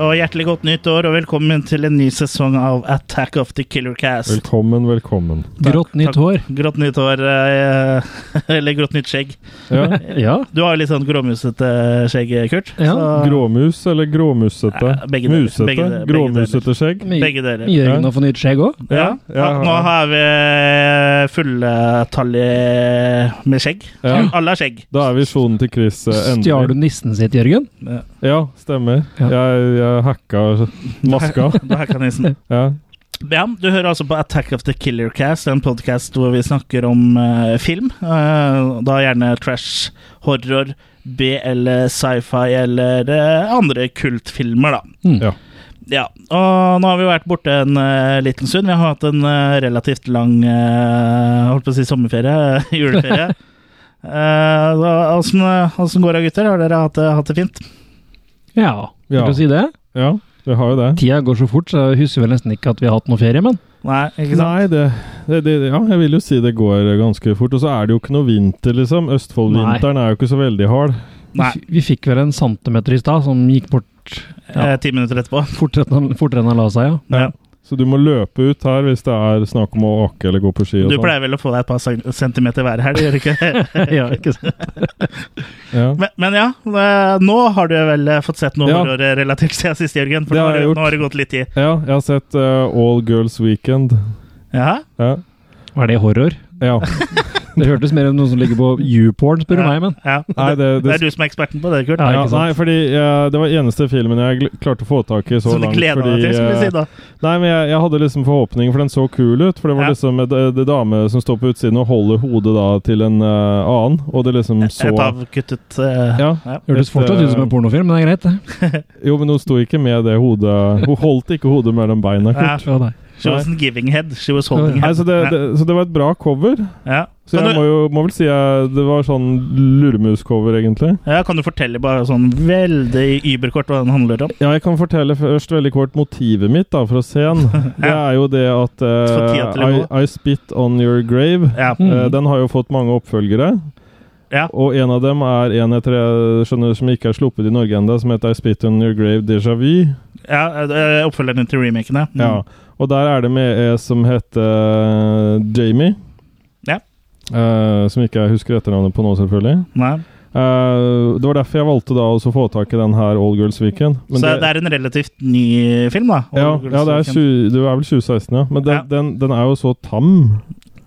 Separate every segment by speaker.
Speaker 1: og hjertelig godt nytt år, og velkommen til en ny sesong av Attack of the Killer Cast.
Speaker 2: Velkommen, velkommen.
Speaker 3: Grått nytt hår.
Speaker 1: Grått nytt hår, eh, eller grått nytt skjegg.
Speaker 2: Ja.
Speaker 3: Ja.
Speaker 1: Du har jo litt sånn gråmusete skjegg, Kurt.
Speaker 3: Ja.
Speaker 1: så-
Speaker 2: Gråmus eller gråmusete?
Speaker 1: Ja, begge deler,
Speaker 2: Musete?
Speaker 1: begge deler, begge
Speaker 2: Gråmusete skjegg?
Speaker 3: My-
Speaker 1: Begge deler.
Speaker 3: Jørgen har fått nytt skjegg òg.
Speaker 1: Ja,
Speaker 2: Ja, ja,
Speaker 1: Nå har vi fulletallet med skjegg.
Speaker 2: Ja.
Speaker 1: Alle har skjegg.
Speaker 2: Da er visjonen til Chris eh,
Speaker 3: Stjal du
Speaker 2: endelig.
Speaker 3: nissen sitt, Jørgen?
Speaker 2: Ja, stemmer.
Speaker 3: Ja.
Speaker 2: Jeg, jeg hacka maska.
Speaker 1: Da hacker nissen.
Speaker 2: Ja.
Speaker 1: Ja, du hører altså på Attack of the Killer Cast, en podkast hvor vi snakker om eh, film. eh, da gjerne trash, horror, B eller sci-fi eller eh, andre kultfilmer, da.
Speaker 3: Mm.
Speaker 2: Ja.
Speaker 1: Ja, og nå har vi vært borte en eh, liten stund. Vi har hatt en eh, relativt lang eh, holdt på å si sommerferie, juleferie. Eh, så Åssen åssen går det, gutter? Har dere hatt, det- hatt det fint?
Speaker 3: ja.
Speaker 2: Ja.
Speaker 3: Vil du si det?
Speaker 2: ja, vi har jo det.
Speaker 3: Tida går så fort, så jeg husker vel nesten ikke at vi har hatt noe ferie, men
Speaker 1: Nei, ikke sant?
Speaker 2: Nei, det, det, det Ja, jeg vil jo si det går ganske fort. Og så er det jo ikke noe vinter, liksom. Østfoldvinteren er jo ikke så veldig hard.
Speaker 3: vi,
Speaker 1: Nei.
Speaker 3: f- vi fikk vel en centimeter i stad som gikk bort Ja.
Speaker 1: Eh, Ti minutter etterpå.
Speaker 3: fortere enn han- fortere enn han la seg, ja.
Speaker 1: Ja.
Speaker 2: Så du må løpe ut her hvis det er snakk om å åke eller gå på ski. og
Speaker 1: Du
Speaker 2: sånn.
Speaker 1: pleier vel å få deg et par cent- centimeter hver helg, gjør du ikke?
Speaker 3: ja ikke sant?
Speaker 2: Ja.
Speaker 1: Men, men ja, eh, nå har du vel eh, fått sett noe
Speaker 2: Ja.
Speaker 1: horror relatert siden sist, Jørgen. For
Speaker 2: Det
Speaker 1: nå
Speaker 2: har
Speaker 1: har,
Speaker 2: jeg
Speaker 1: det-
Speaker 2: gjort.
Speaker 1: nå har det gått litt tid.
Speaker 2: ja, jeg har sett eh, All Girls Weekend.
Speaker 1: Ja,
Speaker 2: Ja.
Speaker 3: Var det horror?
Speaker 2: ja.
Speaker 3: Det hørtes mer ut som noe som ligger på YouPorn, spør du
Speaker 1: Ja.
Speaker 3: meg, men
Speaker 1: ja.
Speaker 2: Nei,
Speaker 1: Det
Speaker 2: det, det
Speaker 1: er du som er eksperten på det, Kurt.
Speaker 3: Ja,
Speaker 2: Ja,
Speaker 3: ikke sant?
Speaker 2: nei, fordi eh, det var eneste filmen jeg gl- klarte å få tak i så
Speaker 1: Som du
Speaker 2: langt.
Speaker 1: gleder
Speaker 2: fordi,
Speaker 1: deg til, skulle
Speaker 2: eh,
Speaker 1: vi si da.
Speaker 2: Nei, men jeg, jeg hadde liksom forhåpninger, for den så kul ut. For det var
Speaker 1: Ja.
Speaker 2: liksom en d- d- dame som står på utsiden og holder hodet da til en eh, annen, og det liksom så
Speaker 1: Et avkuttet eh,
Speaker 2: Ja.
Speaker 3: Det hørtes fortsatt ut som en pornofilm, men det er greit, det.
Speaker 2: Jo, men hun sto ikke med det hodet Hun holdt ikke hodet mellom beina.
Speaker 1: Ja,
Speaker 3: Ja, nei.
Speaker 1: She wasn't giving head, she was holding
Speaker 2: Nei,
Speaker 1: head.
Speaker 2: så, det, det, så det var et bra cover.
Speaker 1: Ja.
Speaker 2: Så
Speaker 1: Kan
Speaker 2: jeg må
Speaker 1: du,
Speaker 2: jo må vel si eh, det var sånn luremus-cover, egentlig.
Speaker 1: ja, kan du fortelle bare sånn veldig überkort hva den handler om?
Speaker 2: Ja, jeg kan fortelle først veldig kort motivet mitt da, fra scenen. Det er jo det at
Speaker 1: Få tida til å
Speaker 2: eh, I, I Spit On Your Grave
Speaker 1: Ja.
Speaker 3: Mm.
Speaker 2: eh, Den har jo fått mange oppfølgere.
Speaker 1: Ja.
Speaker 2: Og en av dem er en jeg tre- skjønner som ikke er sluppet i Norge ennå, som heter I Spit On Your Grave Déjà Vu.
Speaker 1: ja eh, Oppfølgeren til remakene. Mm.
Speaker 2: Ja. Og der er det med en som heter eh, Jamie.
Speaker 1: Ja.
Speaker 2: Eh, som ikke jeg husker etternavnet på nå, selvfølgelig.
Speaker 1: Nei.
Speaker 2: Eh, det var derfor jeg valgte da også å få tak i den her All Girls Weekend. Men
Speaker 1: Så det, er en relativt ny film, da?
Speaker 2: Ja,
Speaker 1: Old
Speaker 2: ja det, er
Speaker 1: Girls
Speaker 2: 20, det er vel 2016, ja. Men den,
Speaker 1: Ja.
Speaker 2: Den, den er jo så tam.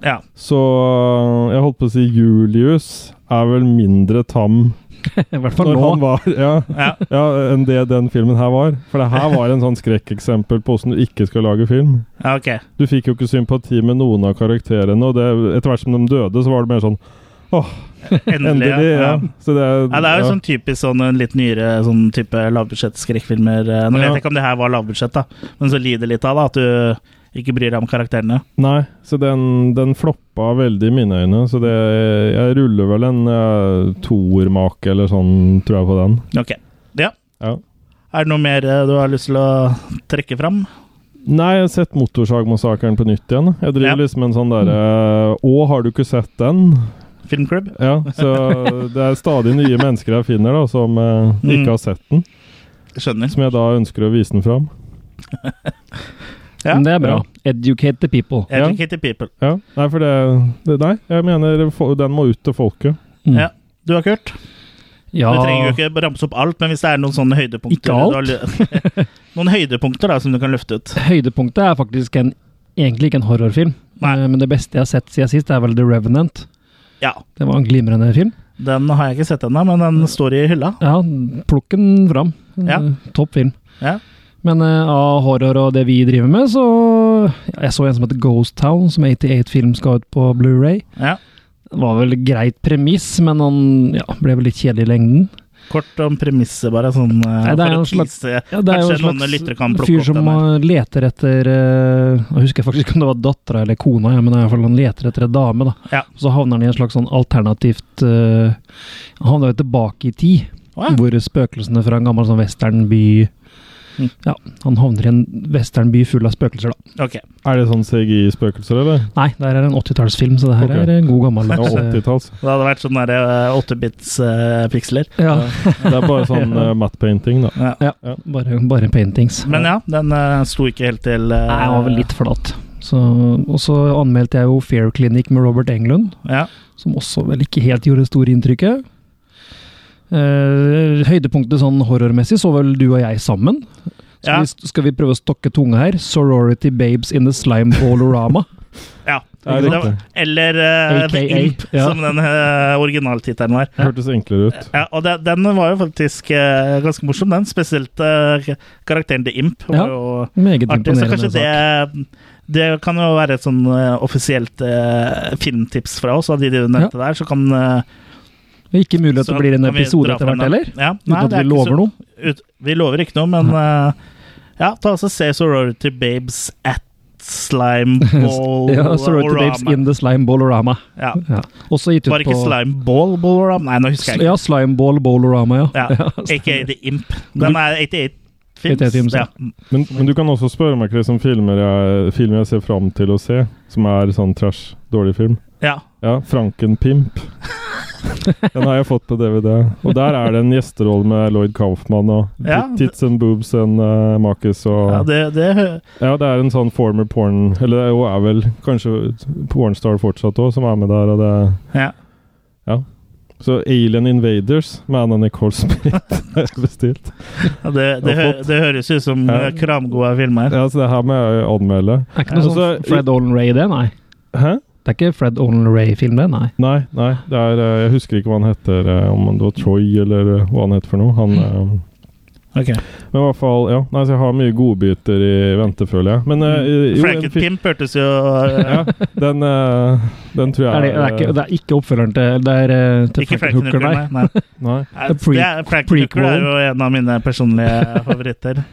Speaker 1: Ja.
Speaker 2: Så øh, jeg holdt på å si Julius er vel mindre tam
Speaker 3: I hvert fall
Speaker 2: når
Speaker 3: nå.
Speaker 2: han var ja,
Speaker 1: Ja.
Speaker 2: ja, enn det den filmen her var. For det her var en sånn skrekkeksempel på åssen du ikke skal lage film.
Speaker 1: Ja, ok.
Speaker 2: Du fikk jo ikke sympati med noen av karakterene, og det, etter hvert som de døde, så var det mer sånn
Speaker 1: Endelig.
Speaker 2: Endelig, ja.
Speaker 1: ja.
Speaker 2: Så det,
Speaker 1: Ja, det er jo
Speaker 2: ja.
Speaker 1: sånn typisk sånn en litt nyere sånn type lavbudsjett-skrekkfilmer. eh, Nå vet
Speaker 2: Ja.
Speaker 1: jeg ikke om det her var lavbudsjett, da, men så lider litt av da, at du ikke bryr deg om karakterene.
Speaker 2: Nei, så den, den floppa veldig i mine øyne. Så det, jeg ruller vel en uh, toermake eller sånn, tror jeg, på den.
Speaker 1: Ok. Ja.
Speaker 2: Ja.
Speaker 1: Er det noe mer eh, du har lyst til å trekke fram?
Speaker 2: Nei, jeg har sett Motorsagmassakren på nytt igjen. Jeg driver
Speaker 1: Ja.
Speaker 2: liksom en sånn derre Å, har du ikke sett den?
Speaker 1: Filmklubb?
Speaker 2: Ja, så det er stadig nye mennesker jeg finner da, som eh,
Speaker 1: Mm.
Speaker 2: ikke har sett den.
Speaker 1: Skjønner.
Speaker 2: Som jeg da ønsker å vise den fram.
Speaker 1: Ja.
Speaker 3: Men det er bra. Educate the people.
Speaker 2: Ja.
Speaker 1: Educated people.
Speaker 2: Ja, Nei, for det, det Nei, jeg mener fo- den må ut til folket.
Speaker 3: Mm.
Speaker 1: Ja. Du har Kurt.
Speaker 3: Ja.
Speaker 1: Du trenger jo ikke ramse opp alt, men hvis det er noen sånne høydepunkter
Speaker 3: Ikke alt?
Speaker 1: du har ly- noen høydepunkter da, som du kan løfte ut.
Speaker 3: Høydepunktet er faktisk en, egentlig ikke en horrorfilm,
Speaker 1: Nei.
Speaker 3: Eh, men det beste jeg har sett siden sist, er vel The Revenant.
Speaker 1: Ja.
Speaker 3: Det var en glimrende film.
Speaker 1: Den har jeg ikke sett ennå, men den står i hylla.
Speaker 3: Ja, plukk den fram. Eh,
Speaker 1: Ja.
Speaker 3: Topp film.
Speaker 1: Ja.
Speaker 3: Men eh, av horror og det vi driver med, så ja, Jeg så en som heter Ghost Town, som 88 Film skal ut på Blu-ray.
Speaker 1: Ja.
Speaker 3: Det var vel greit premiss, men han ja, ble vel litt kjedelig i lengden.
Speaker 1: Kort om premisset, bare sånn eh,
Speaker 3: Nei, det er
Speaker 1: for å
Speaker 3: en slags-
Speaker 1: tease
Speaker 3: Ja, det er jo
Speaker 1: Kanskje
Speaker 3: en
Speaker 1: noen lyttere kan
Speaker 3: slags
Speaker 1: plukke
Speaker 3: fyr
Speaker 1: opp
Speaker 3: som
Speaker 1: den her.
Speaker 3: eh, leter etter eh, Jeg husker faktisk ikke om det var dattera eller kona, ja, men i hvert fall han leter etter en dame. da.
Speaker 1: Ja.
Speaker 3: Så havner han i en slags sånn alternativt eh, Han havner jo tilbake i tid,
Speaker 1: Å, ja.
Speaker 3: hvor spøkelsene fra en gammel sånn westernby
Speaker 1: Mm.
Speaker 3: Ja, han havner i en westernby full av spøkelser, da.
Speaker 1: Ok.
Speaker 2: Er det sånn CGI-spøkelser, eller?
Speaker 3: Nei, det her er en 80-tallsfilm, så det her
Speaker 2: Ok.
Speaker 3: er en god
Speaker 2: Ja,
Speaker 3: gammeldags eh,
Speaker 2: 80-talls.
Speaker 1: Det hadde vært sånn derre åttebits-piksler.
Speaker 3: ja,
Speaker 2: Det er bare sånn eh, matte painting, da.
Speaker 1: Ja.
Speaker 3: bare, bare paintings.
Speaker 1: Men ja, den eh, sto ikke helt til eh,
Speaker 3: Nei, han var vel litt flat. Så, og så anmeldte jeg jo Fair Clinic med Robert Englund,
Speaker 1: Ja.
Speaker 3: som også vel ikke helt gjorde det store inntrykket. Eh, høydepunktet sånn horrormessig så vel du og jeg sammen.
Speaker 1: Ja.
Speaker 3: Skal, vi, skal vi prøve å stokke tunga her? Sorority Babes in the Slime Ballorama.
Speaker 1: ja.
Speaker 2: Ja,
Speaker 1: Det
Speaker 2: riktig.
Speaker 1: var- Eller eh, The
Speaker 3: AKA,
Speaker 1: Imp,
Speaker 3: ja.
Speaker 1: som den uh, originaltittelen var.
Speaker 2: Hørtes enklere ut.
Speaker 1: Ja, og det, den var jo faktisk eh, ganske morsom, den. Spesielt eh, karakteren The Imp.
Speaker 3: Ja.
Speaker 1: Var jo artig,
Speaker 3: Meget
Speaker 1: så
Speaker 3: imponerende altså.
Speaker 1: kanskje
Speaker 3: sak.
Speaker 1: det Det kan jo være et sånn eh, offisielt eh, filmtips fra oss, av de du nevnte der. Så kan eh,
Speaker 3: Det er ikke mulig at
Speaker 1: så
Speaker 3: det blir en
Speaker 1: kan vi
Speaker 3: episode
Speaker 1: dra
Speaker 3: etter
Speaker 1: frem
Speaker 3: hvert
Speaker 1: den.
Speaker 3: heller?
Speaker 1: Ja,
Speaker 3: Uten
Speaker 1: nei,
Speaker 3: at
Speaker 1: det er
Speaker 3: vi
Speaker 1: ikke så-
Speaker 3: lover noe?
Speaker 1: ut, vi lover ikke noe, men eh, ja, ta også se Sorority Babes at Slime Ball
Speaker 3: Ja, Sorority Babes in the Slime Ballorama.
Speaker 1: ja.
Speaker 3: Ja. Også gitt ut
Speaker 1: Var det ikke
Speaker 3: på-
Speaker 1: Slime Ball Ballorama? Nei, nå husker jeg ikke.
Speaker 3: Ja, Slime Ball Ballorama, ja.
Speaker 1: Ja, Aka The Imp. Den er 88 Films.
Speaker 3: 88 films, ja.
Speaker 1: ja.
Speaker 2: Men, men du kan også spørre meg hvilke filmer jeg, filmer jeg ser fram til å se, som er sånn trash, dårlig film.
Speaker 1: ja.
Speaker 2: Ja, Frankenpimp. Den har jeg fått på DVD. Og der er det en gjesterolle med Lloyd Kaufman og
Speaker 1: Ja,
Speaker 2: tit- Tits and Boobs and uh, Marcus og
Speaker 1: ja det, det,
Speaker 2: Ja, det er en sånn former porn Eller det er jo- er vel kanskje pornstar fortsatt òg, som er med der. Og det er
Speaker 1: ja.
Speaker 2: Så Alien Invaders med Anna Nicole Smith er bestilt.
Speaker 1: Det, det, hø- det høres ut som
Speaker 2: Ja.
Speaker 1: eh, kramgode filmer.
Speaker 2: Ja, så det her må jeg anmelde.
Speaker 3: Det er ikke noe
Speaker 2: Altså,
Speaker 3: sånn Fred Olen Ray, det, nei.
Speaker 2: Hæ?
Speaker 3: Det er ikke Fred Olen Ray-film, det, nei.
Speaker 2: Nei, nei. Det er, eh, jeg husker ikke hva han heter. eh, Om det var Troy eller eh, hva han heter for noe. Han
Speaker 1: Mm.
Speaker 2: eh,
Speaker 1: Ok.
Speaker 2: Men i hvert fall, ja. Nei, så jeg har mye godbiter i vente, føler jeg. Men
Speaker 1: Mm.
Speaker 2: eh, jo, en
Speaker 1: Franken
Speaker 2: fi-
Speaker 1: Pimp hørtes jo eh,
Speaker 2: Ja, den, eh, den tror jeg
Speaker 3: Er det, det, er ikke, det er ikke oppfølgeren til, det er, eh, til
Speaker 1: Ikke
Speaker 3: Frank
Speaker 1: Franken Hooker,
Speaker 3: Hooker, nei.
Speaker 1: nei. nei.
Speaker 2: Nei.
Speaker 1: Nei,
Speaker 3: Det er pre-
Speaker 1: det er- Franken Hooker er jo en av mine personlige favoritter.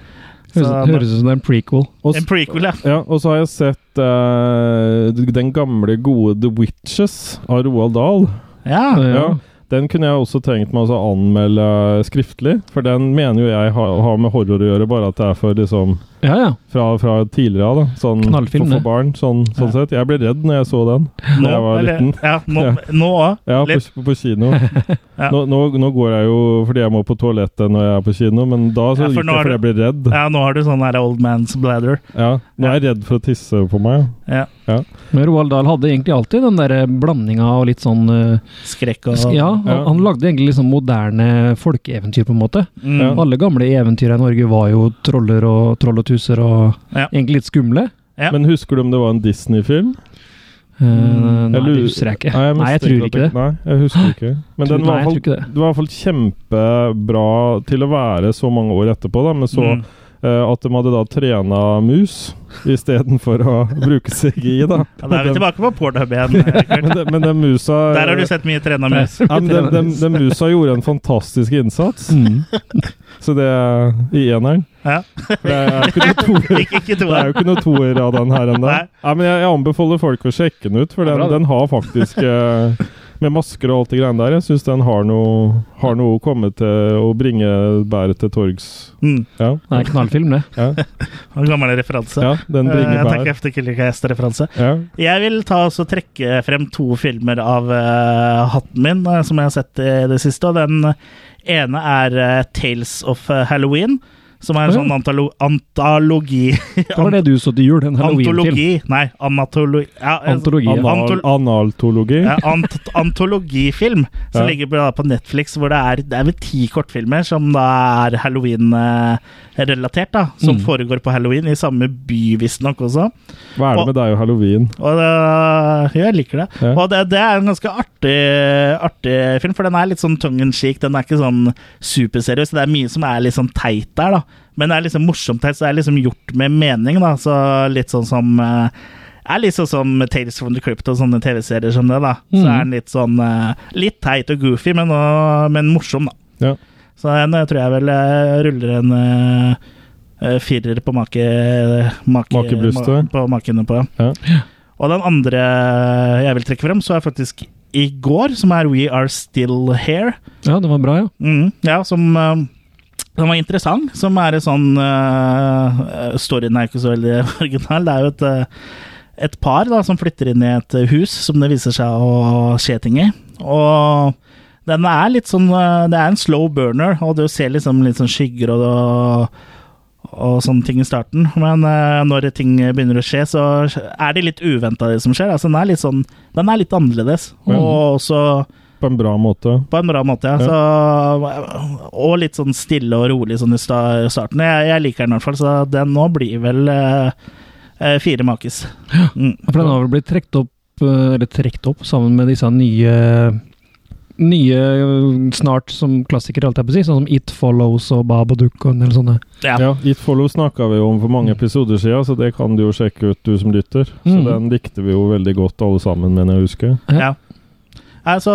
Speaker 3: Høres,
Speaker 1: Så-
Speaker 3: høres ut som det er en prequel.
Speaker 2: Og,
Speaker 1: En
Speaker 2: s-
Speaker 1: prequel, ja.
Speaker 2: ja, og så har jeg sett eh, den gamle, gode The Witches av Roald Dahl.
Speaker 1: Ja,
Speaker 3: Eh,
Speaker 2: Ja. Den kunne jeg også tenkt meg å altså, anmelde skriftlig, for den mener jo jeg har, har med horror å gjøre, bare at det er for liksom
Speaker 3: ja. ja.
Speaker 2: fra, fra tidligere av, da. Sånn, for,
Speaker 3: Knallfilm, det.
Speaker 2: for barn, sånn, sånn sett. Jeg ble redd når jeg så den.
Speaker 1: nå,
Speaker 2: Når jeg var
Speaker 1: eller,
Speaker 2: liten.
Speaker 1: ja, nå, nå også.
Speaker 2: Ja,
Speaker 1: Litt.
Speaker 2: på, på kino.
Speaker 1: Ja.
Speaker 2: nå, nå, nå går jeg jo fordi jeg må på toalettet når jeg er på kino, men da
Speaker 1: Ja,
Speaker 2: så
Speaker 1: for nå
Speaker 2: gikk det
Speaker 1: er
Speaker 2: fordi jeg ble redd. Ja.
Speaker 1: Ja, nå har du sånn der old man's bladder.
Speaker 2: Nå er jeg redd for å tisse på meg.
Speaker 1: Ja.
Speaker 3: Men Roald Dahl hadde egentlig alltid den der eh, blandinga og litt sånn eh,
Speaker 1: Skrekk og
Speaker 3: Ja, han,
Speaker 2: Ja.
Speaker 3: han lagde egentlig liksom moderne folkeeventyr, på en måte.
Speaker 1: Mm.
Speaker 2: Ja.
Speaker 3: Alle gamle eventyr i Norge var jo troller og troll og tuser og
Speaker 1: Ja.
Speaker 3: egentlig litt skumle.
Speaker 1: Ja.
Speaker 2: Men husker du om det var en Disney-film?
Speaker 3: Eh, nei,
Speaker 2: lurer-
Speaker 3: det husker jeg ikke.
Speaker 2: Nei,
Speaker 3: Nei, jeg
Speaker 2: mistenker
Speaker 3: tror
Speaker 2: at
Speaker 3: ikke det.
Speaker 2: Nei, jeg husker ikke. Men
Speaker 3: Tror-
Speaker 2: den var
Speaker 3: nei,
Speaker 2: i
Speaker 3: jeg
Speaker 2: hvert
Speaker 3: tror ikke
Speaker 2: fall-
Speaker 3: det.
Speaker 2: det var i hvert fall kjempebra til å være så mange år etterpå, da, men så
Speaker 1: Mm.
Speaker 2: eh, at de hadde da trena mus istedenfor å bruke CGI, da.
Speaker 1: ja, Da er vi
Speaker 2: Men den-
Speaker 1: tilbake på Pornhub igjen. Kurt.
Speaker 2: men, den- men den musa
Speaker 1: Der har du sett mye trena mus.
Speaker 2: ja, men den, den, den musa gjorde en fantastisk innsats.
Speaker 3: Mm.
Speaker 2: Så det er i eneren.
Speaker 1: Ja.
Speaker 2: For det er jo ikke noe toer.
Speaker 1: Ikke, ikke to.
Speaker 2: Det er jo ikke noe toer av den her ennå.
Speaker 1: Nei.
Speaker 2: Nei, men jeg, jeg anbefaler folk å sjekke den ut, for den,
Speaker 3: Ja, bra, det.
Speaker 2: den har faktisk eh, Med masker og alt det greiene der, jeg syns den har noe, har noe å komme til å bringe bæret til torgs.
Speaker 1: Mm.
Speaker 2: Ja,
Speaker 3: Nei, knallfilm, det.
Speaker 2: ja,
Speaker 1: En Gammel referanse.
Speaker 2: ja den
Speaker 1: Eh,
Speaker 2: bringer
Speaker 1: jeg takker
Speaker 2: bær.
Speaker 1: efter Killer Cast-referanse.
Speaker 2: Ja.
Speaker 1: Jeg vil ta og så trekke frem to filmer av eh, hatten min eh, som jeg har sett i det siste. Og den ene er eh, Tales of eh, Halloween, som er en
Speaker 3: Å, ja.
Speaker 1: sånn antalo antologi
Speaker 3: Hva var det du så til jul? En halloweenfilm?
Speaker 1: Antologi, nei, anatologi ja, eh,
Speaker 3: Antologi, ja.
Speaker 2: Anal,
Speaker 1: Antol-
Speaker 2: analtologi.
Speaker 1: ja, ant antologifilm som
Speaker 2: Ja.
Speaker 1: ligger på, da på Netflix, hvor det er, det er vel ti kortfilmer som da er halloween-relatert, da. Som
Speaker 3: Mm.
Speaker 1: foregår på halloween, i samme by, visstnok også.
Speaker 2: Hva er det med deg og halloween?
Speaker 1: Og det, jeg liker det.
Speaker 2: Ja.
Speaker 1: Og det, det er en ganske artig, artig film, for den er litt sånn tongue in cheek. Den er ikke sånn superseriøs. Det er mye som er litt sånn teit der, da. Men det er liksom morsomt teit, så det er liksom gjort med mening, da. Så litt sånn som eh, er litt sånn som Tales from the Crypt og sånne TV-serier som det, da. Så
Speaker 3: Mhm.
Speaker 1: er den litt sånn eh, Litt teit og goofy, men, også- men morsom, da.
Speaker 2: Ja.
Speaker 1: Så den eh, tror jeg vel eh, ruller en eh, eh, firer på make, make,
Speaker 2: Makebrystet.
Speaker 1: ma- På makene på,
Speaker 2: Ja.
Speaker 1: Og den andre jeg vil trekke frem, så er faktisk i går, som er We Are Still Here.
Speaker 3: Ja, det var bra, ja.
Speaker 1: Mm, ja, som eh, Den var interessant, som er en sånn eh, Storyen er ikke så veldig original. Det er jo et, eh, et par da, som flytter inn i et hus som det viser seg å skje ting i. Og den er litt sånn eh, Det er en slow burner, og du ser liksom litt sånn skygger og, og, og sånne ting i starten. Men eh, når ting begynner å skje, så er det litt uventa, det som skjer. Altså, den er litt sånn Den er litt annerledes,
Speaker 2: Ja.
Speaker 1: og også
Speaker 2: På en bra måte.
Speaker 1: på en bra måte, ja.
Speaker 2: Ja.
Speaker 1: Så, og litt sånn stille og rolig sånn i sta- starten. Jeg, jeg liker den i hvert fall, så den nå blir vel eh, eh, fire makis. Mm.
Speaker 3: For den har vel blitt trukket opp, eh, eller trukket opp sammen med disse nye Nye eh, snart som klassikere, alt jeg på å si, sånn som It Follows og Babadook og en del sånne.
Speaker 1: Ja.
Speaker 2: Ja, It Follow snakka vi jo om for mange episoder siden, så det kan du jo sjekke ut, du som lytter. Så
Speaker 3: Mm.
Speaker 2: den likte vi jo veldig godt alle sammen, mener jeg å huske.
Speaker 1: Ja. Nei, Så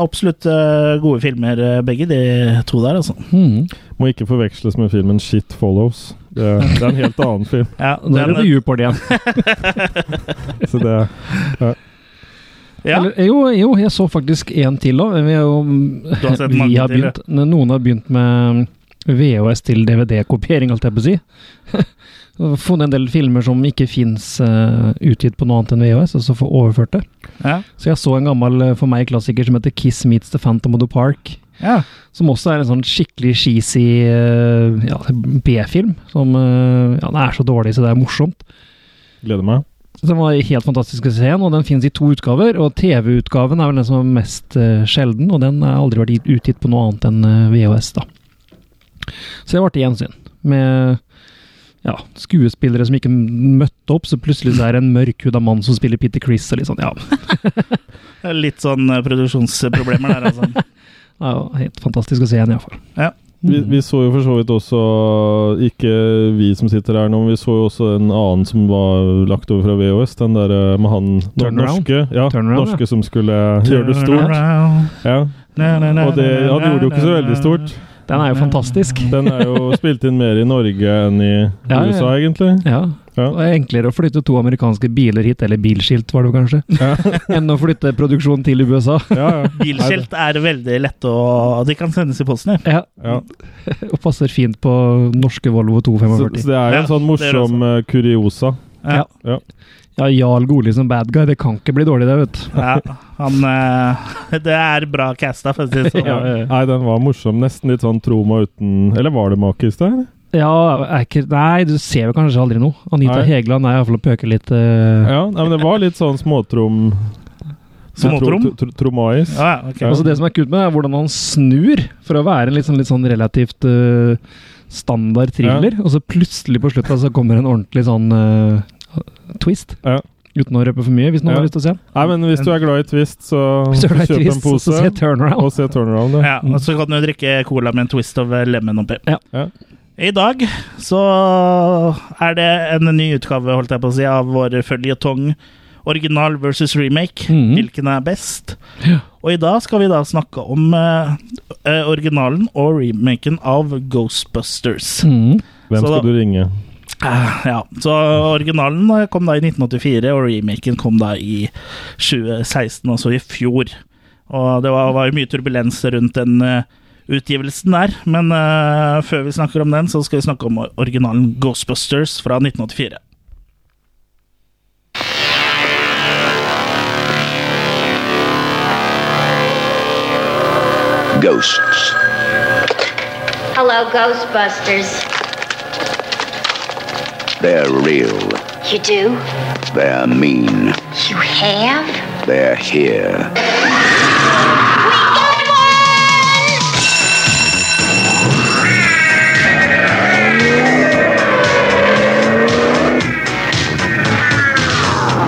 Speaker 1: absolutt eh, gode filmer, eh, begge de to der, altså.
Speaker 3: Mm.
Speaker 2: Må ikke forveksles med filmen Shit Follows. Det er, det er en helt annen film.
Speaker 1: Ja,
Speaker 3: Da er det
Speaker 1: den,
Speaker 3: Viewport igjen.
Speaker 2: Så det er
Speaker 1: ja.
Speaker 3: Eller, jo, jo, jeg så faktisk en til òg. Vi, er jo- mm,
Speaker 1: har sett mange
Speaker 3: vi har
Speaker 1: til,
Speaker 3: begynt, Noen har begynt med mm, VHS til DVD-kopiering, alt jeg på å si. Og Funnet en del filmer som ikke fins utgitt på noe annet enn VHS, og så få overført det.
Speaker 1: Ja.
Speaker 3: Så jeg så en gammel eh, for meg klassiker som heter 'Kiss Meets The Phantom of the Park'.
Speaker 1: Ja.
Speaker 3: Som også er en sånn skikkelig cheesy eh, ja, B-film. Som eh, ja, den er så dårlig, så det er morsomt.
Speaker 2: Gleder meg.
Speaker 3: Den var helt fantastisk å se igjen, og den finnes i to utgaver. Og TV-utgaven er vel den som er mest eh, sjelden, og den har aldri vært gitt- utgitt på noe annet enn eh, VHS, da. Så det ble til gjensyn med ja, skuespillere som ikke m- møtte opp, så plutselig så er det en mørkhuda mann som spiller Peter Chris og litt sånn, ja. Det
Speaker 1: Litt sånn eh, produksjonsproblemer der, altså.
Speaker 3: er jo helt fantastisk å se igjen, iallfall.
Speaker 1: Ja.
Speaker 2: Vi,
Speaker 3: Mm.
Speaker 2: vi så jo for så vidt også Ikke vi som sitter her nå, men vi så jo også en annen som var lagt over fra VHS. Den der eh, med han no-
Speaker 3: Turnaround.
Speaker 2: norske, ja,
Speaker 3: Turnaround,
Speaker 2: norske som skulle eh, gjøre det stort. Ja. Og det, han gjorde det jo ikke så veldig stort.
Speaker 3: Den er jo fantastisk.
Speaker 2: Den er jo spilt inn mer i Norge enn i
Speaker 3: Ja, ja.
Speaker 2: USA, egentlig.
Speaker 3: Ja.
Speaker 2: Ja.
Speaker 3: Og det er enklere å flytte to amerikanske biler hit, eller bilskilt var det jo kanskje,
Speaker 2: Ja.
Speaker 3: enn å flytte produksjonen til USA.
Speaker 2: Ja, ja.
Speaker 1: Bilskilt er veldig lette å De kan sendes i posten, ja.
Speaker 3: Ja,
Speaker 2: Ja.
Speaker 3: og passer fint på norske Volvo
Speaker 2: Så, så
Speaker 3: 245.
Speaker 2: det er jo
Speaker 1: Ja,
Speaker 2: en sånn
Speaker 1: det er det
Speaker 2: morsom eh, kuriosa.
Speaker 1: Ja.
Speaker 3: Ja, Jarl Goli som bad guy, det kan ikke bli dårlig det, vet du.
Speaker 1: Ja, han eh, Det er bra casta, for å si det sånn.
Speaker 3: Ja, ja, ja.
Speaker 2: Nei, den var morsom. Nesten litt sånn Troma uten Eller var det Makis der?
Speaker 3: Ja, er ikke, nei, du ser jo kanskje aldri noe. Anita
Speaker 2: Nei.
Speaker 3: Hegeland er iallfall å pøke litt eh,
Speaker 2: Ja, nei, men det var litt sånn småtrom...
Speaker 1: Småtrom?
Speaker 2: Tro- tro- Tromais.
Speaker 1: Ja, ja, ok.
Speaker 3: Altså Det som er kult med det, er hvordan han snur for å være en litt sånn, litt sånn relativt eh, standard thriller, og så plutselig på slutta så kommer en ordentlig sånn eh, twist.
Speaker 2: Ja.
Speaker 3: Uten å røpe for mye, hvis
Speaker 2: Ja.
Speaker 3: noen har lyst til å se den.
Speaker 2: Nei, men hvis du er glad i Twist, så
Speaker 3: Hvis du har lyst til
Speaker 2: kjøp en
Speaker 3: twist, så
Speaker 2: pose
Speaker 3: se Turnaround.
Speaker 2: og se Turnaround.
Speaker 1: Ja,
Speaker 2: Ja.
Speaker 1: og så kan du drikke cola med en twist of lemon oppi.
Speaker 3: Ja.
Speaker 2: Ja.
Speaker 1: I dag så er det en ny utgave holdt jeg på å si, av vår føljetong original versus remake.
Speaker 3: Mhm.
Speaker 1: Hvilken er best?
Speaker 3: Ja.
Speaker 1: Og i dag skal vi da snakke om eh, eh, originalen og remaken av Ghostbusters.
Speaker 3: Mm.
Speaker 2: Hvem
Speaker 1: Så
Speaker 2: skal
Speaker 1: da-
Speaker 2: du ringe?
Speaker 1: Eh, ja, Så originalen eh, kom da i 1984, og remaken kom da i 2016, altså i fjor. Og det var, var jo mye turbulens rundt den eh, utgivelsen der, men eh, før vi snakker om den, så skal vi snakke om originalen Ghostbusters fra 1984.
Speaker 4: Ghosts.
Speaker 5: Hello, Ghostbusters.
Speaker 4: They're real.
Speaker 5: You do?
Speaker 4: They're mean.
Speaker 5: You have?
Speaker 4: They're here.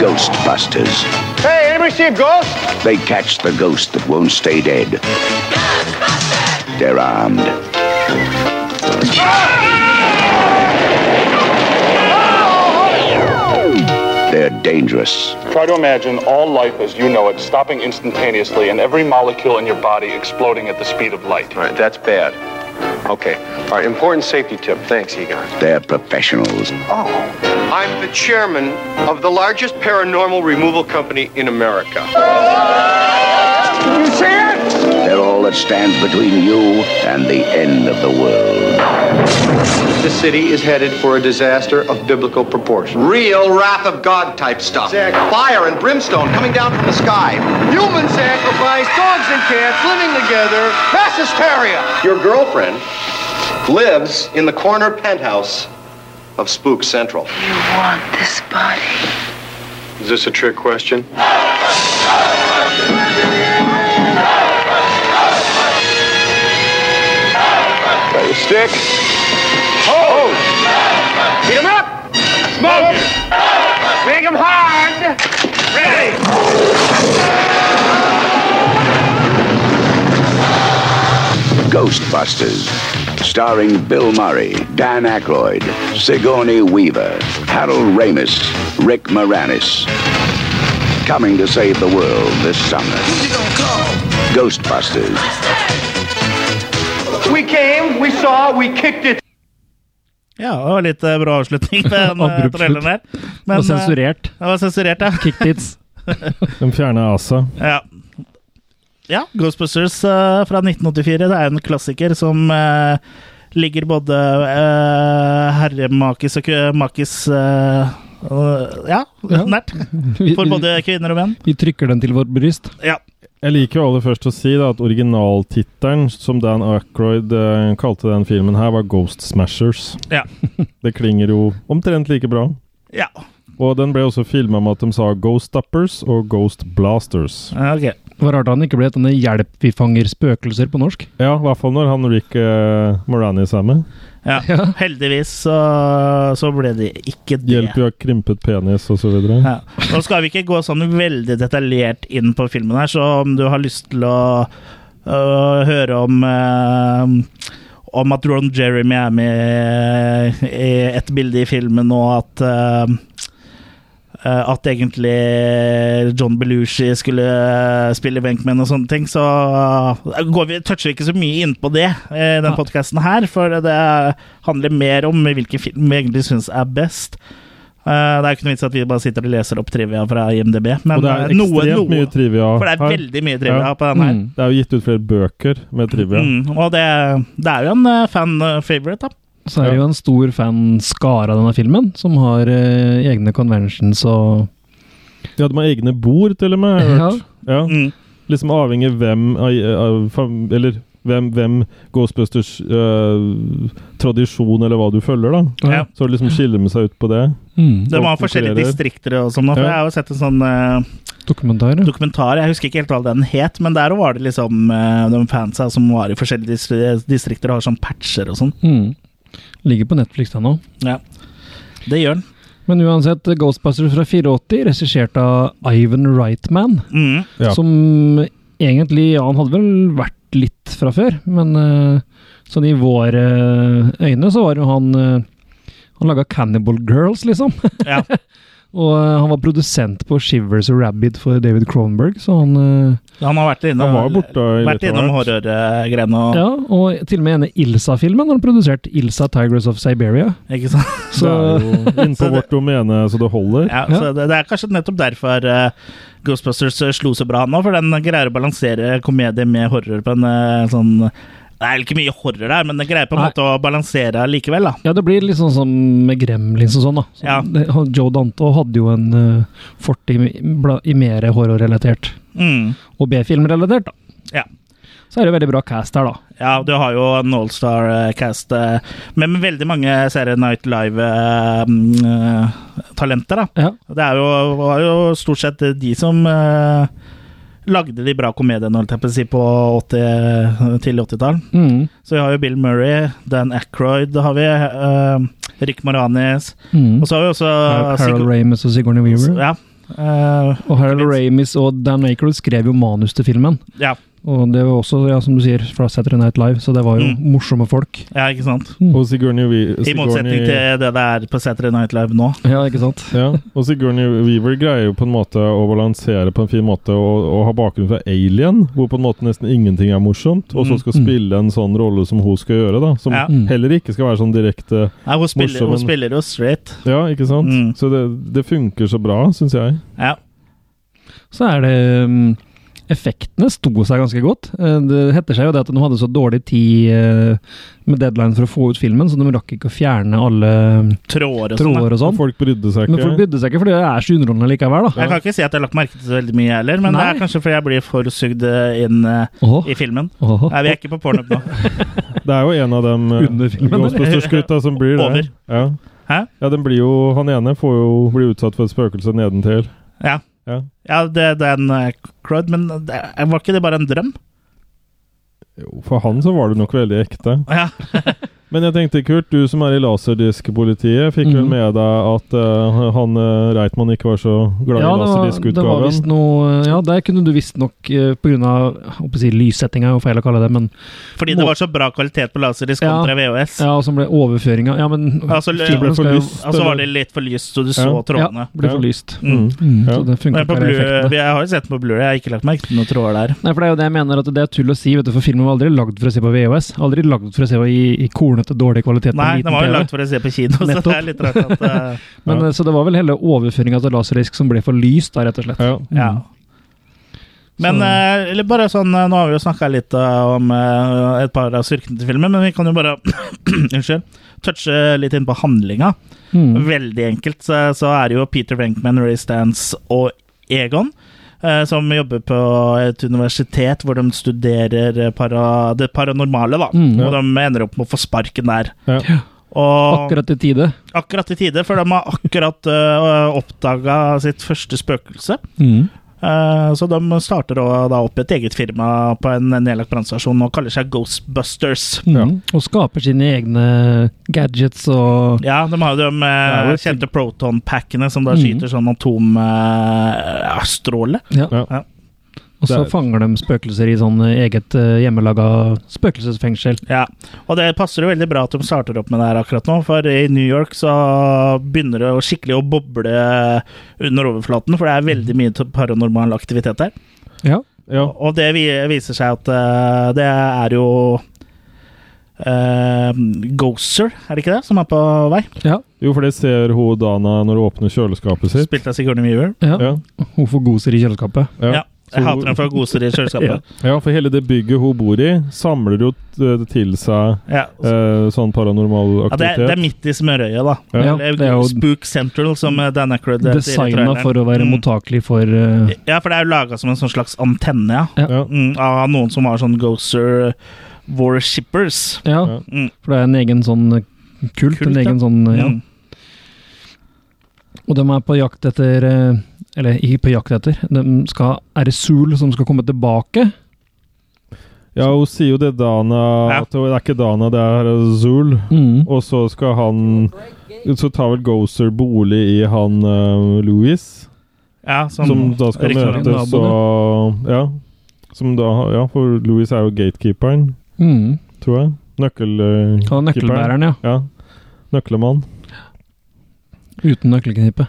Speaker 4: Ghostbusters.
Speaker 6: Hey, anybody see a ghost?
Speaker 4: They catch the ghost that won't stay dead. They're armed. They're dangerous.
Speaker 7: Try to imagine all life as you know it stopping instantaneously and every molecule in your body exploding at the speed of light.
Speaker 8: All right, that's bad. Okay. All right, important safety tip. Thanks, Egon.
Speaker 4: They're professionals.
Speaker 8: I'm the chairman of the largest paranormal removal company in America.
Speaker 4: They're all what stands between you and the end of the world.
Speaker 8: The city is headed for a disaster of biblical proportion.
Speaker 9: Real wrath of God type stuff.
Speaker 8: Zach.
Speaker 9: Fire and brimstone coming down from the sky.
Speaker 6: Human sacrifice, dogs and cats living together. Mass hysteria.
Speaker 9: Your girlfriend lives in the corner penthouse of Spook Central.
Speaker 5: You want this body.
Speaker 8: Is this a trick question?
Speaker 7: Got your stick. Hold. Heat 'em up. Smoke. Make 'em hard. Ready.
Speaker 4: Ghostbusters. Starring Bill Murray, Dan Aykroyd, Sigourney Weaver, Harold Ramis, Rick Moranis. Coming to save the world this summer. Ghostbusters.
Speaker 6: We came, we saw, we kicked it.
Speaker 1: Ja, det var litt eh, bra avslutning på den eh,
Speaker 3: Abrupt
Speaker 1: traileren der. Men,
Speaker 3: Og
Speaker 1: eh,
Speaker 3: sensurert.
Speaker 1: Det var sensurert, ja.
Speaker 3: Kicktids.
Speaker 2: De fjerna ASA.
Speaker 1: Ja. ja Ghostbusters eh, fra 1984. Det er en klassiker som eh, ligger både uh, herremakis og kø- makis eh, eh, ja,
Speaker 3: Ja.
Speaker 1: nært.
Speaker 3: Vi,
Speaker 1: For både kvinner og menn.
Speaker 3: vi trykker den til vårt bryst.
Speaker 1: Ja.
Speaker 2: Jeg liker jo aller først å si da, at originaltittelen som Dan Aykroyd eh, kalte den filmen her, var Ghost Smashers.
Speaker 1: Ja.
Speaker 2: Det klinger jo omtrent like bra.
Speaker 1: ja.
Speaker 2: Og den ble også filma med at de sa Ghost Uppers og Ghost Blasters.
Speaker 1: Ok.
Speaker 3: Det var rart han ikke ble denne 'Hjelp, vi fanger spøkelser' på norsk.
Speaker 2: Ja, i hvert fall når han Rick eh, Moranis er med.
Speaker 1: Ja.
Speaker 3: Ja.
Speaker 1: Heldigvis så, så ble det ikke det.
Speaker 2: Hjelp, vi har krympet penis, osv.
Speaker 1: Ja. Nå skal vi ikke gå sånn veldig detaljert inn på filmen her, så om du har lyst til å øh, høre om øh, om at Ron Jeremy er med i et bilde i filmen, og at øh, øh, at egentlig John Belushi skulle eh, spille Benkman og sånne ting, så eh, går vi, toucher vi ikke så mye inn på det eh, i den
Speaker 3: Nei.
Speaker 1: podkasten her, for det handler mer om hvilken film vi egentlig syns er best. Eh, det er jo ikke noe vits at vi bare sitter og leser opp trivia fra IMDb, men
Speaker 2: Og det er
Speaker 1: eh, noe,
Speaker 2: ekstremt
Speaker 1: noe.
Speaker 2: mye trivia
Speaker 1: For det er
Speaker 2: her.
Speaker 1: veldig mye trivia
Speaker 2: Ja.
Speaker 1: på den her.
Speaker 3: Mm.
Speaker 2: Det er jo gitt ut flere bøker med trivia.
Speaker 1: Mm, og det, det er jo en eh, fan eh, favorite, da.
Speaker 3: Så er det jo en stor fanskare av denne filmen, som har eh, egne conventions og
Speaker 2: De hadde med egne bord, til og med. har jeg hørt. Ja.
Speaker 1: Mm.
Speaker 2: Liksom avhengig hvem av, av fam- Eller hvem, hvem Ghostbusters eh, tradisjon, eller hva du følger, da.
Speaker 1: Ja.
Speaker 2: Så liksom skiller de seg ut på det.
Speaker 3: Mm.
Speaker 1: Det var
Speaker 2: Folk
Speaker 1: forskjellige
Speaker 2: konkurrerer.
Speaker 1: distrikter og sånn, nå, for
Speaker 2: Ja.
Speaker 1: jeg har jo sett en sånn eh,
Speaker 3: Dokumentar. ja.
Speaker 1: dokumentar. Jeg husker ikke helt hva den het, men der var det liksom eh, de fansa som var i forskjellige dis distrikter og har sånn patcher og sånn.
Speaker 3: Mm. Ligger på Netflix ennå.
Speaker 1: Ja. Det gjør den.
Speaker 3: Men uansett, Ghostbusters fra 84, regissert av Ivan Reitman,
Speaker 1: Mm.
Speaker 2: Ja.
Speaker 3: som egentlig Ja, han hadde vel vært litt fra før, men eh, sånn i våre øyne så var jo han eh, Han laga Cannibal Girls, liksom.
Speaker 1: Ja.
Speaker 3: Og eh, han var produsent på Shivers and Rabbit for David Cronberg, så han eh,
Speaker 1: Han har vært innom,
Speaker 2: Han var borte litt
Speaker 1: vært innom
Speaker 2: av hvert.
Speaker 1: horrorgreiene og
Speaker 3: Ja, og til og med denne Ilsa-filmen har han produsert. Ilsa Tigress of Siberia.
Speaker 1: Ikke sant?
Speaker 3: Så
Speaker 2: Det er jo innpå vårt domene så det holder.
Speaker 1: Ja, så det, det er kanskje nettopp derfor eh, Ghostbusters eh, slo så bra nå, for den greier å balansere komedie med horror på en eh, sånn Det er ikke mye horror der, men den greier på en
Speaker 3: Nei.
Speaker 1: måte å balansere likevel, da.
Speaker 3: Ja, det blir litt sånn som med Gremlins og sånn, da. Så
Speaker 1: Ja.
Speaker 3: det, han- Joe Danto hadde jo en eh, fortid i, bla- i mer horrorrelatert
Speaker 1: Mm.
Speaker 3: og B-filmrelatert, da.
Speaker 1: Ja.
Speaker 3: Så er det veldig bra cast her, da.
Speaker 1: Ja, du har jo en allstar-cast eh, med, med veldig mange Saturday Night eh, Live-talenter, da.
Speaker 3: Ja.
Speaker 1: Det er jo, var jo stort sett de som eh, lagde de bra komediene, holdt jeg på å si, på 80, til 80-tall.
Speaker 3: Mm.
Speaker 1: Så vi har jo Bill Murray, Dan Aykroyd har vi, eh, Rick Moranis,
Speaker 3: Mm.
Speaker 1: og så har vi også eh,
Speaker 3: Harold Ramis og Sigourney Weaver.
Speaker 1: Ja. eh,
Speaker 3: Og Harold
Speaker 1: minst.
Speaker 3: Ramis og Dan Aykroyd skrev jo manus til filmen.
Speaker 1: ja.
Speaker 3: Og det var også, ja, som du sier, fra Saturday Night Live, så det var jo
Speaker 1: Mm.
Speaker 3: morsomme folk.
Speaker 1: ja, ikke sant?
Speaker 2: Og Sigourney, Wea-
Speaker 1: Mm. I motsetning til
Speaker 2: Sigourney-
Speaker 1: det det er på Saturday Night Live nå.
Speaker 3: Ja, ikke sant?
Speaker 2: Ja, og Sigourney Weaver greier jo på en måte å balansere på en fin måte og, og ha bakgrunn fra Alien, hvor på en måte nesten ingenting er morsomt, og så skal
Speaker 3: Mm.
Speaker 2: spille en sånn rolle som hun skal gjøre, da. Som
Speaker 1: Ja.
Speaker 2: heller ikke skal være sånn direkte
Speaker 1: Nei, hun spiller,
Speaker 2: Morsom,
Speaker 1: hun
Speaker 2: men-
Speaker 1: spiller jo straight.
Speaker 2: Ja, ikke sant?
Speaker 1: Mm.
Speaker 2: Så det, det funker så bra, syns jeg.
Speaker 1: Ja.
Speaker 3: Så er det mm, effektene sto seg ganske godt. Eh, Det heter seg jo det at de hadde så dårlig tid eh, med deadline for å få ut filmen, så de rakk ikke å fjerne alle um,
Speaker 1: Tråder og sånn. da.
Speaker 3: tråder og sånn.
Speaker 2: Folk brydde seg
Speaker 3: Men folk
Speaker 2: ikke.
Speaker 3: brydde seg ikke, for det er så underholdende likevel, da.
Speaker 1: Jeg kan ikke si at jeg har lagt merke til så veldig mye, jeg heller, men det
Speaker 3: Nei.
Speaker 1: er kanskje fordi jeg blir for sugd eh, inn eh,
Speaker 3: Åh,
Speaker 1: i filmen.
Speaker 3: åh,
Speaker 1: Nei, vi er ikke på pornhub nå.
Speaker 2: Det er jo en av dem eh,
Speaker 3: Under filmen, eller?
Speaker 2: Ghostbusters-gutta som blir
Speaker 1: Over.
Speaker 2: det. Ja.
Speaker 1: Hæ?
Speaker 2: ja, den blir jo Han ene får jo bli utsatt for et spøkelse nedentil.
Speaker 1: Ja,
Speaker 2: Ja.
Speaker 1: ja det, det er en eh, crud, men det, var ikke det bare en drøm?
Speaker 2: Jo, For han så var det nok veldig ekte.
Speaker 1: Ja.
Speaker 2: Men jeg tenkte, Kurt, du som er i laserdiskpolitiet, fikk vel
Speaker 3: Mhm.
Speaker 2: med deg at eh, han eh, Reitmann ikke var så glad i
Speaker 3: Ja, det var, det var visst
Speaker 2: laserdiskutgaven? Mm.
Speaker 3: noe Ja, der kunne du eh, visstnok pga. Si, lyssettinga, er jo feil å kalle det, men
Speaker 1: Fordi det var så bra kvalitet på laserdisk
Speaker 3: Ja.
Speaker 1: kontra VHS.
Speaker 3: Ja, og som ble overføringa Ja, men
Speaker 1: Altså, lø-
Speaker 3: filmen
Speaker 2: ble for
Speaker 3: skal jo-
Speaker 2: lyst.
Speaker 1: Og så var det litt for lyst, så du så
Speaker 2: Ja.
Speaker 1: trådene.
Speaker 3: Ja, ble
Speaker 2: Ja.
Speaker 3: for lyst.
Speaker 1: Mm.
Speaker 3: Mm,
Speaker 2: Ja.
Speaker 3: Så det funka
Speaker 1: Men på
Speaker 3: ikke
Speaker 1: Blu-
Speaker 3: der effektene.
Speaker 1: jeg har jo sett den på Blu-ray, jeg har ikke lagt merke til noen tråder der.
Speaker 3: Nei, for det er jo det jeg mener, at det er tull å si, vet du, for filmen var aldri lagd for å se på VHS. Aldri lagd for å se på i, i kornete, dårlig kvalitet på
Speaker 1: Nei,
Speaker 3: en
Speaker 1: den
Speaker 3: liten
Speaker 1: var jo
Speaker 3: TV.
Speaker 1: lagd for å se på kino, så det
Speaker 3: Nettopp.
Speaker 1: er litt rart at eh,
Speaker 3: Men,
Speaker 2: Ja.
Speaker 3: eh, Så det var vel hele overføringa til laserdisk som ble for lyst, da, rett og slett.
Speaker 2: Ja.
Speaker 1: Ja. Men
Speaker 3: Mm. Så-
Speaker 1: eh, eller bare sånn, eh, Nå har vi jo snakka litt eh, om eh, et par av styrkene til filmen, men vi kan jo bare unnskyld, touche litt inn på handlinga.
Speaker 3: Mm.
Speaker 1: Veldig enkelt så, så er det jo Peter Venkman, Ray Stans og Egon eh, som jobber på et universitet hvor de studerer eh, para, det paranormale. da
Speaker 3: Mm.
Speaker 1: Og de ender opp med å få sparken der.
Speaker 2: Ja.
Speaker 1: Og akkurat,
Speaker 3: Akkurat i
Speaker 1: i
Speaker 3: tide.
Speaker 1: tide, for de har akkurat uh, oppdaga sitt første spøkelse.
Speaker 3: Mm.
Speaker 1: Eh, Så de starter da da opp et eget firma på en nedlagt brannstasjon og kaller seg Ghostbusters.
Speaker 3: Mm.
Speaker 2: Ja.
Speaker 3: Og skaper sine egne gadgets og
Speaker 1: Ja, de har jo de
Speaker 2: er
Speaker 1: eh,
Speaker 2: jo et-
Speaker 1: kjente proton-packene som da
Speaker 3: Mhm.
Speaker 1: skyter sånn eh, atomstråle.
Speaker 3: ja.
Speaker 2: Ja.
Speaker 1: Ja.
Speaker 3: Og så
Speaker 2: Det er-
Speaker 3: fanger de spøkelser i sånn eh, eget eh, hjemmelaga spøkelsesfengsel.
Speaker 1: Ja, og det passer jo veldig bra at de starter opp med det her akkurat nå, for i New York så begynner det å skikkelig å boble under overflaten, for det er veldig mye til paranormal aktivitet der.
Speaker 3: Ja.
Speaker 2: Ja.
Speaker 1: Og det vi- viser seg at eh, det er jo eh, Ghoster, er det ikke det, som er på vei?
Speaker 3: Ja.
Speaker 2: Jo, for det ser hun Dana når hun åpner kjøleskapet sitt.
Speaker 1: Spilt av Sigourney Weaver.
Speaker 3: ja.
Speaker 2: Ja,
Speaker 3: Hun får godser i kjøleskapet.
Speaker 2: ja.
Speaker 1: Ja. Jeg hater den for å gose det i kjøleskapet.
Speaker 2: ja, for hele det bygget hun bor i, samler jo eh, til seg
Speaker 1: ja. Ja.
Speaker 2: eh, sånn paranormal
Speaker 1: det, er, det er
Speaker 2: aktivitet.
Speaker 1: midt i smørøyet, da.
Speaker 2: Ja.
Speaker 1: Eller
Speaker 3: det er jo-
Speaker 1: Spook Central, som eh, Dan Aykroyd sier i
Speaker 3: Designa
Speaker 1: traileren.
Speaker 3: for å være
Speaker 1: Mm.
Speaker 3: mottakelig for eh,
Speaker 1: Ja, for det er jo laga som en sånn slags antenne, ja.
Speaker 2: Ja.
Speaker 1: Mm, av noen som var sånn Gozer Worshippers.
Speaker 3: Ja,
Speaker 2: Ja.
Speaker 1: Mm.
Speaker 3: for det er en egen sånn eh, kult.
Speaker 1: Kult,
Speaker 3: en
Speaker 1: ja.
Speaker 3: egen sånn, eh, ja.
Speaker 1: Mm.
Speaker 3: Og de er på jakt etter eh, Eller ikke på jakt etter, de skal, er det Sul som skal komme tilbake?
Speaker 2: Ja, hun sier jo det Dana
Speaker 1: Ja.
Speaker 2: at hun, Det er ikke Dana, det er Zul.
Speaker 3: Mm.
Speaker 2: Og så skal han Så tar vel Gozer bolig i han eh, Louis,
Speaker 1: ja som,
Speaker 2: som da skal
Speaker 1: riktig nok.
Speaker 3: møte-
Speaker 2: møtes og Ja. Som da, ja, for Louis er jo gatekeeperen,
Speaker 3: Mm.
Speaker 2: tror jeg. Nøkkelkeeperen.
Speaker 3: Han er nøkkelbæreren, ja.
Speaker 2: Ja. Nøklemann.
Speaker 3: Uten nøkkelknippe.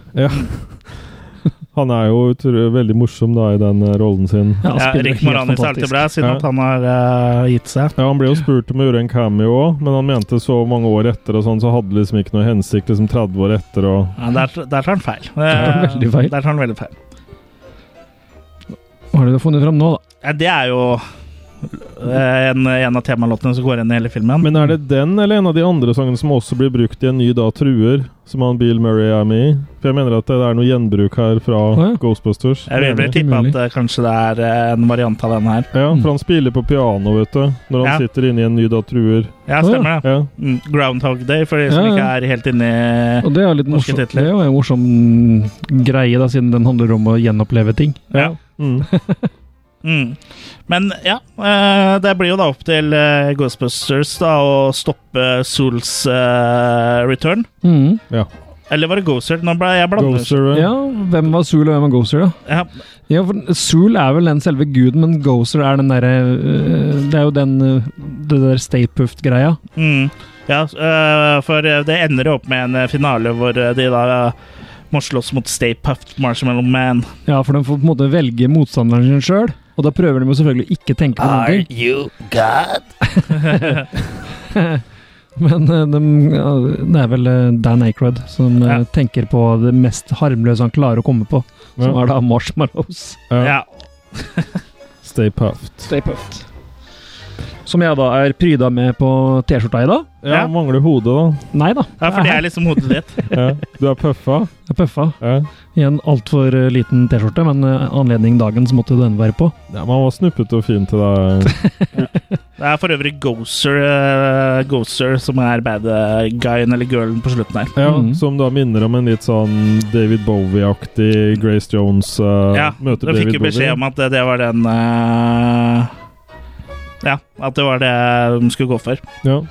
Speaker 2: Han er jo tror, jeg, veldig morsom da i den eh, rollen sin.
Speaker 3: Ja,
Speaker 1: Ja,
Speaker 3: spiller
Speaker 1: Rick
Speaker 3: helt
Speaker 1: Moranis er alltid
Speaker 3: fantastisk.
Speaker 1: bra, siden
Speaker 2: Ja.
Speaker 1: at han har eh, gitt seg.
Speaker 2: Ja, Han ble jo spurt om å gjøre en cameo òg, men han mente så mange år etter og sånn, så hadde det liksom ikke noe hensikt liksom 30 år etter og
Speaker 1: Ja, der, der tar han feil.
Speaker 3: tar han
Speaker 1: Eh,
Speaker 3: veldig feil.
Speaker 1: Der tar han veldig feil.
Speaker 3: Hva har du funnet fram nå, da?
Speaker 1: Ja, det er jo eh, en, en av temalåtene som går igjen i hele filmen.
Speaker 2: Men er det den eller en av de andre sangene som også blir brukt i en ny da truer, som han Bill Murray er med i? For jeg mener at det er noe gjenbruk her fra
Speaker 3: Å, ja.
Speaker 2: Ghostbusters.
Speaker 1: jeg vil vel
Speaker 3: det er
Speaker 1: tippe
Speaker 3: mulig.
Speaker 1: at eh, kanskje det er eh, en variant av den her.
Speaker 2: Ja, for han spiller på piano, vet du, når han
Speaker 1: Ja.
Speaker 2: sitter inne i en ny da truer.
Speaker 1: Ja,
Speaker 3: Å, ja.
Speaker 1: stemmer det.
Speaker 2: Ja.
Speaker 1: Mm, Groundhog Day, for de som
Speaker 3: Ja, ja.
Speaker 1: ikke er helt inne i
Speaker 3: Og det er jo litt
Speaker 1: Norske
Speaker 3: morsom, det
Speaker 1: titler.
Speaker 3: er jo en morsom greie, da, siden den handler om å gjenoppleve ting.
Speaker 1: ja.
Speaker 2: Mm.
Speaker 1: Mm. Men ja, eh, det blir jo da opp til eh, Ghostbusters da å stoppe Souls eh, return.
Speaker 3: Mm.
Speaker 1: Eller var det Gozer? Nå ble jeg blander.
Speaker 2: Ghoster,
Speaker 3: Ja, hvem var Sul, og hvem var Gozer, da?
Speaker 1: Ja,
Speaker 3: Ja, for Sul er vel den selve guden, men Gozer er den derre øh, Det er jo den øh, det der Stay Puft-greia.
Speaker 1: mm. ja eh, for eh, det ender jo opp med en eh, finale hvor eh, de da eh, må slåss mot Stay Puffed Marshmallow Man.
Speaker 3: Ja, for de får på en måte velge motstanderen sin sjøl, og da prøver de jo selvfølgelig å ikke tenke på noen ting. Men eh, de, ja, det er vel eh, Dan Acrod som eh,
Speaker 1: Ja.
Speaker 3: tenker på det mest harmløse han klarer å komme på, som
Speaker 2: Ja.
Speaker 3: er da marshmallows.
Speaker 2: Ja.
Speaker 1: Ja.
Speaker 2: Stay puffed.
Speaker 3: Stay puffed. Som jeg da er pryda med på T-skjorta i dag.
Speaker 2: Ja,
Speaker 1: Ja.
Speaker 2: mangler hodet, da.
Speaker 3: Nei da.
Speaker 1: Ja, for det er liksom hodet ditt.
Speaker 2: Ja. Du er puffa.
Speaker 3: Jeg pøffa
Speaker 2: Ja.
Speaker 3: i en altfor eh, liten T-skjorte, men eh, anledning dagen så måtte den være på.
Speaker 2: Ja, Man var snuppete og fin til deg.
Speaker 1: Det er for øvrig Gozer, eh, Gozer som er bad guyen eller girlen på slutten her.
Speaker 2: Ja,
Speaker 3: Mhm.
Speaker 2: Som da minner om en litt sånn David Bowie-aktig Grace Jones uh,
Speaker 1: Ja,
Speaker 2: møter
Speaker 1: da fikk
Speaker 2: David
Speaker 1: jo beskjed om
Speaker 2: Bowie.
Speaker 1: at det, det var den eh, Ja, at det var det de skulle gå for.
Speaker 2: Ja.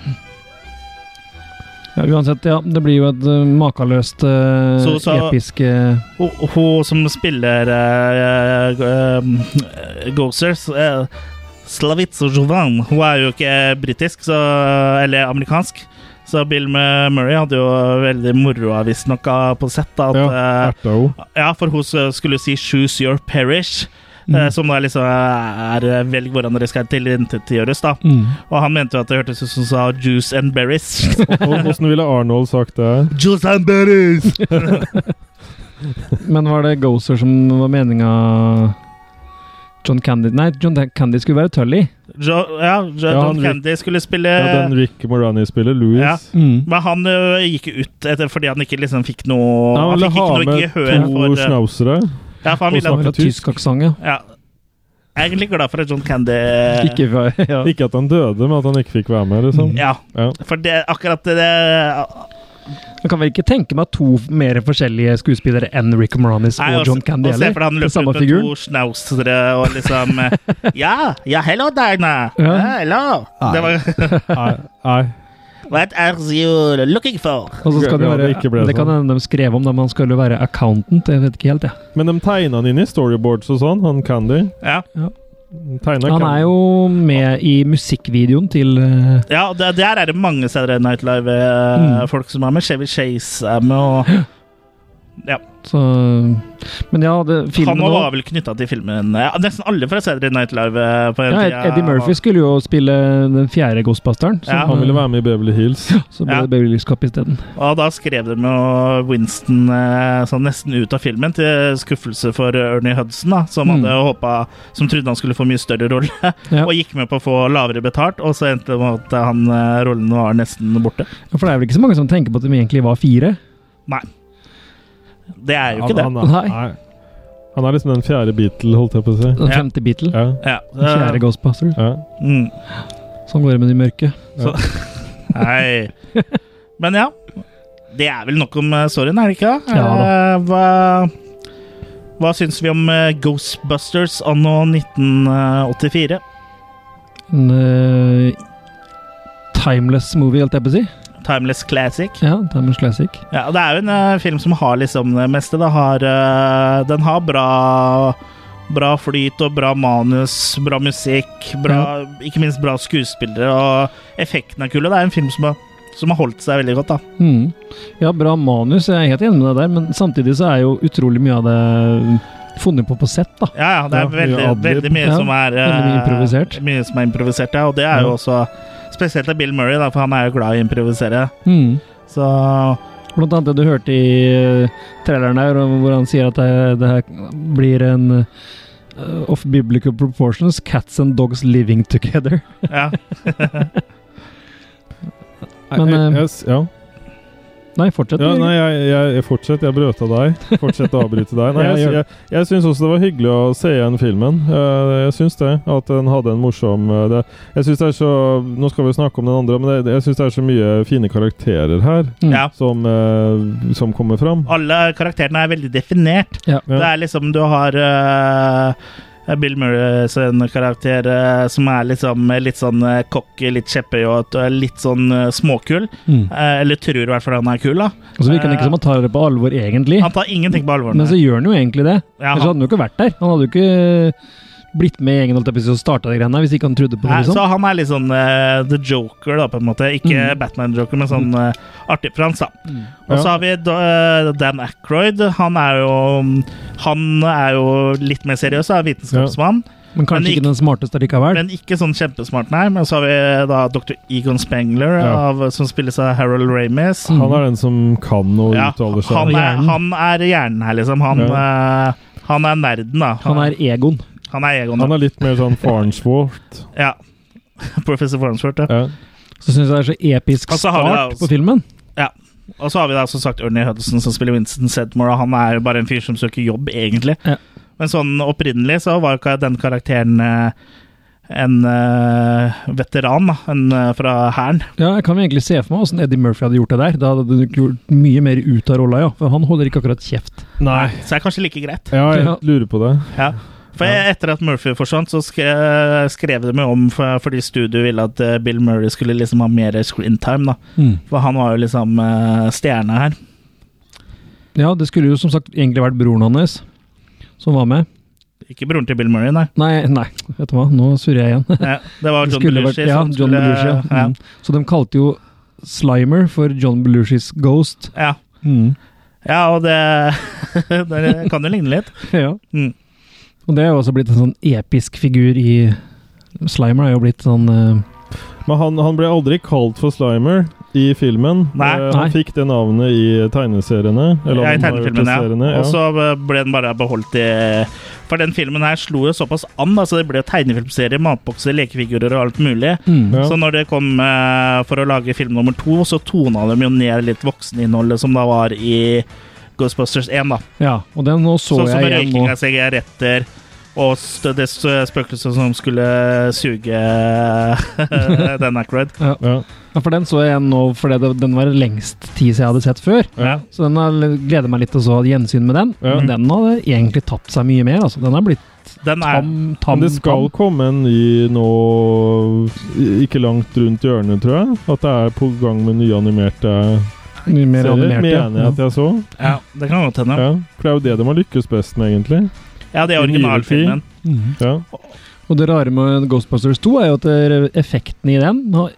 Speaker 3: Ja, uansett, ja. Det blir jo et eh, makeløst eh,
Speaker 1: Så- så-
Speaker 3: episk eh,
Speaker 1: Hun, hun som spiller eh, eh, Gozer uh, Slavitz Jovan, hun er jo ikke britisk, så, eller amerikansk. Så Bill Murray hadde jo veldig moroa visstnok av- på sett. da, At,
Speaker 2: ja,
Speaker 1: eh,
Speaker 2: Erta henne.
Speaker 1: Ja, for hun s- skulle jo si 'choose your perish'.
Speaker 3: mm.
Speaker 1: eh, Som da liksom er eh, 'velg hvordan dere skal tilintetgjøres', da.
Speaker 3: Mm.
Speaker 1: Og han mente jo at det hørtes ut som hun sa 'juice and berries'.
Speaker 2: Og Åssen ville Arnold sagt det?
Speaker 1: juice and berries!
Speaker 3: Men var det Gozer som var meninga John Candy Nei, John Candy skulle være Tully.
Speaker 1: Jo, ja, jo,
Speaker 2: Ja,
Speaker 1: John
Speaker 2: han-
Speaker 1: Candy skulle spille
Speaker 2: Ja, den Rick Morani spiller, Louis.
Speaker 1: Eh, Ja.
Speaker 3: Mm.
Speaker 1: Men han ø, gikk jo ut etter, fordi han ikke liksom fikk noe
Speaker 2: Han
Speaker 1: Han
Speaker 2: ville
Speaker 1: fikk
Speaker 2: ha
Speaker 1: ikke noe
Speaker 2: med
Speaker 1: gehør
Speaker 2: to
Speaker 1: for ø,
Speaker 2: schnauzere.
Speaker 1: Ja, for han
Speaker 2: og
Speaker 1: ville
Speaker 2: snakke-
Speaker 1: at-
Speaker 3: Eller
Speaker 2: tysk.
Speaker 3: tysk aksent, ja.
Speaker 1: ja. Jeg er egentlig glad for at John Candy
Speaker 3: Ikke fra ja.
Speaker 2: Ikke at han døde, men at han ikke fikk være med. liksom.
Speaker 1: Ja,
Speaker 2: Ja.
Speaker 1: for det, akkurat det, det
Speaker 3: Jeg kan vel ikke tenke meg to mer forskjellige skuespillere enn Rick Moranis
Speaker 1: Nei,
Speaker 3: og
Speaker 1: også-
Speaker 3: John Candy
Speaker 1: og se
Speaker 3: heller.
Speaker 1: for deg han
Speaker 3: Den
Speaker 1: løper
Speaker 3: samme
Speaker 1: ut med
Speaker 3: figuren.
Speaker 1: to schnauzere og liksom eh, Ja, ja, hello, Dagna.
Speaker 3: Ja.
Speaker 1: Hello. Det var
Speaker 2: Nei, nei.
Speaker 1: What are you looking for?
Speaker 3: Og så skal det,
Speaker 2: Ja,
Speaker 3: være,
Speaker 2: det ikke ble sånn.
Speaker 3: det kan hende de skrev om det, men han skulle jo være accountant. Jeg vet ikke helt, jeg.
Speaker 2: Men de tegna han inn i storyboards og sånn, han Candy.
Speaker 1: Ja,
Speaker 2: Tegnet
Speaker 3: Han er jo med i musikkvideoen til eh,
Speaker 1: ja og det, der er det mange Saturday Night
Speaker 3: Mm.
Speaker 1: Live-folk som er med. Chevy Chase er med, og
Speaker 3: Så Men ja, det,
Speaker 1: han også
Speaker 3: filmen nå
Speaker 1: var vel knytta til filmen ja, Nesten alle fra Saturday Night Live. eh, På den
Speaker 3: ja,
Speaker 1: tida
Speaker 3: Eddie Murphy skulle jo spille den fjerde Ghostbusteren, så,
Speaker 1: Ja. Mm.
Speaker 2: Han ville være med i Beverly Hills.
Speaker 3: så ble
Speaker 1: Ja.
Speaker 3: det Beverly Hills Cop isteden.
Speaker 1: var- Og da skrev de jo Winston eh, sånn nesten ut av filmen, til skuffelse for Ernie Hudson, da, som,
Speaker 3: Mm.
Speaker 1: hadde håpet- som trodde han skulle få mye større rolle.
Speaker 3: Ja.
Speaker 1: Og gikk med på å få lavere betalt, og så endte det med at han, eh, rollen var nesten borte.
Speaker 3: Ja, For det er vel ikke så mange som tenker på at de egentlig var fire?
Speaker 1: Det er jo ikke det.
Speaker 2: Han, han, er,
Speaker 3: Nei.
Speaker 2: nei. han er liksom den fjerde Beatle, holdt jeg på å si.
Speaker 3: Den
Speaker 1: Ja.
Speaker 3: femte Beatle.
Speaker 2: Ja,
Speaker 1: Ja,
Speaker 3: Den
Speaker 1: eh,
Speaker 3: fjerde Ghostbusters.
Speaker 2: ja.
Speaker 1: mm,
Speaker 3: Som går med de mørke.
Speaker 1: nei. Men ja. Det er vel nok om eh, storyen, er det ikke? det?
Speaker 3: Ja da.
Speaker 1: Eh, Hva, hva syns vi om eh, Ghostbusters anno eh, 1984?
Speaker 3: En eh, timeless movie, holdt jeg på å si.
Speaker 1: Timeless Classic.
Speaker 3: Ja, timeless classic.
Speaker 1: Ja, og Det er jo en eh, film som har liksom det meste. Det har, eh, den har bra Bra flyt og bra manus, bra musikk, bra, ikke minst bra skuespillere. Og effekten er kul. Og det er en film som har, som har holdt seg veldig godt. da
Speaker 3: Mm. Ja, bra manus, jeg er helt enig med deg der, men samtidig så er jo utrolig mye av det funnet på på sett, da.
Speaker 1: Ja, ja, Det
Speaker 2: Ja,
Speaker 1: er
Speaker 2: mye
Speaker 1: veldig,
Speaker 2: adlib.
Speaker 1: veldig mye
Speaker 3: Ja,
Speaker 1: som er eh,
Speaker 3: veldig mye improvisert.
Speaker 1: Mye som er improvisert, ja. Og det er jo
Speaker 2: Ja.
Speaker 1: også spesielt av Bill Murray, da, for han er jo glad i å improvisere.
Speaker 3: Mm.
Speaker 1: Så
Speaker 3: Blant annet det du hørte i eh, traileren her, om hvor han sier at det, det her blir en eh, Of biblical proportions, cats and dogs living together.
Speaker 1: ja.
Speaker 3: Men,
Speaker 2: jeg,
Speaker 3: eh,
Speaker 2: jeg, s- ja.
Speaker 3: Nei, fortsett.
Speaker 2: Ja,
Speaker 3: du.
Speaker 2: nei, jeg, jeg, jeg fortsett, jeg brøta deg. Fortsett å avbryte deg. Nei,
Speaker 3: Ja,
Speaker 2: jeg
Speaker 3: gjør
Speaker 2: jeg, jeg syns også det var hyggelig å se igjen filmen. Eh, Jeg syns det. At den hadde en morsom eh, det, Jeg synes det er så Nå skal vi snakke om den andre, men det, jeg syns det er så mye fine karakterer her
Speaker 3: Mm.
Speaker 1: ja.
Speaker 2: som, eh, som kommer fram.
Speaker 1: Alle karakterene er veldig definert.
Speaker 3: Ja.
Speaker 2: Ja.
Speaker 1: Det er liksom du har eh, Bill Murray sin karakter eh, som er liksom eh, litt sånn eh, cocky, litt kjepphøy og eh, litt sånn eh, småkul.
Speaker 3: Mm.
Speaker 1: Eh, eller tror i hvert fall han er kul, da.
Speaker 3: Og så virker han Altså, ikke som han tar det på alvor, egentlig.
Speaker 1: Han tar ingenting på alvor.
Speaker 3: Men så gjør han jo egentlig det.
Speaker 1: Ja,
Speaker 3: Ellers
Speaker 1: han,
Speaker 3: hadde han jo ikke vært der. Han hadde jo ikke eh, blitt med i gjengen holdt jeg på å si, og starta de greiene her, hvis ikke han trodde på det.
Speaker 1: Nei,
Speaker 3: Liksom.
Speaker 1: så han er litt sånn eh, the joker, da, på en måte. Ikke
Speaker 3: Mm.
Speaker 1: Batman-joker, men sånn eh, artig for hans, da. Og
Speaker 2: Ja.
Speaker 1: så har vi da- eh, Dan Aykroyd. Han er jo Han er jo litt mer seriøs, da, vitenskapsmann.
Speaker 3: Men kanskje
Speaker 1: Men
Speaker 3: ikke den smarteste likevel.
Speaker 1: Men ikke sånn kjempesmart, nei. Men så har vi da dr. Egon Spengler,
Speaker 2: Ja.
Speaker 1: av, som spilles av Harold Ramis.
Speaker 3: Mm.
Speaker 2: Han er den som kan å
Speaker 1: Ja,
Speaker 2: uttale seg.
Speaker 1: han, er,
Speaker 3: Hjernen.
Speaker 1: han er hjernen her, liksom. Han, eh, han er nerden, da.
Speaker 3: Han er Egon.
Speaker 1: Han er Egon.
Speaker 2: Han
Speaker 1: da.
Speaker 2: er litt mer sånn Farnsworth.
Speaker 1: Ja. Professor Farnsworth, ja.
Speaker 2: Ja.
Speaker 3: Så syns jeg det er så episk
Speaker 1: Og så har vi da
Speaker 3: start
Speaker 1: også-
Speaker 3: på filmen.
Speaker 1: Og så har vi da som sagt Ernie Hudson som spiller Winston Sedmore, og han er jo bare en fyr som søker jobb, egentlig.
Speaker 3: Ja.
Speaker 1: Men sånn opprinnelig så var jo ikke den karakteren eh, en eh, veteran, da. En eh, fra hæren.
Speaker 3: Ja, jeg kan jo egentlig se for meg åssen Eddie Murphy hadde gjort det der. Da hadde du gjort mye mer ut av rolla, ja. For han holder ikke akkurat kjeft.
Speaker 2: Nei.
Speaker 1: Så det er kanskje like greit.
Speaker 2: Ja, jeg
Speaker 3: Ja.
Speaker 2: lurer på det.
Speaker 1: Ja. For jeg, etter at Murphy forsvant, så skre, skrev de meg om for, fordi studio ville at eh, Bill Murray skulle liksom ha mer screen time, da. For han var jo liksom eh, stjerne her.
Speaker 3: Ja, det skulle jo som sagt egentlig vært broren hans som var med.
Speaker 1: Ikke broren til Bill Murray, nei.
Speaker 3: Nei, nei, vet du hva, nå surrer jeg igjen.
Speaker 1: Ja, det var
Speaker 3: Det
Speaker 1: John
Speaker 3: skulle
Speaker 1: Belushi.
Speaker 3: vært- ja,
Speaker 1: som
Speaker 3: John
Speaker 1: skulle-
Speaker 3: Belushi. Ja.
Speaker 1: ja.
Speaker 3: Mm. Så de kalte jo Slimer for John Belushis Ghost.
Speaker 1: Ja. Mm. ja, og det, det kan jo ligne litt.
Speaker 3: Ja.
Speaker 1: Mm.
Speaker 3: Og det er jo også blitt en sånn episk figur i Slimer er jo blitt sånn eh,
Speaker 2: Men han, han ble aldri kalt for Slimer i filmen.
Speaker 1: Nei.
Speaker 2: Eh,
Speaker 3: Nei.
Speaker 2: han fikk det navnet i tegneseriene. Eller
Speaker 1: Ja, I
Speaker 2: han har gjort det
Speaker 1: tegnefilmen, ja.
Speaker 2: seriene,
Speaker 1: Og så ble den bare beholdt i For den filmen her slo jo såpass an. Altså det ble jo tegnefilmserie, matbokser, lekefigurer og alt mulig.
Speaker 2: Ja.
Speaker 1: Så når det kom eh, for å lage film nummer to, så tona de jo ned litt vokseninnholdet som da var i Ghostbusters 1. da
Speaker 3: Ja, og den nå så
Speaker 1: Sånn som
Speaker 3: jeg igjen
Speaker 1: røyking
Speaker 3: nå.
Speaker 1: av sigaretter og stø- det stø- spøkelset som skulle suge Dan Aykroyd.
Speaker 2: Ja.
Speaker 3: Ja, for den så jeg igjen nå fordi det, den var lengst tid siden jeg hadde sett før.
Speaker 2: Ja.
Speaker 3: Så den har, gleder meg litt til å så ha gjensyn med den.
Speaker 2: Ja.
Speaker 3: Men den hadde egentlig tapt seg mye mer. Altså. Den er blitt
Speaker 1: Den er
Speaker 3: tam,
Speaker 2: Men
Speaker 3: tam,
Speaker 2: det skal
Speaker 3: tam.
Speaker 2: komme en ny nå i- Ikke langt rundt hjørnet, tror jeg. At det er på gang med nye animerte
Speaker 3: Mye mer
Speaker 2: serier.
Speaker 3: animert. ja.
Speaker 2: Mener jeg at jeg så.
Speaker 1: Ja, det kan godt hende.
Speaker 2: Ja. For det er jo det de har lykkes best med, egentlig.
Speaker 1: Ja, det er
Speaker 2: I
Speaker 1: originalfilmen.
Speaker 3: Mhm.
Speaker 2: Ja.
Speaker 3: Og det rare med Ghostbusters 2 er jo at det- effekten i den har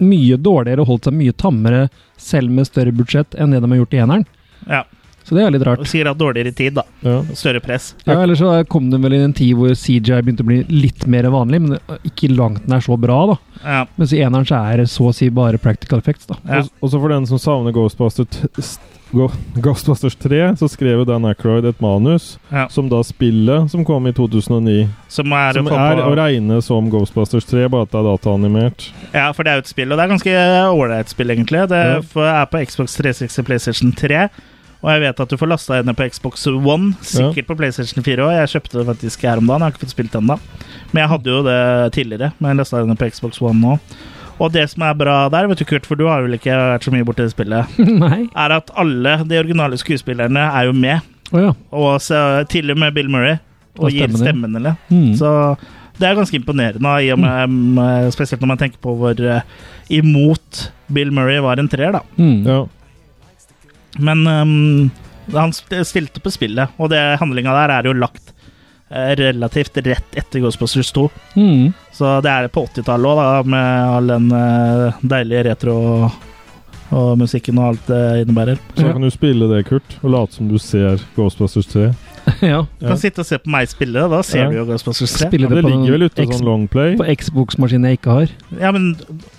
Speaker 3: mye dårligere og holdt seg mye tammere, selv med større budsjett, enn det de har gjort i eneren.
Speaker 1: Ja.
Speaker 3: Så det er litt
Speaker 1: Og
Speaker 3: rart.
Speaker 1: sier at dårligere tid, da.
Speaker 2: Ja.
Speaker 1: Større press.
Speaker 3: Ja, Ellers så kom den vel i en tid hvor CGI begynte å bli litt mer vanlig, men ikke langt nær så bra, da.
Speaker 1: Ja.
Speaker 3: Mens i eneren så er det så å si bare practical effects, da.
Speaker 1: Ja.
Speaker 2: Og- Også for den som savner Ghostbusters, Go Ghostbusters 3, så skrev jo Dan Aykroyd et manus
Speaker 1: Ja.
Speaker 2: som da spillet som kom i 2009.
Speaker 1: Som er,
Speaker 2: Som
Speaker 1: å få
Speaker 2: er å
Speaker 1: på,
Speaker 2: regne som Ghostbusters 3, bare at det er dataanimert.
Speaker 1: ja, for det er jo et spill, og det er ganske ålreit spill, egentlig. Det
Speaker 2: Ja.
Speaker 1: f- er på Xbox 360 PlayStation 3. Og jeg vet at du får lasta henne på Xbox One, sikkert på PlayStation 4 òg. Jeg kjøpte det faktisk her om dagen, jeg har ikke fått spilt den da. Men jeg hadde jo det tidligere, men jeg lasta henne på Xbox One nå. Og det som er bra der, vet du Kurt, for du har vel ikke vært så mye borti det spillet,
Speaker 3: Nei.
Speaker 1: er at alle de originale skuespillerne er jo med.
Speaker 3: Å ja.
Speaker 1: Og så, til og med Bill Murray. Og
Speaker 3: Og
Speaker 1: gir
Speaker 3: stemmen din.
Speaker 1: stemmen, eller.
Speaker 3: Mm.
Speaker 1: Så det er ganske imponerende, i og med, mm, spesielt når man tenker på hvor eh, imot Bill Murray var en treer, da.
Speaker 3: Mm.
Speaker 2: Ja.
Speaker 1: Men ehm, han sp- stilte på spillet, og det handlinga der er jo lagt eh, relativt rett etter Ghostbusters 2.
Speaker 3: Mm.
Speaker 1: Så det er på 80-tallet òg, da, med all den eh, deilige retro og, og musikken og alt det innebærer.
Speaker 2: Så
Speaker 3: Ja.
Speaker 2: kan du spille det, Kurt, og late som du ser Ghostbusters 3.
Speaker 3: ja.
Speaker 1: Du kan sitte og se på meg spille, det, da ser
Speaker 2: Ja.
Speaker 1: du jo Ghostbusters 3.
Speaker 2: Ja,
Speaker 3: Spille
Speaker 2: det
Speaker 3: det på
Speaker 2: ligger vel
Speaker 3: den
Speaker 2: ute
Speaker 3: X-
Speaker 2: sånn longplay.
Speaker 3: på Xbox-maskinen jeg ikke har.
Speaker 1: Ja, men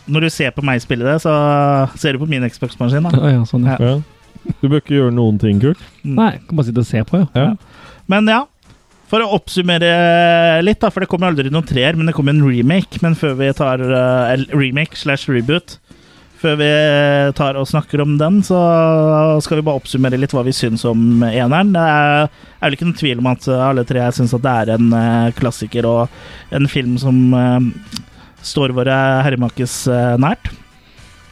Speaker 1: når du ser på meg spille det, så ser du på min Xbox-maskin. da
Speaker 3: Ja, ja, sånn, ja.
Speaker 1: Ja.
Speaker 2: Ah. Ja. Du bør ikke gjøre noen ting, Kurt.
Speaker 3: Nei, kan bare sitte og se på, ja.
Speaker 2: Ja.
Speaker 1: Men ja, for å oppsummere litt, da, for det kom jo aldri noen treer, men det kom en remake. Men før vi tar eh, eller remake slash reboot Før vi tar og snakker om den, så skal vi bare oppsummere litt hva vi syns om eneren. Det er, er vel ikke noen tvil om at alle tre syns at det er en eh, klassiker og en film som eh, står våre herremakes eh, nært.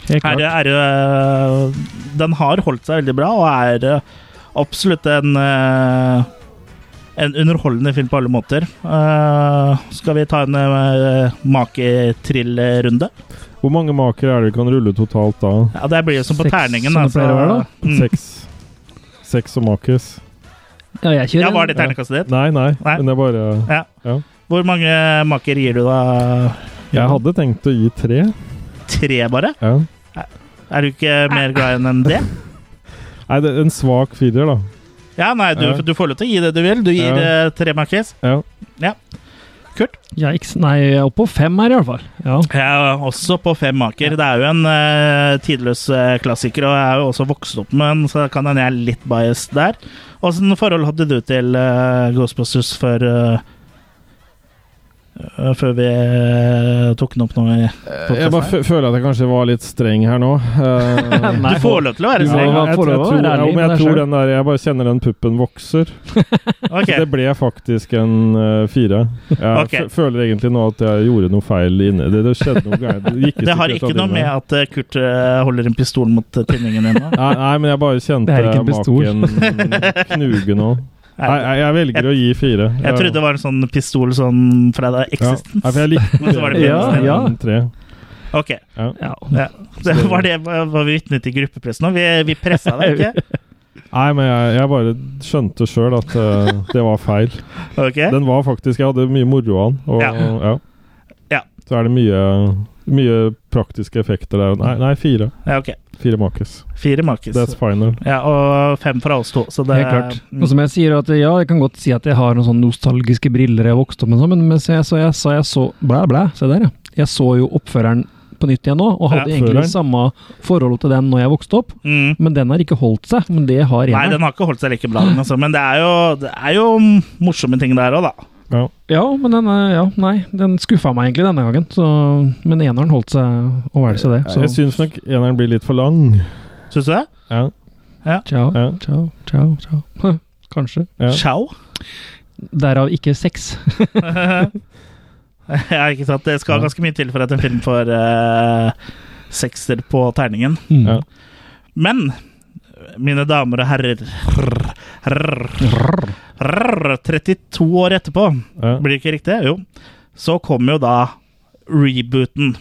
Speaker 3: Helt
Speaker 1: Er det,
Speaker 3: klart.
Speaker 1: er det, den har holdt seg veldig bra, og er eh, absolutt en eh, En underholdende film på alle måter. Eh, skal vi ta en eh, maketrillrunde?
Speaker 2: Hvor mange maker er det du kan rulle totalt da?
Speaker 1: Ja, det blir jo som på
Speaker 3: Seks,
Speaker 1: terningen.
Speaker 3: som det pleier å være, da.
Speaker 1: Mm.
Speaker 2: Seks. Seks og makes.
Speaker 3: Ja, jeg kjører
Speaker 1: Ja, var det terningkastet ditt?
Speaker 2: Nei, nei,
Speaker 1: Nei.
Speaker 2: Men det er bare
Speaker 1: Hvor mange maker gir du da?
Speaker 2: Jeg hadde tenkt å gi tre.
Speaker 1: Tre, bare?
Speaker 2: Ja.
Speaker 1: Er du ikke mer glad enn enn det?
Speaker 2: Nei, det er en svak firer, da.
Speaker 1: Ja, nei, du,
Speaker 2: Ja.
Speaker 1: du får lov til å gi det du vil. Du gir
Speaker 2: Ja.
Speaker 1: eh, tre makis.
Speaker 2: Ja.
Speaker 3: Jeg, ikke- nei, jeg er oppe på fem her, i hvert fall. Ja.
Speaker 1: Jeg er også på fem maker. Det er jo en eh, tidløs eh, klassiker, og jeg er jo også vokst opp med den, så kan hende jeg er litt biased der. Åssen forhold hadde du til eh, Ghostbusters før eh, eh, før vi eh, tok den opp nå. i-
Speaker 2: Eh, Jeg bare fø- føler at jeg kanskje var litt streng her nå. Eh,
Speaker 1: Du får lov til å være
Speaker 2: Ja,
Speaker 1: streng.
Speaker 3: man
Speaker 2: jeg,
Speaker 3: får
Speaker 2: tror- jeg,
Speaker 3: lov å
Speaker 2: tror,
Speaker 3: være
Speaker 2: ja,
Speaker 3: ærlig
Speaker 2: men
Speaker 3: med
Speaker 2: jeg
Speaker 3: deg
Speaker 2: tror
Speaker 3: selv.
Speaker 2: den der Jeg bare kjenner den puppen vokser.
Speaker 1: Ok.
Speaker 2: Så det ble faktisk en eh, fire. Jeg
Speaker 1: Ok.
Speaker 2: fø- føler egentlig nå at jeg gjorde noe feil inne. Det, det skjedde noe gærent. Det gikk i
Speaker 1: Det har
Speaker 2: stykker et
Speaker 1: ikke
Speaker 2: eller
Speaker 1: noe
Speaker 2: annet.
Speaker 1: med at eh, Kurt eh, holder en pistol mot eh, tinningen ennå.
Speaker 2: Nei, nei, men jeg bare kjente
Speaker 3: Det er ikke en pistol.
Speaker 2: maken knuge nå.
Speaker 1: Nei,
Speaker 2: Nei, jeg, jeg velger å gi fire.
Speaker 1: Jeg trodde det var en sånn pistol sånn fra da
Speaker 2: ja.
Speaker 1: Existence.
Speaker 2: Nei, for jeg likte
Speaker 1: Men så var det
Speaker 2: bedre
Speaker 3: Ja,
Speaker 2: enn
Speaker 3: ja.
Speaker 2: tre.
Speaker 1: Ok,
Speaker 3: Ja.
Speaker 1: ja. Det var det var vi vitne til i gruppepressen òg. Vi, vi pressa deg ikke.
Speaker 2: Nei, men jeg, jeg bare skjønte sjøl at eh, det var feil.
Speaker 1: Ok?
Speaker 2: Den var faktisk Jeg hadde mye moro av den. Og, ja.
Speaker 1: Ja.
Speaker 2: Så er det mye, mye praktiske effekter der. Nei, nei fire.
Speaker 1: Ja, ok.
Speaker 2: Fire makis.
Speaker 1: Fire makis.
Speaker 2: That's final.
Speaker 1: Ja, og fem fra oss to. Så det
Speaker 3: Helt klart.
Speaker 1: Mm.
Speaker 3: Og som jeg sier at ja, jeg kan godt si at jeg har noen sånne nostalgiske briller jeg vokste opp med, og sånn, men mens jeg så jeg, så jeg så Blæ, blæ, se der, ja. Jeg så jo oppføreren på nytt igjen nå, og hadde
Speaker 1: Ja.
Speaker 3: egentlig
Speaker 2: Oppføreren.
Speaker 3: samme forhold til den når jeg vokste opp,
Speaker 1: Mm.
Speaker 3: men den har ikke holdt seg. Men det har
Speaker 1: Nei,
Speaker 3: eneren.
Speaker 1: den har ikke holdt seg like bra, den, altså. Men det er jo, det er jo morsomme ting der òg, da.
Speaker 2: Ja.
Speaker 3: Ja, men den, eh, ja, nei, den skuffa meg egentlig denne gangen, så, men eneren holdt seg og vel seg det.
Speaker 2: Jeg
Speaker 3: Så
Speaker 2: syns nok eneren blir litt for lang.
Speaker 1: Syns du det?
Speaker 2: Ja.
Speaker 3: ciao,
Speaker 2: Ja.
Speaker 3: ciao, ciao, ciao. Kanskje.
Speaker 2: Ja.
Speaker 1: Ciao.
Speaker 3: Derav ikke sex.
Speaker 1: ja, ikke sant. Det skal
Speaker 2: Ja.
Speaker 1: ganske mye til for at en film får eh, sekser på terningen.
Speaker 3: Mm.
Speaker 2: Ja.
Speaker 1: Men mine damer og herrer rrr, rrr, rrr, 32 år etterpå,
Speaker 2: Ja.
Speaker 1: blir det ikke riktig? Jo. Så kom jo da rebooten.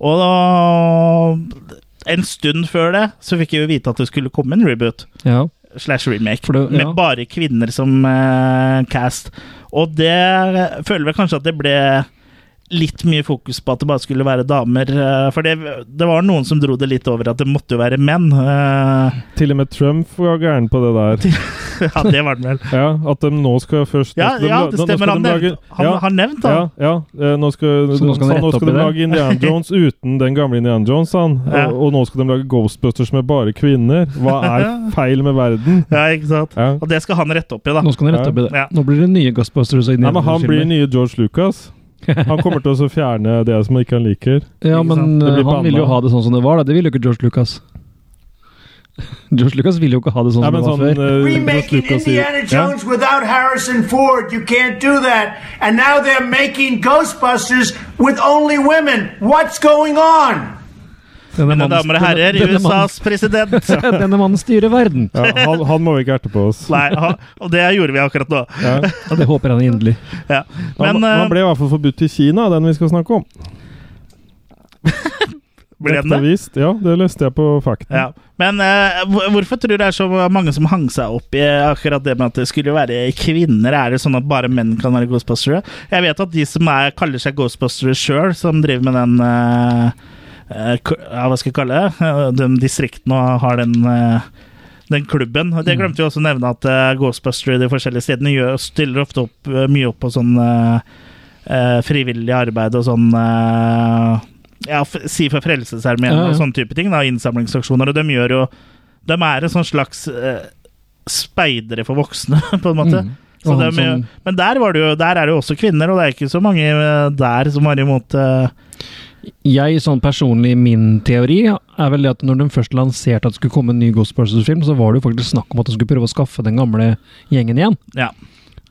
Speaker 1: Og da, en stund før det så fikk jeg jo vite at det skulle komme en reboot
Speaker 3: Ja.
Speaker 1: slash remake.
Speaker 3: For det- ja.
Speaker 1: Med bare kvinner som eh, cast. Og det føler vel kanskje at det ble litt mye fokus på at det bare skulle være damer. eh, for det, det var noen som dro det litt over at det måtte jo være menn. eh,
Speaker 2: Til og med Trump var gæren på det der.
Speaker 1: ja, det var den vel.
Speaker 2: Ja, At de nå skal først
Speaker 1: Ja,
Speaker 2: de,
Speaker 1: ja
Speaker 2: la-
Speaker 1: det
Speaker 2: nå- nå
Speaker 1: stemmer.
Speaker 2: skal
Speaker 1: Han,
Speaker 2: de
Speaker 1: nevnt,
Speaker 2: lage-
Speaker 1: han
Speaker 2: ja,
Speaker 1: har nevnt det.
Speaker 2: ja, ja. Eh, Nå skal,
Speaker 3: Så nå skal de
Speaker 2: sa han,
Speaker 3: rette
Speaker 2: nå
Speaker 3: opp
Speaker 2: skal
Speaker 3: i
Speaker 2: de
Speaker 3: det.
Speaker 2: lage Indiana Jones uten den gamle Indiana Jones, sa han.
Speaker 1: Ja.
Speaker 2: Og, og nå skal de lage Ghostbusters med bare kvinner. Hva er feil med verden?
Speaker 1: Ja, ikke sant?
Speaker 2: Ja.
Speaker 1: Og det skal han rette opp i, da.
Speaker 3: Nå skal dere rette opp i det.
Speaker 1: Ja.
Speaker 3: Nå blir det nye Ghostbusters. og
Speaker 2: Nei, men han blir
Speaker 3: Indiana-filmer.
Speaker 2: nye George Lucas. Han kommer til å fjerne det som ikke han liker.
Speaker 3: Ja,
Speaker 1: Ikke sant?
Speaker 3: men
Speaker 2: Det
Speaker 3: eh,
Speaker 2: blir
Speaker 3: han ville jo
Speaker 2: banna.
Speaker 3: ha det sånn som det var, da. Det ville jo ikke George Lucas. George Lucas ville jo ikke ha det sånn
Speaker 2: Nei,
Speaker 3: som
Speaker 2: men
Speaker 3: det var
Speaker 2: sånn
Speaker 3: før.
Speaker 2: eh,
Speaker 10: Remaking
Speaker 2: George Lucas i-
Speaker 10: Indiana Jones
Speaker 2: Ja.
Speaker 10: without Harrison Ford. You can't do that. And now they're making Ghostbusters with only women. What's going on?
Speaker 3: Denne
Speaker 1: Mine
Speaker 3: mannen-
Speaker 1: damer og herrer,
Speaker 3: denne- denne
Speaker 1: USAs president.
Speaker 3: mannen- Denne mannen styrer verden!
Speaker 2: Ja, han, han må ikke erte på oss.
Speaker 1: Nei, ha- og det gjorde vi akkurat nå.
Speaker 2: Ja.
Speaker 3: Ja, det håper han inderlig.
Speaker 1: Ja.
Speaker 2: Han,
Speaker 1: Men
Speaker 2: han
Speaker 1: eh,
Speaker 2: ble i hvert fall forbudt i Kina, den vi skal snakke om.
Speaker 1: ble den det?
Speaker 2: Dette visst, ja, det leste jeg på Fakten.
Speaker 1: Ja. Men eh, hvor- hvorfor tror du det er så mange som hang seg opp i eh, akkurat det med at det skulle være kvinner? Er det sånn at bare menn kan være ghostbustere? Jeg vet at de som er, kaller seg ghostbustere sjøl, som driver med den eh, eh, k- ja, Hva skal jeg kalle det? Eh, De distriktene og har den eh, den klubben. Og
Speaker 3: Mm.
Speaker 1: Det glemte vi også å nevne at uh, Ghostbuster i de forskjellige stedene gjør, stiller ofte opp, eh, mye opp på sånn eh, eh, frivillig arbeid og sånn eh, Ja, f si for Frelsesarmeen
Speaker 3: Ja, ja.
Speaker 1: og sånne type ting. Da, innsamlingsaksjoner. Og de gjør jo De er en sånn slags eh, speidere for voksne, på en måte.
Speaker 3: Mm.
Speaker 1: Så
Speaker 3: Og
Speaker 1: de,
Speaker 3: han som-
Speaker 1: men der, var det jo, der er det jo også kvinner, og det er ikke så mange eh, der som var imot eh,
Speaker 3: Jeg, sånn personlig, min teori er vel det at når de først lanserte at det skulle komme en ny Ghostbusters-film, så var det jo faktisk snakk om at de skulle prøve å skaffe den gamle gjengen igjen.
Speaker 1: Ja.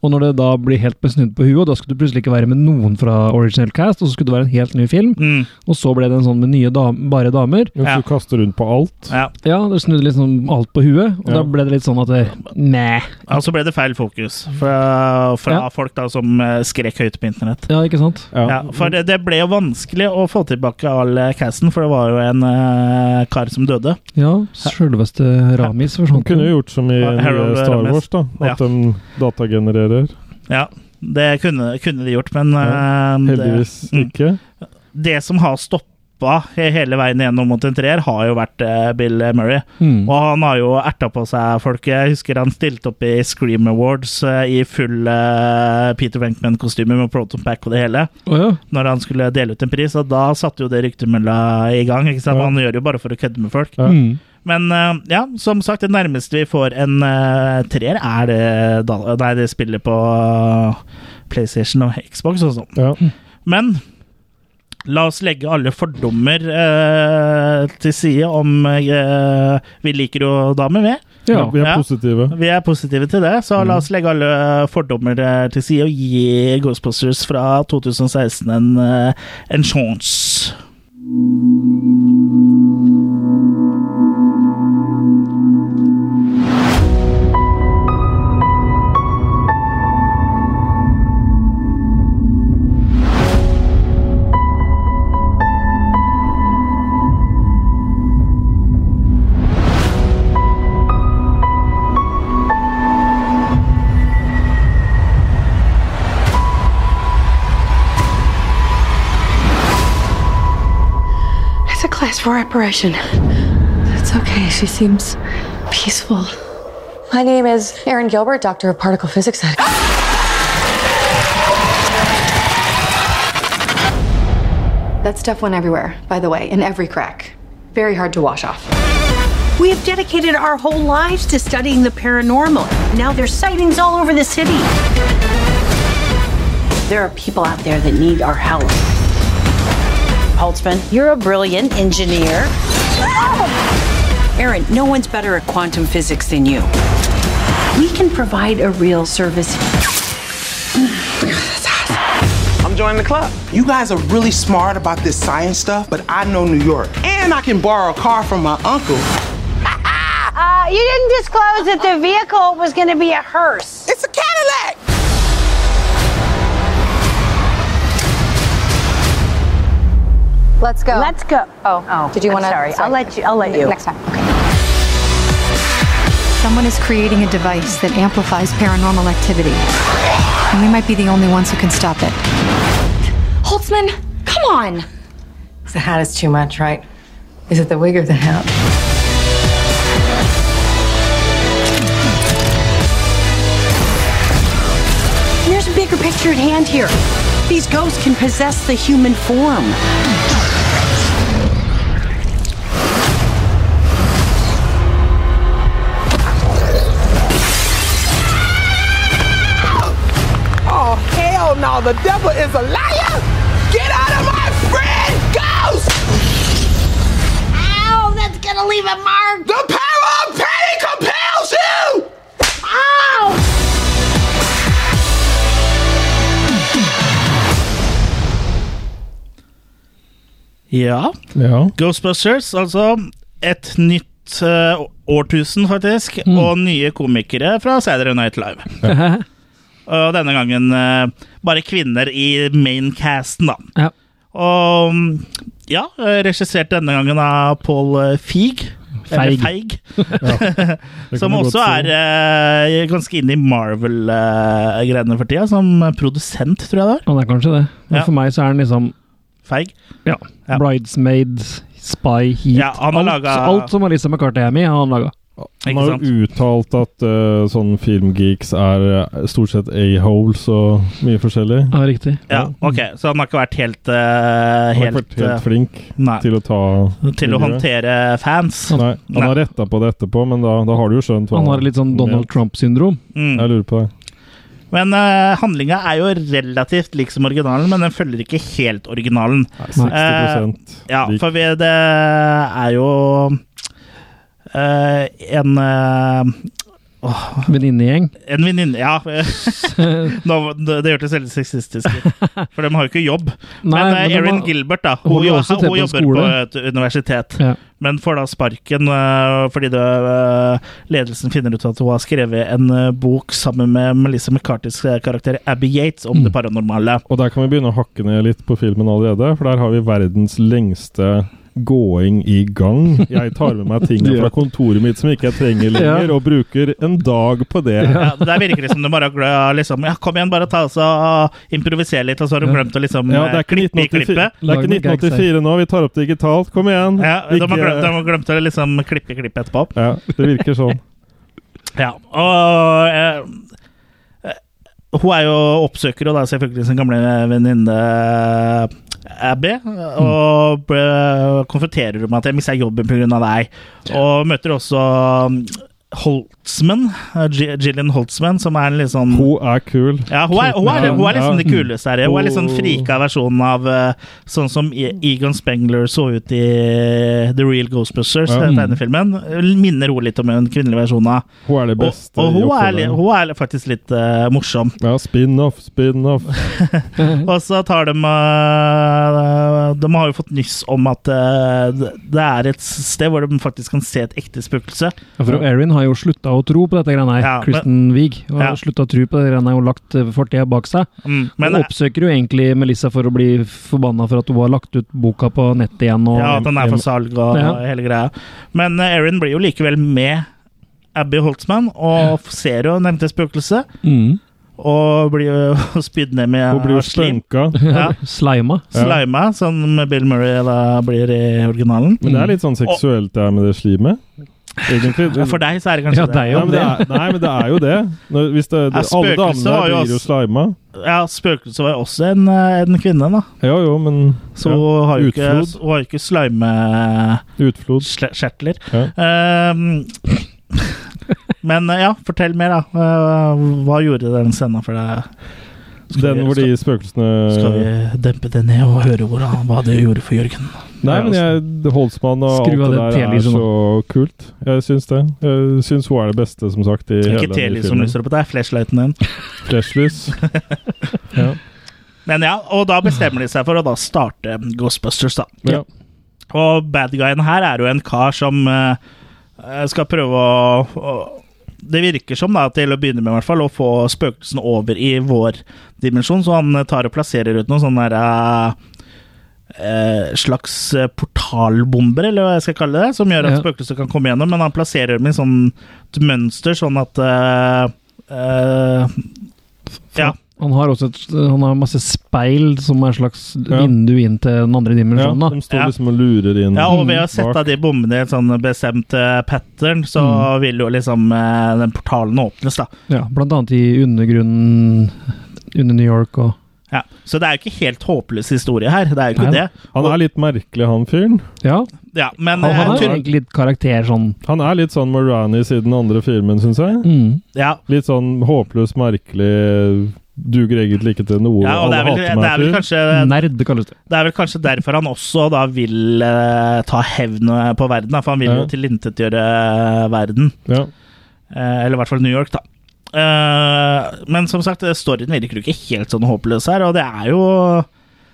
Speaker 3: Og når det da blir helt besnudd på huet, og da skulle det plutselig ikke være med noen fra original cast, og så skulle det være en helt ny film,
Speaker 1: mm,
Speaker 3: og så ble det en sånn med nye dam bare damer.
Speaker 2: Hvis
Speaker 1: Ja.
Speaker 2: du kaster rundt på alt.
Speaker 1: ja.
Speaker 3: Ja, det snudde liksom alt på huet, og
Speaker 2: Ja.
Speaker 3: da ble det litt sånn at det, Nei.
Speaker 1: Og så ble det feil fokus fra, fra
Speaker 3: Ja.
Speaker 1: folk da som eh, skrek høyt på internett.
Speaker 3: Ja, ikke sant?
Speaker 2: Ja.
Speaker 1: Ja, for det, det ble jo vanskelig å få tilbake all eh, casten, for det var jo en eh, kar som døde.
Speaker 3: Ja, selveste Ramis
Speaker 2: De
Speaker 3: forsvant.
Speaker 2: kunne jo gjort som i
Speaker 1: Ja, Harold
Speaker 2: nye Star
Speaker 1: Ramis.
Speaker 2: Wars, da. At de datagenererer.
Speaker 1: Ja, det kunne, kunne de gjort, men
Speaker 2: Ja,
Speaker 1: eh,
Speaker 2: Heldigvis
Speaker 1: Mm.
Speaker 2: ikke.
Speaker 1: Det, det som har stoppa he- hele veien gjennom mot en treer, har jo vært eh, Bill Murray.
Speaker 3: Mm.
Speaker 1: Og han har jo erta på seg folk. Jeg husker han stilte opp i Scream Awards eh, i full eh, Peter Wenkman-kostyme med Proton Pack og det hele.
Speaker 3: Å ja.
Speaker 1: Når han skulle dele ut en pris, og da satte jo det ryktemølla i gang. Ikke sant?
Speaker 2: Ja.
Speaker 1: Han gjør det jo bare for å kødde med folk.
Speaker 2: Ja.
Speaker 3: Mm.
Speaker 1: Men eh, ja, som sagt, det nærmeste vi får en eh, treer, er det, da, nei, det spillet på eh, PlayStation og Xbox og sånn.
Speaker 2: Ja.
Speaker 1: Men la oss legge alle fordommer eh, til side om eh, Vi liker jo damer, vi.
Speaker 2: Ja, vi er
Speaker 1: Ja.
Speaker 2: positive.
Speaker 1: Vi er positive til det, så la oss legge alle fordommer eh, til side og gi Ghostbusters fra 2016 en, eh, en sjanse.
Speaker 11: It's a class four operation. That's okay. She seems peaceful. My name is Erin Gilbert, doctor of particle physics. At- that stuff went everywhere, by the way, in every crack. Very hard to wash off.
Speaker 12: We have dedicated our whole lives to studying the paranormal. Now there's sightings all over the city. There are people out there that need our help. Holtzman, you're a brilliant engineer. Aaron, no one's better at quantum physics than you. We can provide a real service.
Speaker 13: I'm joining the club. You guys are really smart about this science stuff, but I know New York. And I can borrow a car from my uncle.
Speaker 12: Uh, you didn't disclose that the vehicle was going to be a hearse. It's a Cadillac.
Speaker 11: Let's go.
Speaker 12: Let's go. Oh, oh.
Speaker 11: Did you
Speaker 12: I'm
Speaker 11: wanna-
Speaker 12: Sorry,
Speaker 11: sorry.
Speaker 12: I'll let you. I'll let you.
Speaker 11: Next time. Someone is creating a device that amplifies paranormal activity. And we might be the only ones who can stop it. Holtzman, come on!
Speaker 14: The hat is too much, right? Is it the wig or the hat?
Speaker 12: There's a bigger picture at hand here. These ghosts can possess the human form.
Speaker 13: Oh, hell no, the devil is a liar! Get out of my friend, ghost! Ow, that's gonna leave a mark! The power of pain compels you! Ow!
Speaker 1: Ja. Ghostbusters, altså et nytt eh, årtusen, faktisk, og nye komikere fra Saturday Night Live. Og denne gangen eh, bare kvinner i maincasten, da.
Speaker 3: Ja.
Speaker 1: Og mm, ja, regissert denne gangen av Paul eh, Feig. Eller
Speaker 3: Feig.
Speaker 1: Feig.
Speaker 3: det
Speaker 1: som
Speaker 3: kan du
Speaker 1: også
Speaker 3: godt
Speaker 1: er eh, ganske inne i Marvel-greiene for tida, som produsent, tror jeg det er.
Speaker 3: Han er kanskje det. Men
Speaker 1: Ja.
Speaker 3: for meg så er han liksom
Speaker 1: Feig.
Speaker 3: Ja. Bridesmaid, Spy, Heat.
Speaker 1: Ja, han har
Speaker 3: alt,
Speaker 1: laget-
Speaker 3: alt som Alisa McCarthy er med i, har han laga.
Speaker 2: Han har jo uttalt at eh, sånn filmgeeks er eh, stort sett a-holes og mye forskjellig.
Speaker 3: Ja, riktig.
Speaker 1: Ja, ok, Så han har ikke vært helt eh,
Speaker 2: Han har ikke
Speaker 1: helt,
Speaker 2: vært helt
Speaker 1: eh,
Speaker 2: flink
Speaker 1: nei,
Speaker 2: til å ta
Speaker 1: til å håndtere fans.
Speaker 2: Nei, han har retta på det etterpå, men da, da har du jo skjønt hva
Speaker 3: Han har litt sånn Donald Trump-syndrom.
Speaker 2: Jeg lurer på det.
Speaker 1: Mm. Men uh, handlinga er jo relativt lik som originalen, men den følger ikke helt originalen.
Speaker 2: 60%
Speaker 1: Eh, ja, for vi, det er jo eh, en uh, Eh.
Speaker 3: Venninnegjeng.
Speaker 1: En venninne Ja. Nå, det det hørtes veldig sexistisk ut, for de har jo ikke jobb.
Speaker 3: Nei,
Speaker 1: men
Speaker 3: men
Speaker 1: eh,
Speaker 3: de
Speaker 1: Erin
Speaker 3: har-
Speaker 1: Gilbert, da,
Speaker 3: hun
Speaker 1: hun,
Speaker 3: har
Speaker 1: jo-
Speaker 3: også til på
Speaker 1: hun jobber
Speaker 3: skole.
Speaker 1: på et universitet,
Speaker 3: Ja.
Speaker 1: men får da sparken eh, fordi det, eh, ledelsen finner ut at hun har skrevet en eh, bok sammen med Melissa McCartys eh, karakter Abby Yates om
Speaker 2: Mm.
Speaker 1: det paranormale.
Speaker 2: Og der kan vi begynne å hakke ned litt på filmen allerede, for der har vi verdens lengste gåing i gang. Jeg tar med meg tingene
Speaker 1: Ja.
Speaker 2: fra kontoret mitt som ikke jeg trenger lenger, og bruker en dag på det.
Speaker 1: Ja, der virker det som de bare har glø- liksom, ja, Kom igjen, bare ta oss og improvisere litt, og så har de glemt å liksom
Speaker 2: Ja, det er
Speaker 1: eh,
Speaker 2: ikke
Speaker 1: klippe i
Speaker 2: 1984,
Speaker 1: klippet.
Speaker 2: det er ikke 1984 nå, vi tar opp digitalt. Kom igjen!
Speaker 1: Ja, de har
Speaker 2: Ikke-
Speaker 1: glemt, de har glemt å liksom klippe i klippet etterpå.
Speaker 2: ja, det virker sånn.
Speaker 1: Ja, og eh, eh, hun er jo oppsøker jo da selvfølgelig sin gamle venninne eh, Abby, og eh, ble- konfronterer hun med at jeg mista jobben pga. deg, og møter også mm, Hol Holtzman, eh, Gi- Gillian Holtzman, som er en litt sånn
Speaker 2: Hun er kul.
Speaker 1: ja, hun, er, hun, er, hun er liksom
Speaker 2: Ja.
Speaker 1: det kuleste her. Hun er litt sånn
Speaker 2: Hun-
Speaker 1: frika versjonen av eh, sånn som E- Egon Spengler så ut i The Real Ghostbusters,
Speaker 2: Ja.
Speaker 1: den tegnefilmen. Minner hun litt om en kvinnelig versjon av.
Speaker 2: Hun er det beste.
Speaker 1: Og, og
Speaker 2: i
Speaker 1: hun, er,
Speaker 2: oppfølgeren.
Speaker 1: li- hun er faktisk litt eh, morsom.
Speaker 2: Ja, spin-off, spin-off.
Speaker 1: og så tar de eh, De har jo fått nyss om at eh, det er et sted hvor de faktisk kan se et ekte spøkelse.
Speaker 3: Ja, for Erin har jo slutta å tro på dette greiene her,
Speaker 1: Ja, men-
Speaker 3: Kristen Wiig. Hun har
Speaker 1: Ja.
Speaker 3: slutta å tro på det greiene her og lagt eh, fortida bak seg.
Speaker 1: Mm, men-
Speaker 3: Hun oppsøker jo egentlig Melissa for å bli forbanna for at hun har lagt ut boka på nettet igjen. Og,
Speaker 1: Ja, at den er for salg og
Speaker 3: Ja.
Speaker 1: hele greia. Men eh, Erin blir jo likevel med Abby Holtzman, og f- ser jo nevnte spøkelse.
Speaker 3: Mm.
Speaker 1: Og blir jo spydd ned med
Speaker 3: Hun blir jo
Speaker 1: av slim.
Speaker 2: slunka.
Speaker 1: Ja.
Speaker 3: Slima.
Speaker 1: Slima, som Bill Murray da blir i originalen.
Speaker 2: Men det er litt sånn seksuelt, det her med det slimet. Egentlig.
Speaker 1: Og for deg så er det kanskje
Speaker 2: nei, men det er, nei, men det er jo det. Når, hvis det,
Speaker 1: Ja,
Speaker 2: alle
Speaker 1: spøkelset
Speaker 2: damene
Speaker 1: var
Speaker 2: her
Speaker 1: jo
Speaker 2: blir jo
Speaker 1: også-
Speaker 2: slima.
Speaker 1: Ja, spøkelse var jo også en, eh, en kvinne, da.
Speaker 2: Jo, jo, men
Speaker 1: Så
Speaker 2: ja.
Speaker 1: hun har jo ikke,
Speaker 2: Utflod.
Speaker 1: hun har jo ikke slime
Speaker 2: Utflod.
Speaker 1: Kjertler.
Speaker 2: Ja.
Speaker 1: Ehm, men eh, ja, fortell mer, da. Eh, hva gjorde den scenen for deg?
Speaker 2: Den hvor de eh, spøkelsene
Speaker 1: Skal vi dempe det ned og høre hvor han, hva det gjorde for Jørgen?
Speaker 2: Nei,
Speaker 1: altså-
Speaker 2: men jeg, Holtzmann og
Speaker 1: Skru av
Speaker 2: alt
Speaker 1: den
Speaker 2: det der er
Speaker 1: telyset nå.
Speaker 2: så kult. Jeg syns det. Jeg syns hun er det beste, som sagt, i
Speaker 1: Det
Speaker 2: hele
Speaker 1: er ikke
Speaker 2: denne
Speaker 1: telys som
Speaker 2: filmen.
Speaker 1: lyser opp, det er flashlighten din.
Speaker 2: Flashlys. ja.
Speaker 1: Men ja, og da bestemmer de seg for å da starte Ghostbusters, da.
Speaker 2: Ja.
Speaker 1: Og bad guyen her er jo en kar som eh, skal prøve å, å Det virker som, da, til å begynne med i hvert fall, å få spøkelsene over i vår dimensjon, så han eh, tar og plasserer ut noen sånne der, eh, eh, slags eh, portalbomber, eller hva jeg skal kalle det, som gjør at
Speaker 3: Ja.
Speaker 1: spøkelser kan komme gjennom, men han plasserer dem i sånn et mønster, sånn at eh, eh, Ja.
Speaker 3: Han har også et, han har masse speil som er et slags
Speaker 2: Ja.
Speaker 3: vindu inn til den andre
Speaker 2: ja,
Speaker 3: dimensjonen.
Speaker 2: de
Speaker 3: Sånn, da.
Speaker 2: står liksom og lurer inn
Speaker 1: Ja, og ved å sette
Speaker 2: bak.
Speaker 1: av de bommene i en sånn bestemt eh, pattern, så vil jo liksom eh, den portalen åpnes, da.
Speaker 3: Ja, blant annet i undergrunnen under New York og
Speaker 1: Ja. Så det er jo ikke helt håpløs historie her, det er jo ikke
Speaker 3: Nei da.
Speaker 1: det.
Speaker 2: Han er litt merkelig, han fyren.
Speaker 3: Ja,
Speaker 1: Ja, men
Speaker 3: han,
Speaker 1: eh,
Speaker 3: han er
Speaker 1: tur-
Speaker 3: egentlig litt karakter sånn
Speaker 2: Han er litt sånn Morani siden den andre filmen, syns jeg.
Speaker 1: ja.
Speaker 2: Litt sånn håpløs, merkelig Duger egentlig ikke til noe.
Speaker 1: ja, og det er,
Speaker 2: alle
Speaker 1: vel,
Speaker 2: hater meg
Speaker 1: det, er vel
Speaker 2: fyr.
Speaker 1: kanskje,
Speaker 3: nerd, kalles det.
Speaker 1: det er vel kanskje derfor han også da vil eh, ta hevn på verden, da, for han vil
Speaker 2: Ja.
Speaker 1: jo tilintetgjøre verden.
Speaker 2: Ja.
Speaker 1: Eh, eller i hvert fall New York, da. Eh, men som sagt, storyen virker jo ikke helt sånn håpløs her, og det er jo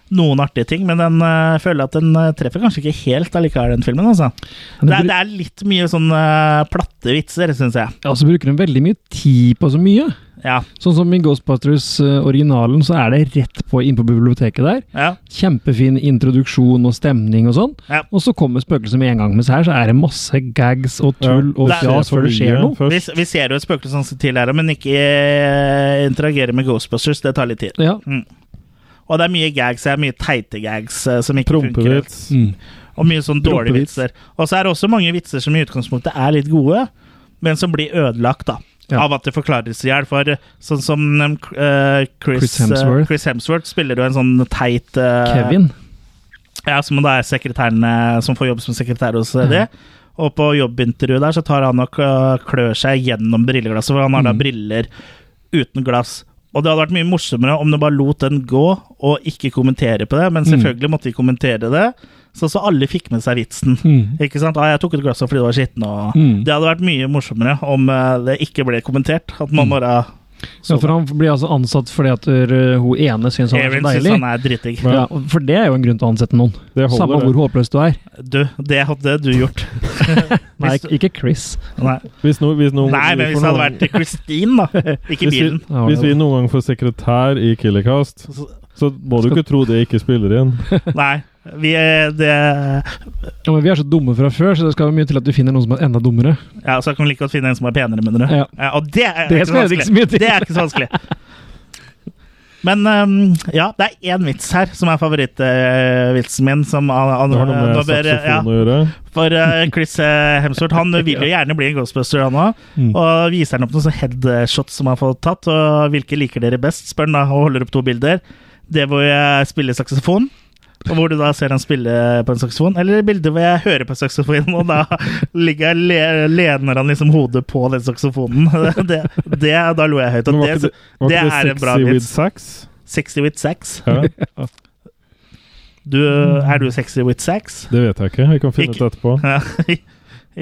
Speaker 1: noen artige ting, men den eh, føler at den eh, treffer kanskje ikke helt allikevel, den filmen. altså. Det er, det er litt mye sånn eh, platte vitser, syns jeg.
Speaker 3: Ja, så bruker de veldig mye tid på så mye.
Speaker 1: Ja.
Speaker 3: Sånn som i Ghostbusters-originalen, så er det rett på inn på biblioteket der.
Speaker 1: Ja.
Speaker 3: Kjempefin introduksjon og stemning og sånn.
Speaker 1: Ja.
Speaker 3: Og så kommer spøkelset med en gang, mens her så er det masse gags og tull og
Speaker 1: Det er-
Speaker 3: fjas før det skjer noe.
Speaker 1: Vi, eh, vi ser jo et spøkelse som sitter til her, men ikke eh, interagere med Ghostbusters. Det tar litt tid.
Speaker 3: Ja.
Speaker 1: Mm. Og det er mye gags her, mye teite gags eh, som ikke funker. Mm.
Speaker 2: Prompevits.
Speaker 1: Og mye sånn dårlige
Speaker 2: Prompevits.
Speaker 1: vitser. Og så er det også mange vitser som i utgangspunktet er litt gode, men som blir ødelagt da.
Speaker 3: Ja.
Speaker 1: Av at det forklares i hjel. For sånn som um, K- eh, Chris,
Speaker 3: Chris
Speaker 1: eh,
Speaker 3: Hemsworth.
Speaker 1: Chris Hemsworth spiller jo en sånn teit eh,
Speaker 3: Kevin.
Speaker 1: Ja, som da er sekretæren eh, som får jobb som sekretær hos eh, det.
Speaker 3: Mm.
Speaker 1: Og på jobbintervjuet der så tar han og eh, klør seg gjennom brilleglasset, for han har da
Speaker 3: Mm.
Speaker 1: briller uten glass. Og det hadde vært mye morsommere om du bare lot den gå og ikke kommentere på det, men
Speaker 3: Mm.
Speaker 1: selvfølgelig måtte de kommentere det, så så alle fikk med seg vitsen. Ikke sant? Ah, jeg tok et glass fordi det var skitten, og
Speaker 3: Mm.
Speaker 1: Det hadde vært mye morsommere om eh, det ikke ble kommentert, at man
Speaker 3: Mm.
Speaker 1: bare
Speaker 3: Ja, for han blir altså ansatt fordi at uh, hun ene syns han er så
Speaker 1: Erin syns
Speaker 3: deilig.
Speaker 1: han er dritdigg.
Speaker 3: Ja, for det er jo en grunn til å ansette noen.
Speaker 2: Det holder,
Speaker 3: Samme
Speaker 2: det.
Speaker 3: hvor håpløs du er.
Speaker 1: Du, det hadde du gjort.
Speaker 3: Nei,
Speaker 1: Hvis-
Speaker 3: ikke Chris.
Speaker 1: Nei.
Speaker 2: Hvis no, hvis noen-
Speaker 1: Nei, men hvis
Speaker 2: for
Speaker 1: det hadde
Speaker 2: noen-
Speaker 1: vært Christine, da. Ikke
Speaker 2: hvis vi,
Speaker 1: bilen.
Speaker 2: hvis vi noen gang får sekretær i Killercast, så må du ikke tro det ikke spiller inn.
Speaker 1: Nei. Vi er det
Speaker 3: Ja, men vi er så dumme fra før, så det skal jo mye til at du finner noen som er enda dummere.
Speaker 1: Ja, så kan vi like godt finne en som er penere, mener du.
Speaker 3: Ja.
Speaker 1: og det er,
Speaker 3: Det
Speaker 1: ikke så
Speaker 3: skal det
Speaker 2: liksom
Speaker 3: ikke så mye
Speaker 1: vanskelig.
Speaker 3: til.
Speaker 1: Det er ikke så vanskelig. Men um, ja, det er én vits her som er favorittvitsen min. Som an, an,
Speaker 2: Det har noe med
Speaker 1: nå ber-
Speaker 2: saksofon
Speaker 1: ja,
Speaker 2: å gjøre.
Speaker 1: For eh, Chris eh, Hemsworth Han vil jo gjerne bli en ghostbuster, han òg.
Speaker 2: Mm.
Speaker 1: Og viser han opp noen sånne headshots som han får tatt. Og hvilke liker dere best, spør han da, og holder opp to bilder. Det hvor jeg spiller saksofon, Og hvor du da ser han spille på en saksofon. Eller bilder hvor jeg hører på saksofonen, og da ligger jeg, le, lener han liksom hodet på den saksofonen. Det, det, da lo jeg høyt.
Speaker 2: Men
Speaker 1: Og
Speaker 2: var
Speaker 1: det,
Speaker 2: ikke
Speaker 1: det,
Speaker 2: det- var ikke det
Speaker 1: er en bra
Speaker 2: 60 with
Speaker 1: vits.
Speaker 2: sax?
Speaker 1: 60 with sax.
Speaker 2: Ja.
Speaker 1: Du, er du sexy with sax?
Speaker 2: Det vet jeg ikke. Vi kan finne ut etterpå.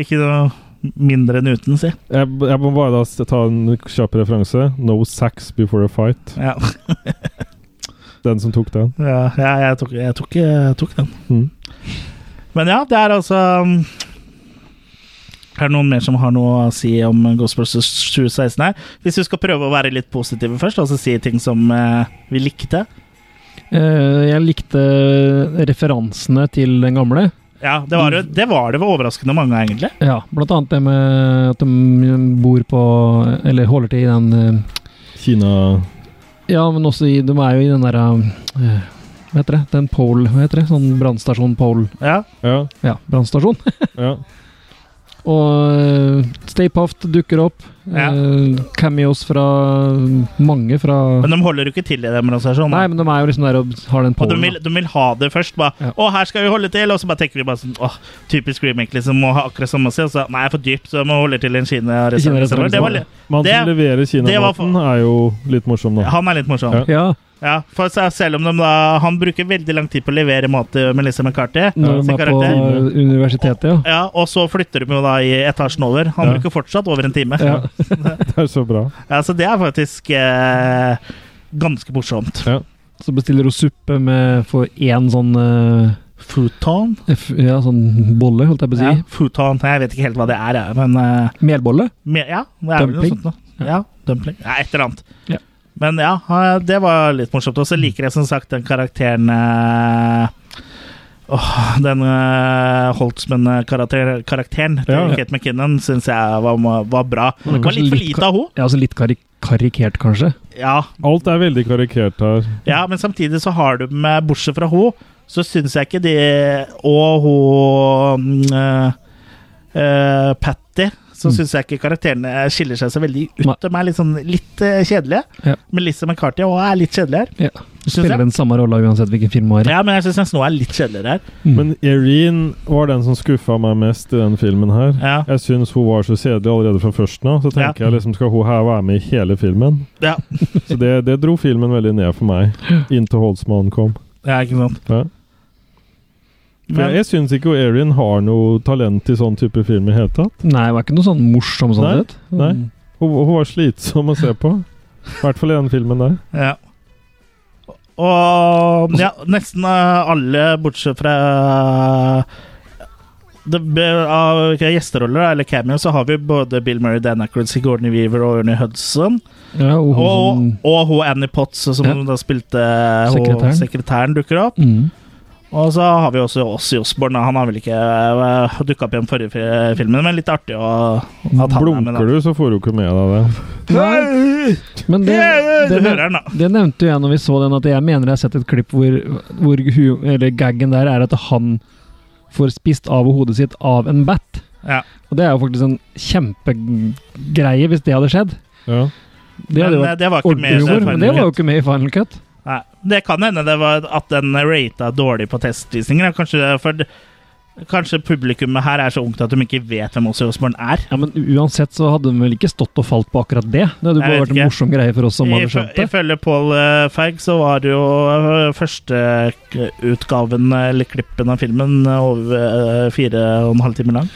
Speaker 1: Ikke noe mindre enn uten, si.
Speaker 2: Jeg, jeg må bare da s- ta en kjapp referanse. No sex before a fight.
Speaker 1: Ja.
Speaker 2: Den som tok den.
Speaker 1: Ja, ja jeg, tok, jeg, tok, jeg tok den.
Speaker 2: Mm.
Speaker 1: Men ja, det er altså um, Er det noen mer som har noe å si om Ghostbusters 2016 her? Hvis vi skal prøve å være litt positive først, altså si ting som eh, vi likte.
Speaker 3: Eh, jeg likte referansene til den gamle.
Speaker 1: Ja, det var jo- det var det overraskende mange av, egentlig.
Speaker 3: Ja, blant annet det med at de bor på Eller holder til i den eh,
Speaker 2: Kina
Speaker 3: Ja, men også i De er jo i den derre eh, Hva heter det? Den pole, hva heter det? Sånn brannstasjon pole.
Speaker 1: Ja.
Speaker 2: Ja.
Speaker 3: brannstasjon. Og eh, Stay Puft dukker opp.
Speaker 1: Ja.
Speaker 3: Eh, cameos fra mange fra
Speaker 1: Men de holder jo ikke til i den organisasjonen.
Speaker 3: Nei, men de er jo liksom der og har
Speaker 1: Og
Speaker 3: den
Speaker 1: de
Speaker 3: polen.
Speaker 1: vil, de vil ha det først. Bare, 'Å, her skal vi holde til.' Og så bare tenker vi bare sånn åh, typisk remake, liksom. Må ha akkurat samme sted. Og så nei, for dyrt, så må vi holde til i en Kina-restaurant.
Speaker 2: Kina-restaurant.
Speaker 1: Det var litt-
Speaker 2: Man som
Speaker 1: det-
Speaker 2: leverer
Speaker 1: det var for-
Speaker 2: kinamaten, er jo litt morsom, da.
Speaker 1: Han er litt morsom.
Speaker 2: Ja.
Speaker 3: Ja.
Speaker 1: for så- selv om de da Han bruker veldig lang tid på å levere mat til Melissa McCarthy.
Speaker 3: Når
Speaker 1: sin
Speaker 3: de er på
Speaker 1: karakter.
Speaker 3: universitetet, ja.
Speaker 1: Ja, og så flytter de jo da i etasjen over. Han
Speaker 3: Ja.
Speaker 1: bruker fortsatt over en time.
Speaker 3: Ja.
Speaker 2: Det er så bra.
Speaker 1: Ja, så det er faktisk eh, ganske morsomt.
Speaker 3: Så bestiller hun suppe med for én sånn uh,
Speaker 1: Futon?
Speaker 3: Ja, sånn bolle, holdt jeg på å si.
Speaker 1: Ja, futon. Jeg vet ikke helt hva det er, jeg, men eh,
Speaker 3: Melbolle?
Speaker 1: me- Ja, det er vel noe
Speaker 3: Dumpling?
Speaker 1: sånt noe. Ja, dumpling. Ja, et eller annet.
Speaker 3: Ja.
Speaker 1: Men ja, eh, det var litt morsomt. Og så liker jeg som sagt den karakteren eh, åh, Den eh, Holtzman-karakteren karakteren til
Speaker 3: Ja.
Speaker 1: Kate McKinnon syns jeg var, var bra. Det var litt for lite av henne.
Speaker 3: Ja, altså litt karik karikert, kanskje.
Speaker 1: Ja,
Speaker 2: Alt er veldig karikert her.
Speaker 1: ja, men samtidig så har du med Bortsett fra henne, så syns jeg ikke de Og hun mm, eh, eh, Patty, så syns jeg ikke karakterene skiller seg så veldig ut. De er litt, sånn, litt eh, kjedelige.
Speaker 3: Ja.
Speaker 1: Melissa McCarthy også er litt kjedelig her.
Speaker 3: Ja. Du
Speaker 1: Synes jeg.
Speaker 3: spiller den samme rolla uansett hvilken film det er.
Speaker 1: Ja, men jeg syns nesten hun er litt kjedeligere her.
Speaker 2: Men Irene var den som skuffa meg mest i den filmen her. Jeg syns hun var så kjedelig allerede fra førsten av. Så tenker
Speaker 1: Ja.
Speaker 2: jeg liksom, skal hun her være med i hele filmen?
Speaker 1: Ja.
Speaker 2: Så det, det dro filmen veldig ned for meg, inntil Holtzmann kom.
Speaker 1: ja, ikke sant.
Speaker 2: Ja. For
Speaker 1: Men-
Speaker 2: jeg jeg syns ikke hun Erin har noe talent i sånn type film i hele tatt.
Speaker 3: Nei, det var ikke noe sånn morsom sånn
Speaker 2: Nei,
Speaker 3: sett.
Speaker 2: nei. Hun, hun var slitsom å se på. I hvert fall i den filmen der.
Speaker 1: Ja. Og ja, nesten eh, alle, bortsett fra det, be- av gjesteroller eller cameo, så har vi både Bill Murray, Dan Ackroyd, Sigourney Weaver og Ernie Hudson.
Speaker 3: Ja, og hun
Speaker 1: Og,
Speaker 3: som-
Speaker 1: og hun Annie Potts, eh, som da spilte eh, hun,
Speaker 3: Sekretæren.
Speaker 1: sekretæren. dukker opp.
Speaker 3: Mm.
Speaker 1: Og så har vi også Ossi Osborne. Han har vel ikke uh, dukka opp i den forrige fi- filmen, men litt artig å, at han er med.
Speaker 2: Blunker du, så får hun ikke med deg det.
Speaker 1: Nei!
Speaker 3: Men det,
Speaker 1: Ja,
Speaker 3: det,
Speaker 1: du hører den, da.
Speaker 3: det nevnte jo jeg når vi så den, at jeg mener jeg har sett et klipp hvor, hvor hu, eller gaggen der er at han får spist av hodet sitt av en bat.
Speaker 1: Ja.
Speaker 3: Og det er jo faktisk en kjempegreie hvis det hadde skjedd.
Speaker 2: Ja.
Speaker 3: Det
Speaker 1: Men,
Speaker 3: hadde jo
Speaker 1: eh,
Speaker 3: vært
Speaker 1: det var ikke med i
Speaker 3: ordentlig humor,
Speaker 1: Final
Speaker 3: men det var jo
Speaker 1: Cut.
Speaker 3: ikke med i Final Cut.
Speaker 1: Nei, det kan hende det var at den rata dårlig på testvisninger. da. Kanskje, det er for, kanskje publikummet her er så ungt at de ikke vet hvem Åse Osborn er.
Speaker 3: Ja, Men uansett så hadde de vel ikke stått og falt på akkurat det. Det
Speaker 1: Jeg
Speaker 3: hadde jo bare
Speaker 1: vet
Speaker 3: vært en
Speaker 1: ikke.
Speaker 3: morsom greie for oss som hadde skjønt det.
Speaker 1: Ifølge Paul Ferg så var det jo eh, førsteutgaven eh, eller klippen av filmen eh, over eh, fire og en halv time lang.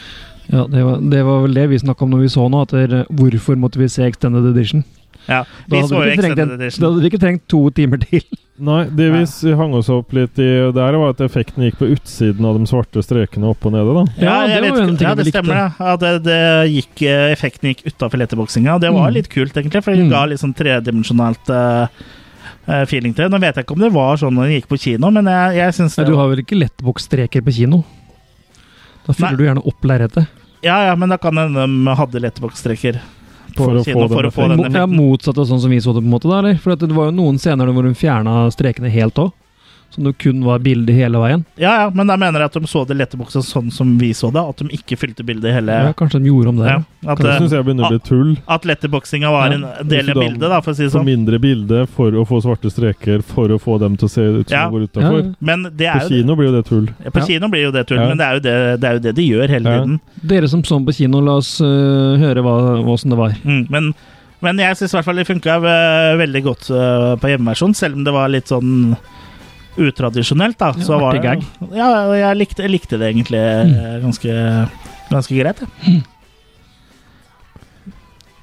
Speaker 3: Ja, det var, det var vel det vi snakka om når vi så nå, at det, eh, hvorfor måtte vi se Extended Edition?
Speaker 1: Ja,
Speaker 3: Da
Speaker 1: vi
Speaker 3: hadde
Speaker 1: så jo
Speaker 3: vi ikke trengt
Speaker 1: Extended
Speaker 3: en-
Speaker 1: Edition.
Speaker 3: Da hadde vi ikke trengt to timer til.
Speaker 2: Nei, det vi s- hang oss opp litt i der, var at effekten gikk på utsiden av de svarte strekene opp og nede, da.
Speaker 1: Ja, jeg vet ikke- ja, det
Speaker 2: likte.
Speaker 1: stemmer. det. Ja, det, det gikk, eh, effekten gikk utafor letterboksinga, og det var
Speaker 2: Mm.
Speaker 1: litt kult, egentlig. For det ga litt sånn tredimensjonalt eh, eh, feeling til det. Nå vet jeg ikke om det var sånn når den gikk på kino, men jeg, jeg syns
Speaker 3: Nei,
Speaker 1: det
Speaker 3: du har vel ikke lettboksstreker på kino? Da fyller du gjerne opp lerretet.
Speaker 1: Ja, ja, men da kan hende de hadde letterboksstreker på
Speaker 3: For å
Speaker 1: kino
Speaker 3: få
Speaker 1: for
Speaker 3: den
Speaker 1: å få den
Speaker 3: effekten. Ja,
Speaker 1: effekten.
Speaker 3: motsatt av sånn som vi så det, på en måte, da, eller? For at det var jo noen scener hvor hun fjerna strekene helt òg. Som det kun var bilde hele veien.
Speaker 1: Ja, ja, men da mener jeg at de så det letterbuksa sånn som vi så det. At de ikke fylte bildet hele
Speaker 3: Ja, kanskje de gjorde om det.
Speaker 1: Ja,
Speaker 3: Ja.
Speaker 1: at,
Speaker 2: Kanskje
Speaker 1: eh,
Speaker 2: synes jeg begynner å bli tull.
Speaker 1: At letterboksinga var en del
Speaker 2: Så
Speaker 1: av
Speaker 2: da-
Speaker 1: bildet, da, for å si det sånn.
Speaker 2: mindre bilde for å få svarte streker, for å få dem til å se ut som
Speaker 1: Ja.
Speaker 2: de går utafor.
Speaker 1: Men det er
Speaker 2: På
Speaker 1: jo
Speaker 2: kino blir jo det tull.
Speaker 1: På kino blir jo det tull,
Speaker 2: Ja.
Speaker 1: men det er jo det, det er jo det de gjør hele tiden.
Speaker 3: Dere som så på kino, la oss øh, høre hva, hvordan det var.
Speaker 1: Mm, men, men jeg syns i hvert fall det funka veldig godt eh, på hjemmeversjon, selv om det var litt sånn utradisjonelt, da.
Speaker 3: Ja,
Speaker 1: så var
Speaker 3: artig Mm.
Speaker 1: det, ja, jeg likte, jeg likte det egentlig eh, ganske, ganske greit. jeg.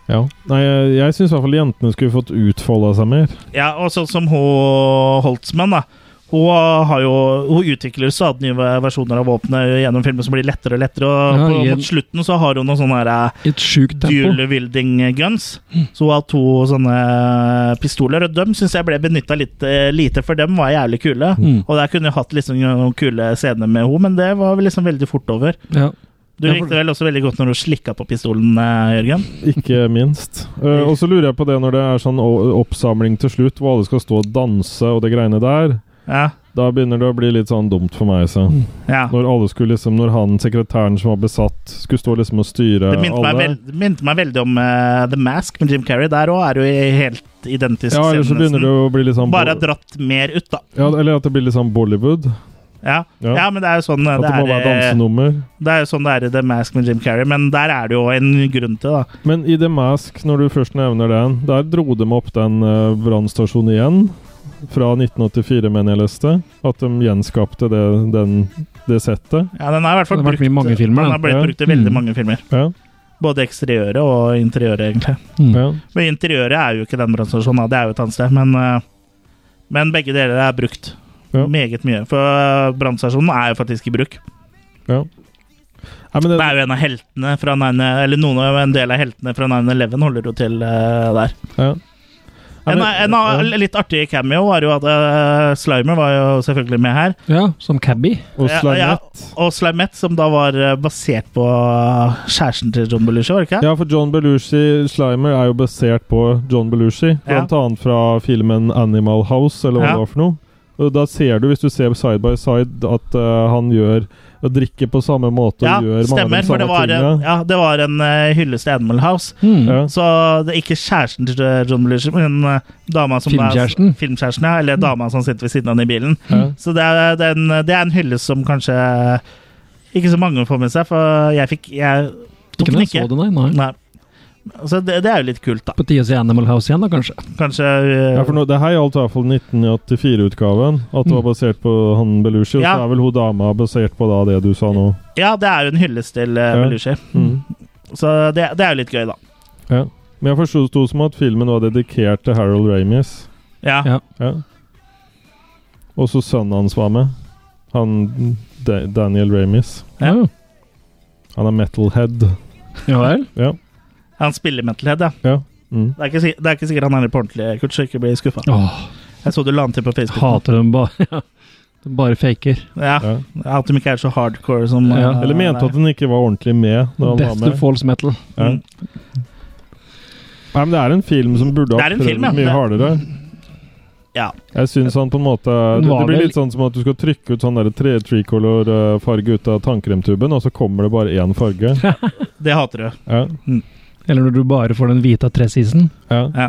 Speaker 2: Ja. Nei, jeg, jeg syns i hvert fall jentene skulle fått utfolda seg mer.
Speaker 1: Ja, og sånn som hun Holtzmann, da. Hun, har jo, hun utvikler stadig nye versjoner av våpenet gjennom filmen som blir lettere og lettere. Og
Speaker 3: Ja,
Speaker 1: på,
Speaker 3: i en-
Speaker 1: mot slutten så har hun noen sånne her, eh,
Speaker 3: I et sjukt tempo.
Speaker 1: dual wielding guns. Så hun har to sånne eh, pistoler, og dem syns jeg ble benytta litt eh, lite, for dem var jævlig kule.
Speaker 3: Mm.
Speaker 1: Og der kunne jeg hatt liksom noen kule scener med henne, men det var vel liksom veldig fort over.
Speaker 3: Ja.
Speaker 1: Du
Speaker 3: Ja, for-
Speaker 1: likte vel også veldig godt når hun slikka på pistolen, eh, Jørgen?
Speaker 2: Ikke minst. Eh, og så lurer jeg på det når det er sånn o- oppsamling til slutt, hvor alle skal stå og danse og det greiene der.
Speaker 1: Ja.
Speaker 2: Da begynner det å bli litt sånn dumt for meg. Så.
Speaker 1: Mm. Ja.
Speaker 2: Når alle skulle liksom Når han sekretæren som var besatt, skulle stå liksom og styre
Speaker 1: Det minte meg,
Speaker 2: alle.
Speaker 1: veld, det minte meg veldig om eh, The Mask med Jim Carrey. Der òg er det jo helt identisk.
Speaker 2: ja, eller så
Speaker 1: scene
Speaker 2: begynner
Speaker 1: nesten.
Speaker 2: det å bli litt sånn
Speaker 1: Bare
Speaker 2: bo-
Speaker 1: dratt mer ut, da.
Speaker 2: ja, Eller at det blir litt sånn Bollywood.
Speaker 1: Ja.
Speaker 2: Ja.
Speaker 1: Ja. men det er jo sånn eh,
Speaker 2: At det
Speaker 1: det,
Speaker 2: må være
Speaker 1: er, eh,
Speaker 2: dansenummer.
Speaker 1: det er jo sånn det er i The Mask med Jim Carrey, men der er det jo en grunn til, da.
Speaker 2: Men i The Mask, når du først nevner den, der dro de opp den uh, brannstasjonen igjen. Fra 1984, mener jeg leste. At de gjenskapte det, den, det settet.
Speaker 1: Ja, den har i hvert fall
Speaker 3: Den har vært
Speaker 1: brukt,
Speaker 3: med i mange filmer,
Speaker 1: den har
Speaker 3: den.
Speaker 1: blitt
Speaker 2: Ja. Mm.
Speaker 1: brukt i veldig mange filmer.
Speaker 2: Ja.
Speaker 1: Både eksteriøret og interiøret, egentlig.
Speaker 3: Mm.
Speaker 2: Ja.
Speaker 1: Men interiøret er jo ikke den brannstasjonen, da. det er jo et annet sted. Men, eh, men begge deler er brukt
Speaker 2: Ja.
Speaker 1: meget mye. For eh, brannstasjonen er jo faktisk i bruk.
Speaker 2: ja. Nei, men det,
Speaker 1: Det er jo en av heltene fra 9, Eller noen av en del av heltene fra 9-11 holder jo til eh, der.
Speaker 2: ja. Nei,
Speaker 1: En,
Speaker 2: men-
Speaker 1: en av
Speaker 2: ja.
Speaker 1: litt artig cameo var jo at eh, Slimer var jo selvfølgelig med her.
Speaker 3: Ja, som cabbie.
Speaker 2: Og
Speaker 1: Ja,
Speaker 2: Slanett.
Speaker 1: ja, og Slimette, som da var eh, basert på eh, kjæresten til John Belushi, var det ikke?
Speaker 2: Ja, for John Belushi Slimer er jo basert på John Belushi. Blant annet fra filmen Animal House, eller hva
Speaker 1: Ja.
Speaker 2: det var for noe. Og da ser du, hvis du ser side by side, at eh, han gjør og drikker på samme måte
Speaker 1: Ja,
Speaker 2: og gjør mange
Speaker 1: stemmer.
Speaker 2: av de
Speaker 1: For det
Speaker 2: samme
Speaker 1: var,
Speaker 2: tingene.
Speaker 1: en, ja, Mm. det var en eh, hyllest til Animal House.
Speaker 3: Mm.
Speaker 2: Ja.
Speaker 1: Så det er ikke kjæresten til John Belushi, men eh, dama som
Speaker 3: Filmkjæresten.
Speaker 1: Er, filmkjæresten, ja, eller dama som sitter ved siden av han i bilen.
Speaker 2: Mm. Ja.
Speaker 1: Så det er, det, er en, det er en hyllest som kanskje eh, ikke så mange får med seg, for jeg fikk jeg tok den ikke.
Speaker 3: Ikke når jeg så det, nei. nei.
Speaker 1: Nei. Så det, det er jo litt kult, da.
Speaker 3: På tide å se Animal House igjen, da, kanskje.
Speaker 1: Kanskje eh,
Speaker 2: Ja, for nå, Det her gjaldt i hvert fall 1984-utgaven. At det var basert på han Belushi. Og
Speaker 1: Mm. Ja.
Speaker 2: så er vel hun dama basert på da det du sa nå.
Speaker 1: ja, det er jo en hyllest til eh,
Speaker 2: Ja.
Speaker 1: Belushi.
Speaker 2: Mm.
Speaker 1: Så det, det er jo litt gøy, da.
Speaker 2: Ja. Men jeg forsto det som at filmen var dedikert til Harold Ramis.
Speaker 1: Ja.
Speaker 3: Ja.
Speaker 2: Ja. Og så sønnen hans var med. Han Da- Daniel Ramis.
Speaker 1: Ja.
Speaker 3: Ja.
Speaker 2: Han er metalhead.
Speaker 3: Ja vel.
Speaker 2: Ja.
Speaker 1: Han spiller metalhead, ja.
Speaker 2: ja. Mm.
Speaker 1: Det er, ikke, si- det er ikke sikkert han er litt på ordentlig, Kurt, så ikke bli skuffa.
Speaker 3: Åh,
Speaker 1: Jeg så du la han til på Facebook.
Speaker 3: hater dem bare. Ja. De bare faker.
Speaker 1: Ja,
Speaker 2: Ja.
Speaker 1: At de ikke er så hardcore som
Speaker 3: Ja.
Speaker 1: eh,
Speaker 2: Eller mente at han ikke var ordentlig med. Når han var
Speaker 3: Death to
Speaker 2: med.
Speaker 3: false metal.
Speaker 2: Ja.
Speaker 1: Mm.
Speaker 2: Nei, men det er en film som burde
Speaker 1: Det
Speaker 2: ha
Speaker 1: er en
Speaker 2: prøvd
Speaker 1: film, ja.
Speaker 2: mye
Speaker 1: Det-
Speaker 2: hardere.
Speaker 1: Ja.
Speaker 2: Jeg syns han på en måte
Speaker 3: Den
Speaker 2: det,
Speaker 3: var
Speaker 2: det blir
Speaker 3: vel-
Speaker 2: litt sånn som at du skal trykke ut sånn der tre tricolor-farge ut av tannkremtuben, og så kommer det bare én farge.
Speaker 1: Det hater du.
Speaker 2: Ja.
Speaker 3: Eller når du bare får den hvite av tresisen.
Speaker 2: Ja.
Speaker 1: Ja.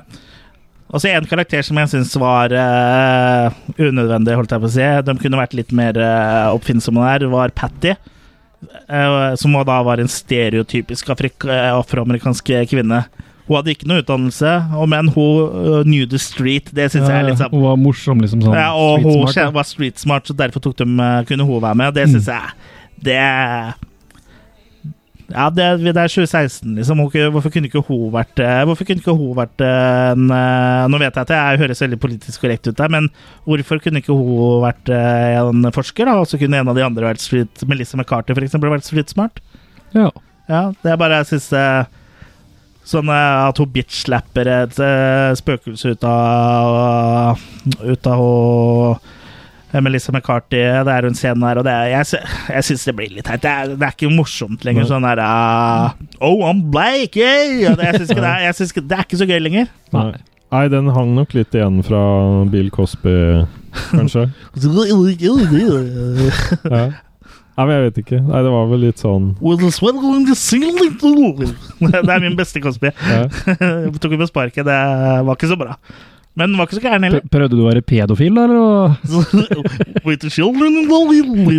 Speaker 1: Og så en karakter som jeg syns var eh, unødvendig, holdt jeg på å si. De kunne vært litt mer eh, oppfinnsomme der, var Patty. eh, som da var en stereotypisk afrik eh, afroamerikansk kvinne. Hun hadde ikke noe utdannelse, og men hun eh, knew the street. Det syns jeg er litt sånn
Speaker 3: Hun Eh, var morsom, liksom. sånn
Speaker 1: ja, Og hun
Speaker 3: street smart, Mm.
Speaker 1: kjen- var street smart, så derfor tok de, eh, kunne hun være med. Det syns jeg Det Ja, det, det er 2016, liksom. Hun, kunne- hvorfor kunne ikke hun vært eh, Hvorfor kunne ikke hun vært eh, en eh, Nå vet jeg at jeg høres veldig politisk korrekt ut der, men hvorfor kunne ikke hun vært eh, en forsker, da? Og så kunne en av de andre vært street Melissa McCarthy, for eksempel, vært street smart?
Speaker 3: da. Ja.
Speaker 1: Ja, det er bare jeg syns eh, Sånn eh, at hun bitch-slapper et eh, spøkelse ut av Ut av hun- eh, Melissa McCarthy. Det er en scene der, og det er, jeg, sy- jeg syns det blir litt teit. Det, er- det er ikke morsomt lenger. Sånn der eh, Oh, I'm black! Hey! Og det, jeg syns ikke det, er- jeg syns ikke, det er ikke så gøy lenger.
Speaker 2: Nei. Nei, den hang nok litt igjen fra Bill Cosby. kanskje. ja. Nei, men jeg vet ikke. Nei, det var vel litt sånn
Speaker 1: Det er min beste Cosby. Jeg tok henne på sparket. Det var ikke så bra. Men den var ikke så gæren heller.
Speaker 3: Pr- Prøvde du å være pedofil, da, eller?
Speaker 1: With the children in the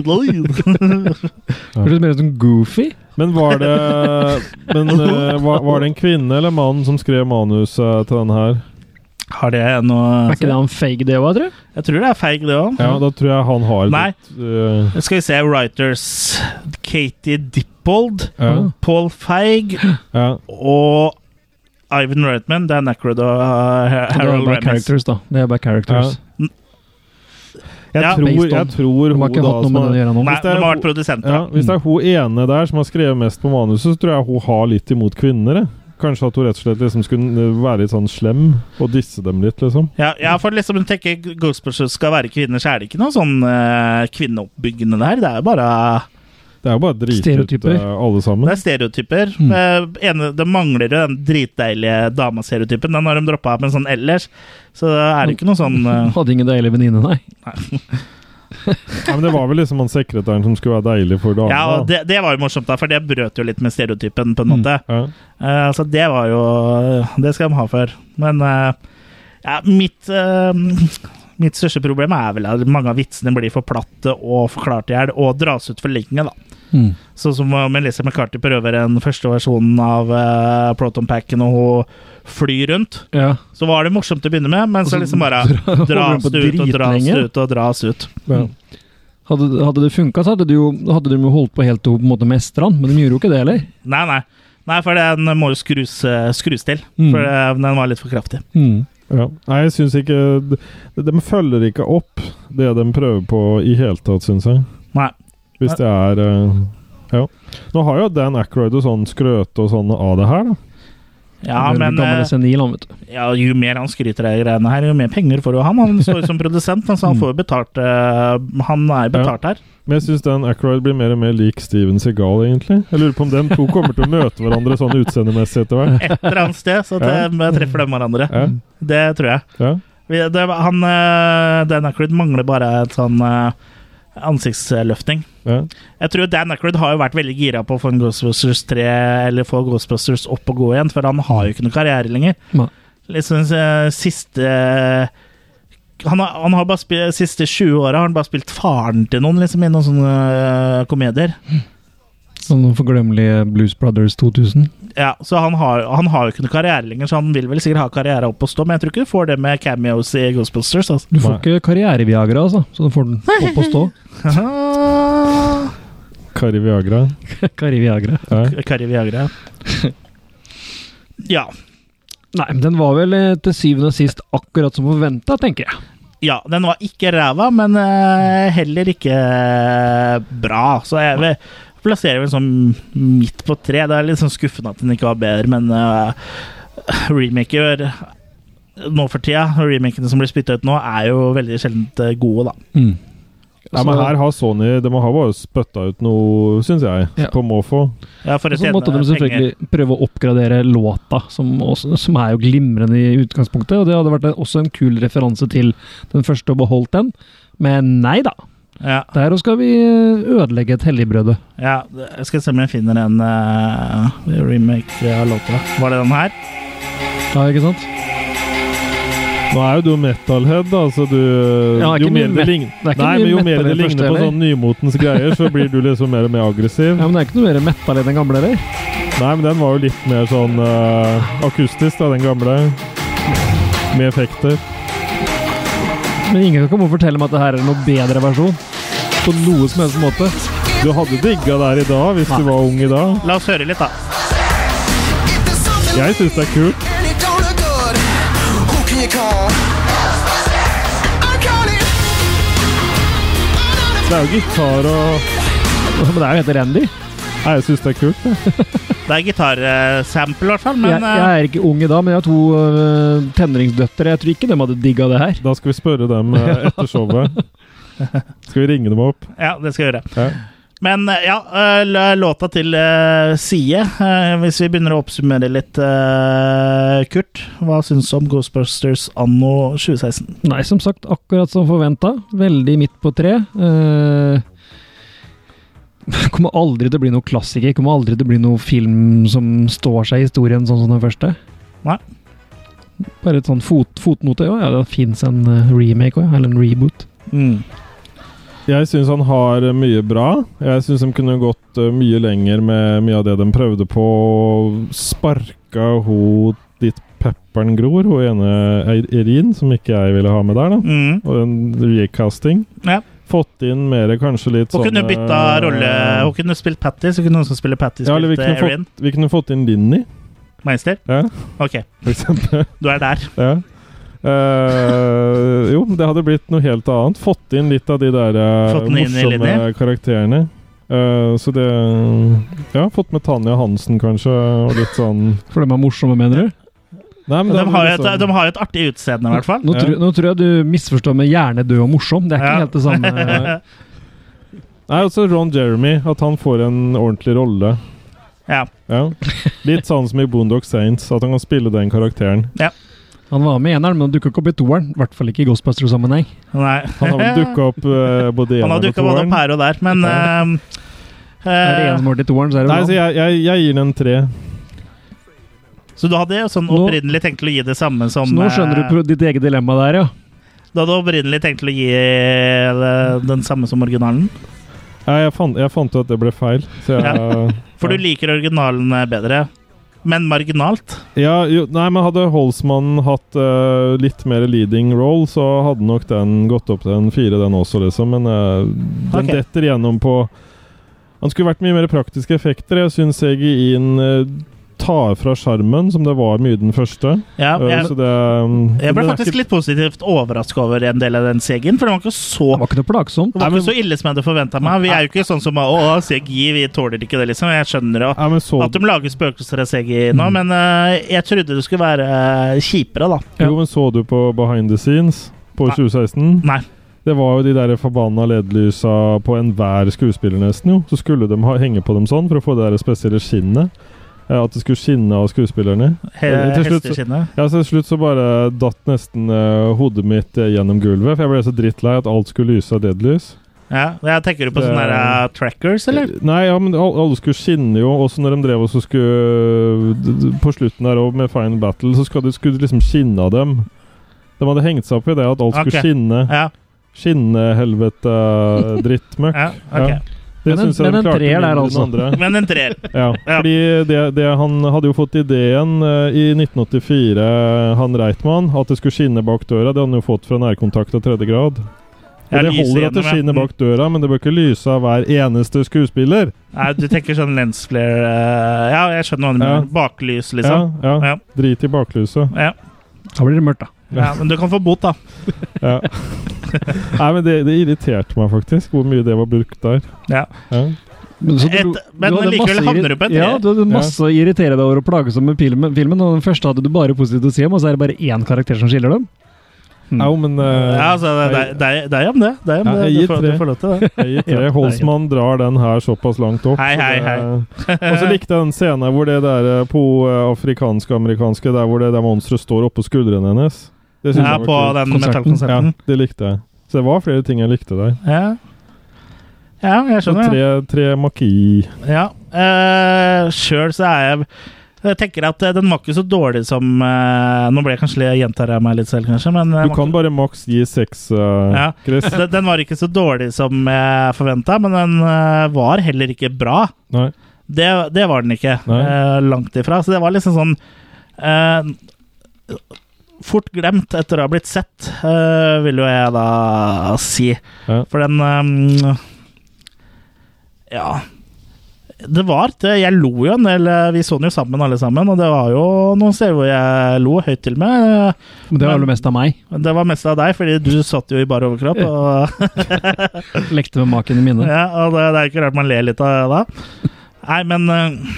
Speaker 1: little-
Speaker 3: Hørtes mer ut som Goofy.
Speaker 2: Men var det Men eh, var, var det en kvinne eller mann som skrev manuset til den her?
Speaker 1: Har det noe
Speaker 3: Er ikke det han fake det òg, tror du?
Speaker 1: Jeg tror det er feig, det òg.
Speaker 2: Ja, da tror jeg han har
Speaker 1: Nei.
Speaker 2: litt eh,
Speaker 1: Skal vi se Writers Katie Dippold,
Speaker 3: Ah.
Speaker 2: Ja.
Speaker 1: Paul Feig
Speaker 2: Ja.
Speaker 1: og Ivan Reitman. Det er Nacrod og uh, Har-
Speaker 3: Det er
Speaker 1: Harold
Speaker 3: bare
Speaker 1: Ramis.
Speaker 3: characters, da. Det er bare characters.
Speaker 2: Jeg,
Speaker 1: Ja.
Speaker 2: tror,
Speaker 3: Based on.
Speaker 2: jeg tror
Speaker 3: Det var
Speaker 2: hun
Speaker 3: ikke
Speaker 2: da
Speaker 3: hatt noe
Speaker 2: som
Speaker 3: med
Speaker 2: har-
Speaker 3: den å gjøre nå.
Speaker 1: Nei,
Speaker 2: Hvis det
Speaker 1: de
Speaker 2: er
Speaker 1: har vært
Speaker 2: hun-
Speaker 1: produsenter.
Speaker 2: ja, Hvis det er hun ene der som har skrevet mest på manuset, så tror jeg hun har litt imot kvinner. jeg. Kanskje at hun rett og slett liksom skulle eh, være litt sånn slem og disse dem litt, liksom.
Speaker 1: Ja, ja, for liksom å tenke Ghostbusters skal være kvinner, så er det ikke noe sånn eh, kvinneoppbyggende der. Det er jo bare
Speaker 2: Det er jo bare drit ut
Speaker 3: Stereotyper.
Speaker 2: eh, alle sammen.
Speaker 1: det er stereotyper.
Speaker 3: Mm.
Speaker 1: Eh, ene, det mangler jo den dritdeilige dama-stereotypen. Den har de droppa, men sånn ellers så er det ikke noe sånn eh,
Speaker 3: Hadde ingen deilig venninne, nei.
Speaker 2: Ja, men det var vel liksom han sekretæren som skulle være deilig for damene.
Speaker 1: Ja, og
Speaker 2: da.
Speaker 1: det, det var jo morsomt, da, for det brøt jo litt med stereotypen, på en måte.
Speaker 2: Ja.
Speaker 1: Eh, så det var jo Det skal de ha for. Men eh, ja, mitt eh, Mitt største problem er vel at mange av vitsene blir for platte og forklart i hjel, og dras ut for lenge, da.
Speaker 3: Mm.
Speaker 1: Sånn som eh, Melissa McCarthy prøver den første versjonen av eh, Proton Packen, og hun flyr rundt.
Speaker 3: Ja.
Speaker 1: Så var det morsomt til å begynne med, men så
Speaker 3: Og så
Speaker 1: liksom bare
Speaker 3: dra- holder
Speaker 1: dras
Speaker 3: hun på
Speaker 1: det ut og dras
Speaker 3: dritlenge.
Speaker 1: det ut og dras ut.
Speaker 2: Ja.
Speaker 3: Hadde, hadde det funka, så hadde du jo hadde de jo holdt på helt til hun på en måte mestra den, men de gjorde jo ikke det heller.
Speaker 1: Nei, nei. Nei, for den må jo skrus, eh, skrus til.
Speaker 3: Mm.
Speaker 1: For eh, den var litt for kraftig.
Speaker 3: Mm.
Speaker 2: Ja. Nei, jeg syns ikke de, de følger ikke opp det de prøver på i hele tatt, syns jeg.
Speaker 1: Nei.
Speaker 2: Hvis det er eh, Ja. Nå har jo Dan Ackroyd og sånn skrøte og sånn av det her, da.
Speaker 1: Ja,
Speaker 3: Det er
Speaker 1: men
Speaker 3: gammel liksom.
Speaker 1: eh,
Speaker 3: og senil, han, vet du.
Speaker 1: ja, jo mer han skryter av de greiene her, jo mer penger får jo han. Han står jo som produsent, da,
Speaker 3: Mm.
Speaker 1: så han får jo betalt eh, Han er jo betalt her.
Speaker 2: Men jeg syns Dan Ackroyd blir mer og mer lik Steven Segal, egentlig. Jeg lurer på om de to kommer til å møte hverandre sånn utseendemessig etter hvert.
Speaker 1: Et eller annet sted, så at
Speaker 2: Ja.
Speaker 1: de treffer dem hverandre.
Speaker 2: Ja.
Speaker 1: Det tror jeg.
Speaker 2: Ja.
Speaker 1: Vi- Det, han, eh, Dan Ackroyd mangler bare et sånn eh, ansiktsløftning.
Speaker 2: Ja.
Speaker 1: Jeg tror Dan Ackroyd har jo vært veldig gira på å få en Ghostbusters 3 eller få Ghostbusters opp og gå igjen, for han har jo ikke noe karriere lenger.
Speaker 3: Nei.
Speaker 1: Liksom eh, siste han har, han har bare spilt, siste 20 åra har han bare spilt faren til noen liksom, i noen sånne eh, komedier.
Speaker 3: Som den Sånn forglemmelige Blues Brothers 2000.
Speaker 1: Ja, så han har, han har jo ikke noe karriere lenger, så han vil vel sikkert ha karriere opp og stå, men jeg tror ikke du får det med cameos i Ghostbusters. Altså.
Speaker 3: Du får ikke karriereviagra, altså, så du får den opp og stå.
Speaker 2: Kari Viagra.
Speaker 3: Karriviagra.
Speaker 2: Ja.
Speaker 1: Kari Viagra. Ja.
Speaker 3: Nei, men den var vel eh, til syvende og sist akkurat som forventa, tenker jeg.
Speaker 1: Ja, den var ikke ræva, men eh, heller ikke eh, bra. Så jeg vil plasserer vel sånn midt på tre. Det er litt sånn skuffende at den ikke var bedre, men eh, remaker eh, nå for tida, remakene som blir spytta ut nå, er jo veldig sjeldent eh, gode, da.
Speaker 2: Nei, men her har Sony De har bare spytta ut noe, syns jeg,
Speaker 3: Ja.
Speaker 2: på måfå.
Speaker 1: Ja, for å
Speaker 3: Og så
Speaker 1: tjene
Speaker 3: måtte de selvfølgelig prøve å oppgradere låta, som, også, som er jo glimrende i utgangspunktet. Og det hadde vært en, også en kul referanse til den første og beholdt den. Men nei da.
Speaker 1: Ja,
Speaker 3: Der også skal vi eh, ødelegge et helligbrøde.
Speaker 1: ja, jeg skal se om jeg finner en eh, remake av låta. Var det den her?
Speaker 3: Ja, ikke sant?
Speaker 2: Nå er jo du metalhead, da, så du
Speaker 3: Ja, det er
Speaker 2: jo
Speaker 3: ikke
Speaker 2: mer det
Speaker 3: mye met-
Speaker 2: ligner,
Speaker 3: det er ikke
Speaker 2: Nei,
Speaker 3: mye
Speaker 2: men jo
Speaker 3: metal
Speaker 2: mer
Speaker 3: i
Speaker 2: det
Speaker 3: det
Speaker 2: ligner
Speaker 3: første,
Speaker 2: på
Speaker 3: heller.
Speaker 2: sånn nymotens greier, så blir du liksom mer og mer aggressiv.
Speaker 3: Ja, Men det er ikke noe mer metal i den gamle, eller?
Speaker 2: Nei, men den var jo litt mer sånn eh, akustisk, da, den gamle. Med effekter.
Speaker 3: Men ingen kan komme og fortelle meg at det her er noe bedre versjon. På noe som helst måte.
Speaker 2: Du hadde digga det her i dag hvis du var ung i dag.
Speaker 1: La oss høre litt, da.
Speaker 2: Jeg syns det er kult. Det er jo gitar og
Speaker 3: Men det er jo helt elendig.
Speaker 2: Nei, jeg syns det er kult. jeg.
Speaker 1: Det er gitarsample, i hvert fall, men
Speaker 3: Jeg, jeg
Speaker 1: eh,
Speaker 3: er ikke ung i dag, men jeg har to øh, tenåringsdøtre. Jeg tror ikke de hadde digga det her.
Speaker 2: Da skal vi spørre dem eh, etter showet. Skal vi ringe dem opp?
Speaker 1: ja, det skal jeg gjøre.
Speaker 2: Ja.
Speaker 1: Men eh, ja, eh, l- låta til eh, side. Eh, Hvis vi begynner å oppsummere litt, eh, Kurt. Hva syns du om Ghostbusters anno 2016?
Speaker 3: Nei, som sagt, akkurat som forventa. Veldig midt på tre. Eh, kommer aldri til å bli noe klassiker. Kommer aldri til å bli noe film som står seg i historien, sånn som den første.
Speaker 1: Nei.
Speaker 3: Bare et sånn fot, fotnote. Ja, ja, det fins en eh, remake òg, eller en reboot.
Speaker 2: Jeg syns han har eh, mye bra. Jeg syns de kunne gått eh, mye lenger med mye av det de prøvde på. Sparka hun dit pepperen gror, hun ene Eir- Eirin, som ikke jeg ville ha med der, da.
Speaker 1: Mm.
Speaker 2: Og en recasting.
Speaker 1: Ja.
Speaker 2: Fått inn mer kanskje litt sånn,
Speaker 1: Hun
Speaker 2: eh,
Speaker 1: kunne bytta rolle. Hun kunne spilt Patty, så kunne hun som spiller Patty,
Speaker 2: ja, eller vi
Speaker 1: spilt
Speaker 2: kunne,
Speaker 1: eh, Erin.
Speaker 2: fått, vi kunne fått inn Linni,
Speaker 1: Meister?
Speaker 2: ja,
Speaker 1: Ok,
Speaker 2: for eksempel.
Speaker 1: du er der.
Speaker 2: Ja. Eh, jo, det hadde blitt noe helt annet. Fått inn litt av de der eh,
Speaker 1: Fått den inn i
Speaker 2: morsomme
Speaker 1: linje.
Speaker 2: karakterene. Eh, så det Ja, fått med Tanja Hansen, kanskje, og litt sånn
Speaker 3: For de er morsomme, mener du?
Speaker 2: Nei, men
Speaker 1: De
Speaker 2: det hadde
Speaker 1: har, jo
Speaker 2: blitt
Speaker 1: et,
Speaker 2: sånn-
Speaker 1: de har jo et artig utseende, i hvert fall.
Speaker 3: Nå, tror, nå tror jeg du misforstår med hjernedød og morsom. Det er ikke helt det samme.
Speaker 2: Nei, også Ron Jeremy. At han får en ordentlig rolle.
Speaker 1: Ja.
Speaker 2: Ja. Litt sånn som i Boondock Saints, at han kan spille den karakteren.
Speaker 3: Han var med i eneren, men han dukka ikke opp i toeren. I hvert fall ikke i Ghostbusters-sammenheng.
Speaker 1: Nei.
Speaker 2: Han har vel dukka opp eh, både i
Speaker 1: Han har
Speaker 2: eneren og
Speaker 1: dukka både
Speaker 2: toeren.
Speaker 1: opp her og der, men eh,
Speaker 3: Er det
Speaker 1: eh,
Speaker 3: en som har vært i toeren, så er det
Speaker 2: Nei,
Speaker 3: vel
Speaker 2: så
Speaker 3: han.
Speaker 2: jeg, jeg, jeg gir den en tre.
Speaker 1: Så du hadde jo sånn
Speaker 3: Nå-
Speaker 1: opprinnelig tenkt til å gi det samme som
Speaker 3: Så nå skjønner du
Speaker 1: eh,
Speaker 3: pro- ditt eget dilemma der, ja.
Speaker 1: Du hadde opprinnelig tenkt til å gi eh, den samme som originalen?
Speaker 2: Nei, jeg fant, jeg fant ut at det ble feil. Så jeg,
Speaker 1: For du liker originalen eh, bedre, men marginalt.
Speaker 2: Ja, jo, nei, men hadde Holsmann hatt eh, litt mer leading role, så hadde nok den gått opp til en fire, den også, liksom. Men eh, den
Speaker 1: Ok.
Speaker 2: detter gjennom på Han skulle vært mye mer praktiske effekter. Jeg syns CGI-en eh, tar fra sjarmen, som det var mye den første.
Speaker 1: Ja,
Speaker 2: Eh,
Speaker 1: jeg,
Speaker 2: så det um,
Speaker 1: jeg ble
Speaker 2: den er
Speaker 1: faktisk
Speaker 2: ikke-
Speaker 1: litt positivt overraska over en del av den CG-en, for den var ikke så
Speaker 3: Det var ikke noe plagsomt.
Speaker 1: det var ikke så ille som jeg hadde forventa meg. Vi er jo ikke sånn som Å, CGI, vi tåler ikke det, liksom. Jeg skjønner jo
Speaker 2: Nei, men så,
Speaker 1: at de lager spøkelser av CGI nå, men eh, jeg trodde det skulle være eh, kjipere, da.
Speaker 2: Jo, men så du på Behind the Scenes på
Speaker 1: Nei.
Speaker 2: 2016?
Speaker 1: Nei.
Speaker 2: Det var jo de der forbanna LED-lysa på enhver skuespiller, nesten. jo Så skulle de ha, henge på dem sånn for å få det der spesielle skinnet. Eh, At det skulle skinne av skuespillerne.
Speaker 1: He
Speaker 2: Eh, til slutt så-
Speaker 1: Hesteskinnet.
Speaker 2: Ja, så Til slutt så bare datt nesten eh, hodet mitt eh, gjennom gulvet. For jeg ble så drittlei at alt skulle lyse av LED-lys.
Speaker 1: Ja, jeg tenker du på
Speaker 2: Det-
Speaker 1: sånne der, eh, trackers, eller?
Speaker 2: Nei, ja, men al- alle skulle skinne jo. Også når de drev og så skulle d- d- På slutten der også med Final Battle, så skal det, skulle det liksom skinne av dem. De hadde hengt seg opp i det at alt
Speaker 1: Ok.
Speaker 2: skulle skinne.
Speaker 1: Ja,
Speaker 2: Skinnehelvete-drittmøkk.
Speaker 1: ja, ok.
Speaker 2: Det
Speaker 3: Men en-
Speaker 2: syns jeg
Speaker 3: men
Speaker 2: de
Speaker 3: en
Speaker 2: klarte
Speaker 3: treer
Speaker 2: mindre
Speaker 3: der,
Speaker 2: enn
Speaker 3: altså.
Speaker 2: andre.
Speaker 1: Men en treer.
Speaker 2: Ja, fordi det, det, han hadde jo fått ideen eh, i 1984, han Reitmann, at det skulle skinne bak døra. Det hadde han jo fått fra nærkontakt av tredje grad. Og
Speaker 1: Ja,
Speaker 2: det
Speaker 1: lyse
Speaker 2: holder at det
Speaker 1: gjennom, ja.
Speaker 2: skinner bak døra, men det bør ikke lyse av hver eneste skuespiller.
Speaker 1: Nei, du tenker sånn lensflare eh, Ja, jeg skjønner hva du
Speaker 2: Ja.
Speaker 1: mener. Baklys, liksom.
Speaker 2: Ja,
Speaker 1: Ja.
Speaker 2: ja. Drit i baklyset.
Speaker 1: Ja.
Speaker 3: Da blir det mørkt, da.
Speaker 1: Ja. men du kan få bot, da.
Speaker 2: Ja. Nei, men det, det irriterte meg faktisk, hvor mye det var brukt der.
Speaker 1: Ja.
Speaker 2: Ja.
Speaker 3: Men, så
Speaker 1: Et- men
Speaker 3: hadde
Speaker 1: likevel
Speaker 3: masse
Speaker 1: havner
Speaker 3: irri-
Speaker 1: du på en
Speaker 3: Ja,
Speaker 1: treer.
Speaker 3: du hadde masse å irritere deg over og plage seg med filmen, filmen, og den første hadde du bare positivt å si om, og så er det bare én karakter som skiller dem.
Speaker 2: Au, men eh,
Speaker 1: Ja, altså, det, det, det, det er jo om det. det, er om
Speaker 2: Ja,
Speaker 1: det.
Speaker 2: jeg
Speaker 1: Du,
Speaker 2: gir
Speaker 1: får, du
Speaker 2: tre.
Speaker 1: får lov til det.
Speaker 2: Jeg gir tre.
Speaker 1: Ja,
Speaker 2: Holsmann drar den her såpass langt opp.
Speaker 1: Hei,
Speaker 2: så
Speaker 1: hei,
Speaker 2: det-
Speaker 1: hei.
Speaker 2: Og så likte jeg den scenen hvor det der eh, på eh, afrikanske-amerikanske Der hvor det der monsteret står oppå skuldrene hennes. Det synes
Speaker 1: Ja,
Speaker 2: jeg
Speaker 1: på
Speaker 2: var kult.
Speaker 1: den
Speaker 3: Konserten.
Speaker 1: metallkonserten.
Speaker 2: Ja, det likte jeg. Så det var flere ting jeg likte der.
Speaker 1: Ja. ja, jeg
Speaker 2: Så
Speaker 1: skjønner. det.
Speaker 2: tre, tre maki.
Speaker 1: Ja. Uh, Sjøl så er jeg jeg tenker at eh, den var ikke så dårlig som eh, Nå ble jeg kanskje jeg gjentar jeg meg litt selv, kanskje, men eh,
Speaker 2: Du
Speaker 1: var
Speaker 2: kan bare maks gi seks, eh,
Speaker 1: Ja.
Speaker 2: Chris.
Speaker 1: ikke- den, den var ikke så dårlig som jeg forventa, men den eh, var heller ikke bra.
Speaker 2: Nei.
Speaker 1: Det, det var den ikke.
Speaker 2: Nei.
Speaker 1: eh, langt ifra. Så det var liksom sånn eh, Fort glemt etter å ha blitt sett, eh, vil jo jeg da si.
Speaker 2: Ja.
Speaker 1: For den eh, Ja. Det var det. Jeg lo jo en del. eh, Vi så den jo sammen, alle sammen. Og det var jo noen steder hvor jeg lo høyt til meg.
Speaker 3: Men det var vel mest av meg.
Speaker 1: Det var mest av deg, fordi du satt jo i bar overkropp. Og
Speaker 3: Lekte med maken i mine.
Speaker 1: ja, og det, det er ikke rart man ler litt av det da. Nei, men eh,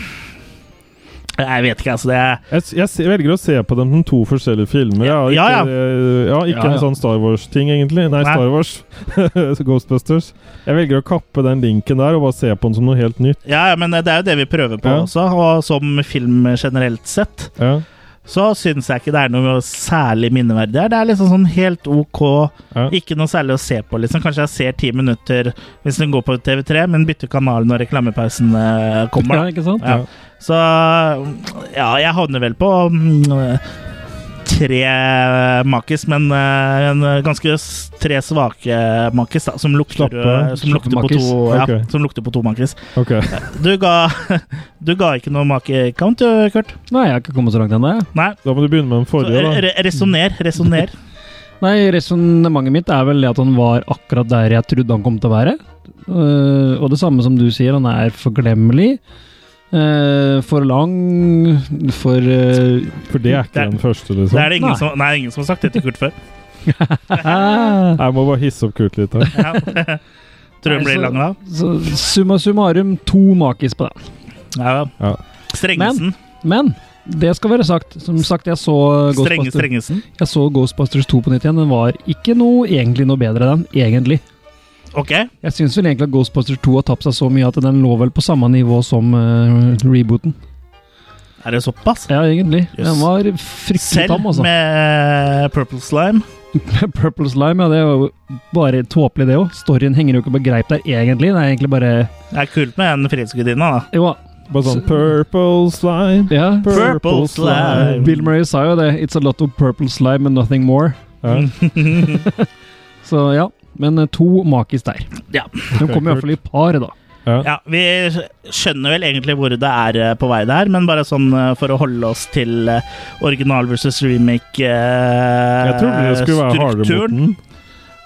Speaker 1: Jeg vet ikke, altså. Det er
Speaker 2: Jeg, s- jeg, s- jeg velger å se på dem som to forskjellige filmer. Ja, ikke,
Speaker 1: Ja, ja.
Speaker 2: eh, ja, ikke
Speaker 1: Ja, ja.
Speaker 2: en sånn Star Wars-ting, egentlig. Nei, Star Wars. Ghostbusters. Jeg velger å kappe den linken der og bare se på den som noe helt nytt.
Speaker 1: Ja, ja, men det er jo det vi prøver på
Speaker 2: Ja.
Speaker 1: også, og som film generelt sett.
Speaker 2: Ja.
Speaker 1: Så syns jeg ikke det er noe særlig minneverdig her. Det er liksom sånn helt ok, ikke noe særlig å se på, liksom. Kanskje jeg ser ti minutter hvis den går på TV3, men bytter kanal når reklamepausen eh, kommer. da.
Speaker 3: Ja, ikke sant?
Speaker 1: Ja.
Speaker 3: Ja.
Speaker 1: Så ja, jeg havner vel på mm, tre makis, men eh, en ganske s- tre svake makis, da, som lukter, eh,
Speaker 2: Slappe-
Speaker 1: som lukter, på,
Speaker 2: slappe
Speaker 1: to, ja,
Speaker 2: makis? Ok.
Speaker 1: som lukter på to makis.
Speaker 2: Ok.
Speaker 1: Du ga, du ga ikke noe makekant, du, Kurt?
Speaker 3: Nei, jeg har ikke kommet så langt ennå. jeg.
Speaker 1: Nei.
Speaker 2: Da må du begynne med den
Speaker 1: eh,
Speaker 2: forrige, da. Sånn,
Speaker 1: Resonner, resonner.
Speaker 3: Nei, resonnementet mitt er vel det at han var akkurat der jeg trodde han kom til å være. Eh, og det samme som du sier, han er forglemmelig. eh, for lang, for eh,
Speaker 2: For det er ikke den første, liksom.
Speaker 1: Det er det ingen, som, nei, ingen som har sagt det til Kurt før.
Speaker 2: Jeg må bare hisse opp Kurt litt her.
Speaker 1: Tror du
Speaker 3: Nei,
Speaker 1: blir
Speaker 3: så-
Speaker 1: lang da?
Speaker 3: så Summa summarum, to makis på den.
Speaker 1: Ja,
Speaker 2: ja.
Speaker 1: Strengesen.
Speaker 3: Men, men det skal være sagt. Som sagt, jeg så
Speaker 1: Strenge
Speaker 3: Ghostbusters-
Speaker 1: strengesen.
Speaker 3: Jeg så Ghostbusters 2 på nytt igjen. Den var ikke noe egentlig noe bedre, den. Egentlig.
Speaker 1: Ok.
Speaker 3: Jeg syns vel egentlig at Ghostbusters 2 har tapt seg så mye at den lå vel på samme nivå som eh, rebooten.
Speaker 1: Er det såpass?
Speaker 3: Ja, egentlig.
Speaker 1: Jøss.
Speaker 3: Den var fryktelig
Speaker 1: Selv
Speaker 3: tam, altså.
Speaker 1: med eh, Purple Slime.
Speaker 3: Purple Slime, ja, det var jo bare tåpelig, det òg. Storyen henger jo ikke på greip der, egentlig. Det er egentlig bare
Speaker 1: Det er kult med en frihetsgudinne, da.
Speaker 3: Jo,
Speaker 2: Bare sånn Purple slime,
Speaker 3: ja.
Speaker 1: Purple Purple slime. slime.
Speaker 3: Bill Murray sa jo det. It's a lot of purple slime and nothing more.
Speaker 2: Ja.
Speaker 3: Så ja. Men eh, to makis der.
Speaker 1: Ja.
Speaker 3: De kommer iallfall i par, da.
Speaker 1: Ja, Vi skjønner vel egentlig hvor det er eh, på vei der, men bare sånn eh, for å holde oss til eh, original versus remake eh,
Speaker 2: Jeg trodde det skulle være hardere mot
Speaker 1: strukturen.
Speaker 2: den.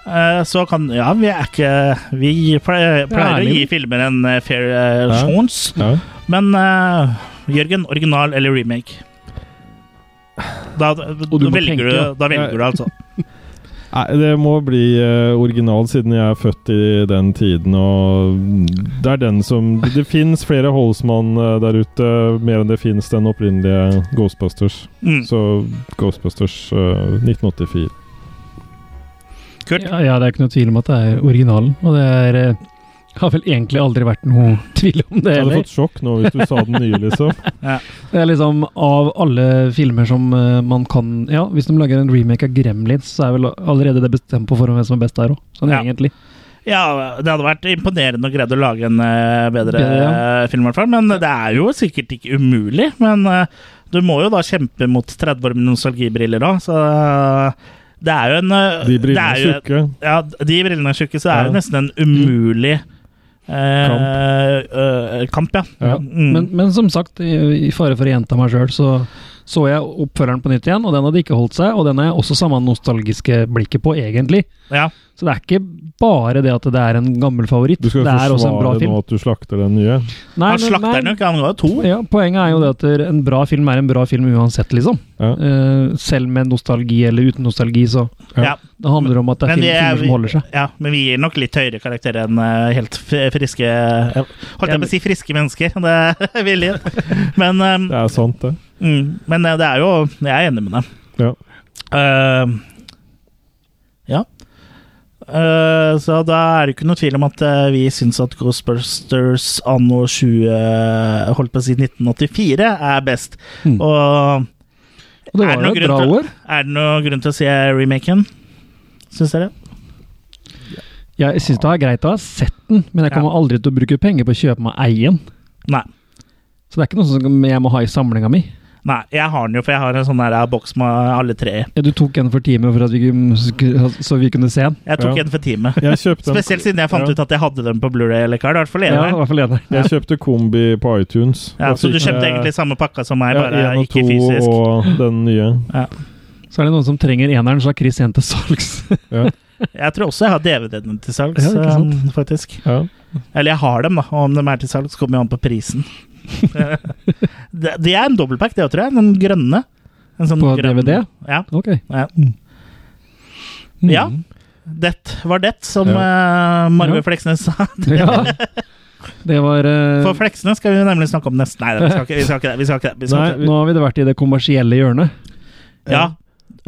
Speaker 1: Eh, Så kan Ja, vi er ikke Vi pleier, pleier å
Speaker 2: ærlig.
Speaker 1: gi filmer en eh, fair eh,
Speaker 2: Ja.
Speaker 1: chance.
Speaker 2: Ja.
Speaker 1: Men eh, Jørgen, original eller remake? Da, da,
Speaker 3: du må
Speaker 1: velger,
Speaker 3: tenke,
Speaker 1: du,
Speaker 3: ja.
Speaker 1: da velger du, altså.
Speaker 2: Nei, det må bli eh, original, siden jeg er født i den tiden, og det er den som Det fins flere Holsmann eh, der ute, mer enn det fins den opprinnelige Ghostbusters.
Speaker 1: Mm.
Speaker 2: Så Ghostbusters eh, 1984.
Speaker 3: Ja, ja, det er ikke noe tvil om at det er originalen. Og det er eh, Har vel egentlig aldri vært noe tvil om det
Speaker 2: Jeg hadde
Speaker 3: heller.
Speaker 2: fått sjokk nå hvis du sa den nye, liksom.
Speaker 3: Det er liksom av alle filmer som eh, man kan Ja, hvis de lager en remake av Gremlins, så er vel allerede det bestemt på forhånd hvem som er best der òg. Sånn
Speaker 1: Ja.
Speaker 3: egentlig.
Speaker 1: Ja, det hadde vært imponerende å greie å lage en eh, bedre
Speaker 3: Bedre, ja.
Speaker 1: eh, film, i hvert fall. Men det er jo sikkert ikke umulig. Men eh, du må jo da kjempe mot 30 år med nostalgibriller òg, så eh, det er jo en eh,
Speaker 2: De brillene
Speaker 1: det
Speaker 2: er
Speaker 1: jo-
Speaker 2: tjukke.
Speaker 1: Ja, de brillene er tjukke, så det er
Speaker 2: Ja.
Speaker 1: jo nesten en umulig eh, eh, kamp. ja. Mm.
Speaker 3: Men, men som sagt, i, i fare for å gjenta meg sjøl, så så jeg oppfølgeren på nytt igjen, og den hadde ikke holdt seg. Og den er også samme nostalgiske blikket på, egentlig.
Speaker 1: Ja.
Speaker 3: Så det er ikke bare det at det er en gammel favoritt.
Speaker 2: Du skal
Speaker 3: det er også en bra
Speaker 2: forsvare
Speaker 3: film.
Speaker 2: nå at du slakter den nye.
Speaker 3: Nei,
Speaker 1: han
Speaker 3: men-
Speaker 1: slakter den
Speaker 3: nei.
Speaker 1: jo ikke, han ga jo to.
Speaker 3: Ja, poenget er jo det at en bra film er en bra film uansett, liksom.
Speaker 2: Ja.
Speaker 3: Eh, selv med nostalgi eller uten nostalgi, så
Speaker 1: Ja.
Speaker 3: Det handler om at det er
Speaker 1: Men vi
Speaker 3: film,
Speaker 1: er-
Speaker 3: filmer som holder seg.
Speaker 1: Ja, men vi gir nok litt høyere karakter enn eh, helt f- friske Holdt jeg på å si friske mennesker, det vil jeg. Men eh,
Speaker 2: Det er sant, det.
Speaker 1: Mm, men eh, det er jo Jeg er enig med deg.
Speaker 2: Ja.
Speaker 1: Eh, ja. Eh, så da er det ikke noe tvil om at eh, vi syns at Ghostbusters anno 20 eh, Holdt på å si 1984 er best.
Speaker 3: Mm.
Speaker 1: Og,
Speaker 3: Og det var jo
Speaker 1: noe
Speaker 3: et
Speaker 1: grunn
Speaker 3: bra
Speaker 1: til-
Speaker 3: år.
Speaker 1: Er det noe grunn til å si remaken? Syns dere?
Speaker 3: Jeg syns det er greit å ha sett den, men jeg kommer aldri til å bruke penger på å kjøpe meg eien.
Speaker 1: Nei.
Speaker 3: Så det er ikke noe som jeg må ha i samlinga mi.
Speaker 1: Nei, jeg har den jo, for jeg har en sånn der eh, boks med alle tre i.
Speaker 3: Ja, du tok en for time for at vi, kunne- så vi kunne se den?
Speaker 1: Jeg tok en for time.
Speaker 2: Jeg kjøpte en-
Speaker 1: Spesielt siden jeg fant
Speaker 2: Ja.
Speaker 1: ut at jeg hadde den på Blu-ray eller Card. I hvert fall
Speaker 3: Ja, i
Speaker 1: eneren.
Speaker 3: hvert fall en.
Speaker 2: Jeg kjøpte kombi på iTunes.
Speaker 1: Ja,
Speaker 2: Jeg
Speaker 1: så du
Speaker 2: fikk
Speaker 1: kjøpte
Speaker 2: med-
Speaker 1: egentlig samme pakka som meg,
Speaker 2: Ja,
Speaker 1: bare
Speaker 2: en og
Speaker 1: ikke
Speaker 2: to
Speaker 1: fysisk.
Speaker 2: Og den nye.
Speaker 3: Så er det noen som trenger eneren, så har Chris en til salgs.
Speaker 1: Jeg tror også jeg har DVD-ene til salgs,
Speaker 3: Ja, ikke sant?
Speaker 1: eh, faktisk.
Speaker 2: Ja.
Speaker 1: Eller jeg har dem, da. Og om de er til salgs, kommer jo an på prisen. det, det er en dobbeltpack, det òg, tror jeg. Den grønne. En sånn
Speaker 3: På
Speaker 1: grønn-
Speaker 3: DVD?
Speaker 1: Ja.
Speaker 3: Ok.
Speaker 1: ja. Mm. ja. Det var det, som
Speaker 3: Ja.
Speaker 1: eh, Marve
Speaker 3: Ja.
Speaker 1: Fleksnes sa.
Speaker 3: Ja. Det var eh,
Speaker 1: For fleksene skal vi nemlig snakke om neste Nei, vi skal ikke, vi skal ikke det. Vi skal ikke det. Vi skal
Speaker 3: Nei,
Speaker 1: ikke det.
Speaker 3: nå har vi det vært i det kommersielle hjørnet.
Speaker 1: Ja.
Speaker 2: Hva,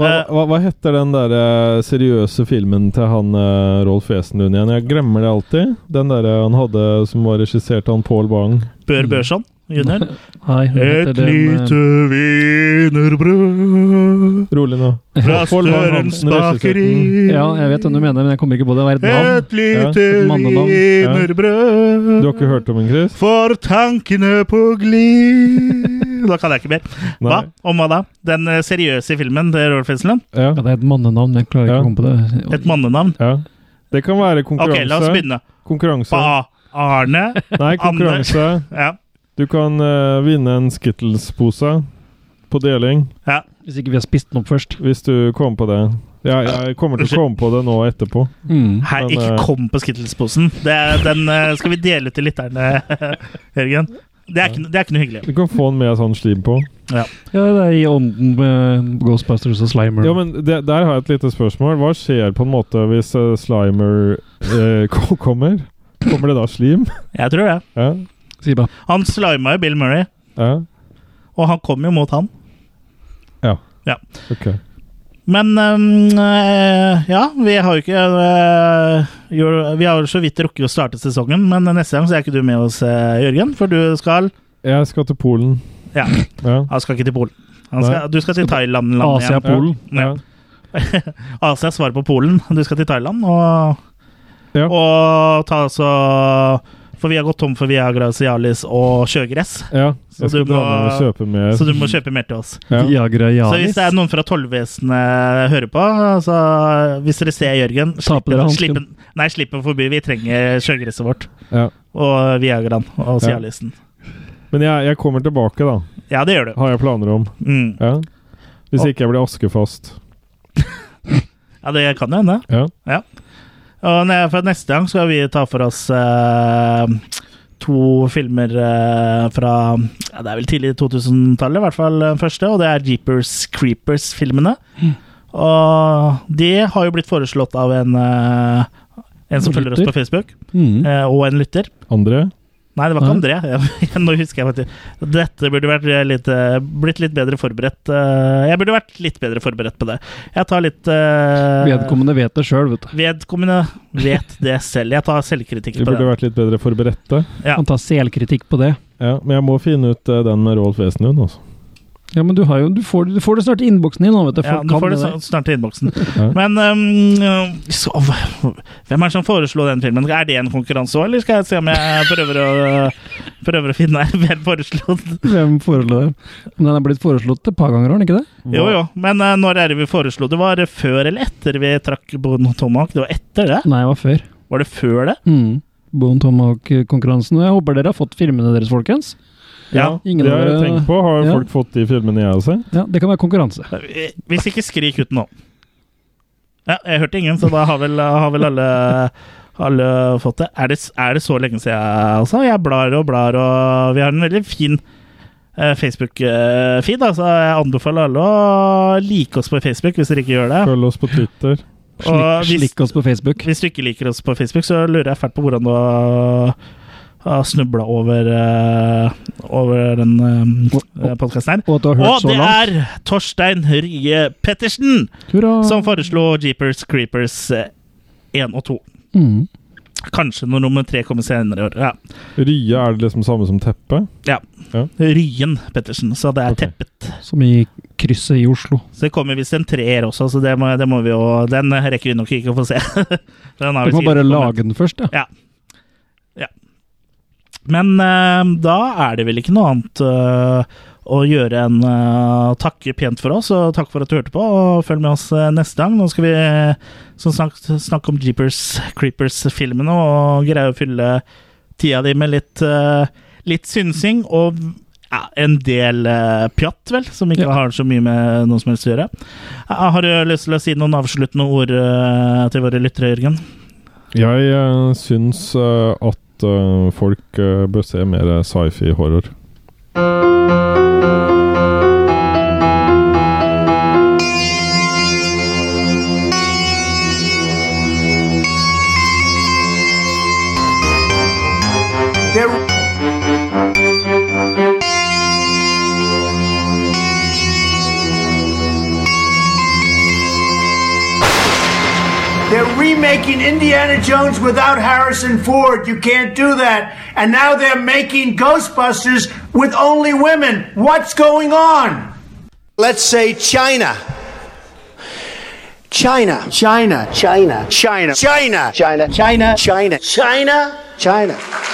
Speaker 1: Eh,
Speaker 2: hva, hva heter den der eh, seriøse filmen til han eh, Rolf Wesenlund igjen? Jeg glemmer det alltid. Den der eh, han hadde som var regissert av han Pål Bang.
Speaker 1: Bør Børson, junior.
Speaker 3: Nei, hun heter
Speaker 1: Et
Speaker 3: den, eh,
Speaker 1: lite wienerbrød
Speaker 2: Rolig nå.
Speaker 1: fra
Speaker 2: Pål Bang
Speaker 1: Størens
Speaker 2: Hansen, regissør.
Speaker 1: bakeri.
Speaker 3: Mm. Ja, jeg vet hvem du mener, men jeg kommer ikke på det. Hva er et navn?
Speaker 1: Et lite
Speaker 3: Ja, et mannenavn. Ja.
Speaker 1: wienerbrød
Speaker 2: Du har ikke hørt om den, Chris?
Speaker 1: for tankene på glid Da kan jeg ikke mer. Hva? Om hva da? Den eh, seriøse filmen til Rolf Wesenlund?
Speaker 2: Ja.
Speaker 3: det er et mannenavn, men jeg klarer ikke å komme på det.
Speaker 1: Et mannenavn?
Speaker 2: Ja. Det kan være konkurranse.
Speaker 1: Ok, la oss begynne.
Speaker 2: Konkurranse.
Speaker 1: Ba Arne
Speaker 2: Nei, konkurranse.
Speaker 1: Anders. Ja.
Speaker 2: Du kan eh, vinne en Skittles-pose på deling.
Speaker 1: Ja.
Speaker 3: Hvis ikke vi har spist den opp først.
Speaker 2: Hvis du kommer på det. Ja, jeg kommer til å komme på det nå etterpå.
Speaker 3: Mm.
Speaker 1: Hei,
Speaker 2: Men,
Speaker 1: ikke
Speaker 2: eh,
Speaker 1: kom på Skittles-posen. Det er- Den eh, skal vi dele ut til lytterne, Jørgen. Det er ikke, det er ikke noe hyggelig.
Speaker 2: Du kan få den med sånn slim på.
Speaker 1: Ja.
Speaker 3: Ja, det er i ånden med Ghostbusters og Slimer.
Speaker 2: Ja, men det, Der har jeg et lite spørsmål. Hva skjer på en måte hvis eh, Slimer eh, ko- kommer? Kommer det da slim?
Speaker 1: Jeg tror det.
Speaker 2: Ja.
Speaker 1: Han slima jo Bill Murray,
Speaker 2: ja.
Speaker 1: og han kom jo mot han.
Speaker 2: Ja.
Speaker 1: Ja.
Speaker 2: Ok.
Speaker 1: Men ehm, eh, ja, vi har jo ikke eh, gjør- Vi har jo så vidt rukket å starte sesongen, men neste gang så er ikke du med oss, eh, Jørgen, for du skal
Speaker 2: Jeg skal til Polen.
Speaker 1: Ja,
Speaker 2: Ja.
Speaker 1: han skal ikke til Polen. Han
Speaker 2: Nei.
Speaker 1: skal, du skal til Thailand. landet
Speaker 3: Asia,
Speaker 1: igjen.
Speaker 3: Polen.
Speaker 2: Ja.
Speaker 1: Asia er svaret på Polen. Du skal til Thailand og,
Speaker 2: Ja.
Speaker 1: og ta så For vi har gått tom for Viagra, Cialis og sjøgress.
Speaker 2: ja.
Speaker 1: Så
Speaker 2: Jeg skal
Speaker 1: du
Speaker 2: dra
Speaker 1: må-
Speaker 2: ned og kjøpe mer.
Speaker 1: Så du må kjøpe mer til oss.
Speaker 2: Ja.
Speaker 3: Viagra
Speaker 1: Så hvis
Speaker 3: Janis.
Speaker 1: det er noen fra tollvesenet hører på, så hvis dere ser Jørgen
Speaker 3: Ta på
Speaker 1: slipp-
Speaker 3: dere hansken.
Speaker 1: slipp den- Nei, slipp den forbi. Vi trenger sjøgresset vårt.
Speaker 2: Ja.
Speaker 1: Og Viagraen og
Speaker 2: Ja.
Speaker 1: Cialisen.
Speaker 2: Men jeg, jeg kommer tilbake, da.
Speaker 1: Ja, det gjør du.
Speaker 2: Har jeg planer om.
Speaker 1: Mm.
Speaker 2: Ja. Hvis
Speaker 1: Og-
Speaker 2: ikke jeg blir askefast.
Speaker 1: Ja, det kan jo hende.
Speaker 2: Ja.
Speaker 1: Ja. Og ne- for neste gang skal vi ta for oss eh, to filmer eh, fra ja, Det er vel tidlig 2000-tallet, i hvert fall den første, og det er Jeepers Creepers-filmene.
Speaker 3: Mm.
Speaker 1: Og de har jo blitt foreslått av en, eh, en som
Speaker 3: En
Speaker 1: følger oss
Speaker 3: lytter.
Speaker 1: på Facebook,
Speaker 3: Mm.
Speaker 1: eh, og en lytter.
Speaker 2: André?
Speaker 1: Nei, det var ikke
Speaker 3: Nei.
Speaker 1: André. Nå husker jeg faktisk Dette burde vært litt, eh, blitt litt bedre forberedt. eh, Jeg burde vært litt bedre forberedt på det. Jeg tar litt eh,
Speaker 3: Vedkommende vet det sjøl, vet du.
Speaker 1: Vedkommende vet det selv. Jeg tar selvkritikk
Speaker 2: Vi
Speaker 1: på
Speaker 2: burde
Speaker 1: det.
Speaker 2: vært litt bedre forberedte.
Speaker 1: Ja.
Speaker 3: Han tar selkritikk på det.
Speaker 2: Ja, men jeg må finne ut eh, den med Rolf Wesenlund, altså.
Speaker 3: Ja, men du, har jo, du, får, du får det snart i innboksen din nå, vet du.
Speaker 1: Ja,
Speaker 3: Folk
Speaker 1: du
Speaker 3: kan
Speaker 1: får det
Speaker 3: det der.
Speaker 1: så- snart i innboksen.
Speaker 2: Ja.
Speaker 1: Men um, så, hvem er det som foreslo den filmen? Er det en konkurranse òg, eller skal jeg se om jeg prøver å, prøver å finne hvem foreslo den?
Speaker 3: Hvem foreslår det? Men den er blitt foreslått et par ganger, har den ikke det?
Speaker 1: Jo, jo, men eh, når er det vi foreslo det? Var det før eller etter vi trakk Bon Tomahawk? Det var etter det?
Speaker 3: Nei, det var før.
Speaker 1: Var det før det?
Speaker 3: Mm. Bon Tomahawk-konkurransen. Jeg håper dere har fått filmene deres, folkens.
Speaker 1: Ja.
Speaker 3: Ingen
Speaker 2: det
Speaker 3: av
Speaker 2: har jeg
Speaker 3: dere-
Speaker 2: tenkt på. Har
Speaker 3: Ja.
Speaker 2: folk fått de filmene jeg har sett?
Speaker 3: Ja, Det kan være konkurranse.
Speaker 1: Hvis ikke, skrik ut nå. Ja, jeg hørte ingen, så da har vel, har vel alle, alle fått det. Er, det. er det så lenge siden, altså? Jeg blar og blar, og vi har en veldig fin eh, Facebook-feed, da, så jeg anbefaler alle å like oss på Facebook hvis dere ikke gjør det.
Speaker 2: Følg oss på Twitter.
Speaker 1: Og
Speaker 3: Slikk,
Speaker 1: hvis-
Speaker 3: slikk oss på Facebook.
Speaker 1: Hvis du ikke liker oss på Facebook, så lurer jeg fælt på hvordan du har- har snubla over, eh, over den uh, podkasten her.
Speaker 3: Og at du har hørt
Speaker 1: Og
Speaker 3: så
Speaker 1: det
Speaker 3: langt.
Speaker 1: er Torstein Rye Pettersen
Speaker 3: Hurra!
Speaker 1: som foreslo Jeepers Creepers eh, 1 og 2.
Speaker 3: Mm.
Speaker 1: Kanskje når nummer 3 kommer senere i år. Ja.
Speaker 2: Rye er det liksom samme som teppe?
Speaker 1: ja.
Speaker 2: Ja.
Speaker 1: Ryen Pettersen, så det er
Speaker 2: Ok.
Speaker 1: teppet.
Speaker 3: Som i krysset i Oslo.
Speaker 1: Så det kommer visst en treer også, så det må, det må vi jo Den rekker vi nok ikke å få se. den har
Speaker 3: Du
Speaker 1: vi
Speaker 3: kan
Speaker 1: sikkert
Speaker 3: bare
Speaker 1: kommet.
Speaker 3: lage den først, ja.
Speaker 1: Ja. ja. Men eh, da er det vel ikke noe annet eh, å gjøre enn eh, takke pent for oss, og takk for at du hørte på. Og følg med oss eh, neste gang. Nå skal vi eh, som sagt snakke om Jeepers Creepers-filmene og greie å fylle tida di med litt, eh, litt synsing og ja, en del eh, pjatt, vel, som ikke
Speaker 3: Ja.
Speaker 1: har så mye med noe som helst å gjøre. Eh, har du lyst til å si noen avsluttende ord eh, til våre lyttere, Jørgen?
Speaker 2: Jeg eh, syns eh, at eh, folk eh, bør se mer eh, sci-fi-horror.
Speaker 4: They're They're remaking Indiana Jones without Harrison Ford. You can't do that. And now they're making Ghostbusters with only women. What's going on? Let's say China.
Speaker 15: China. China. China. China. China. China. China. China. China. China.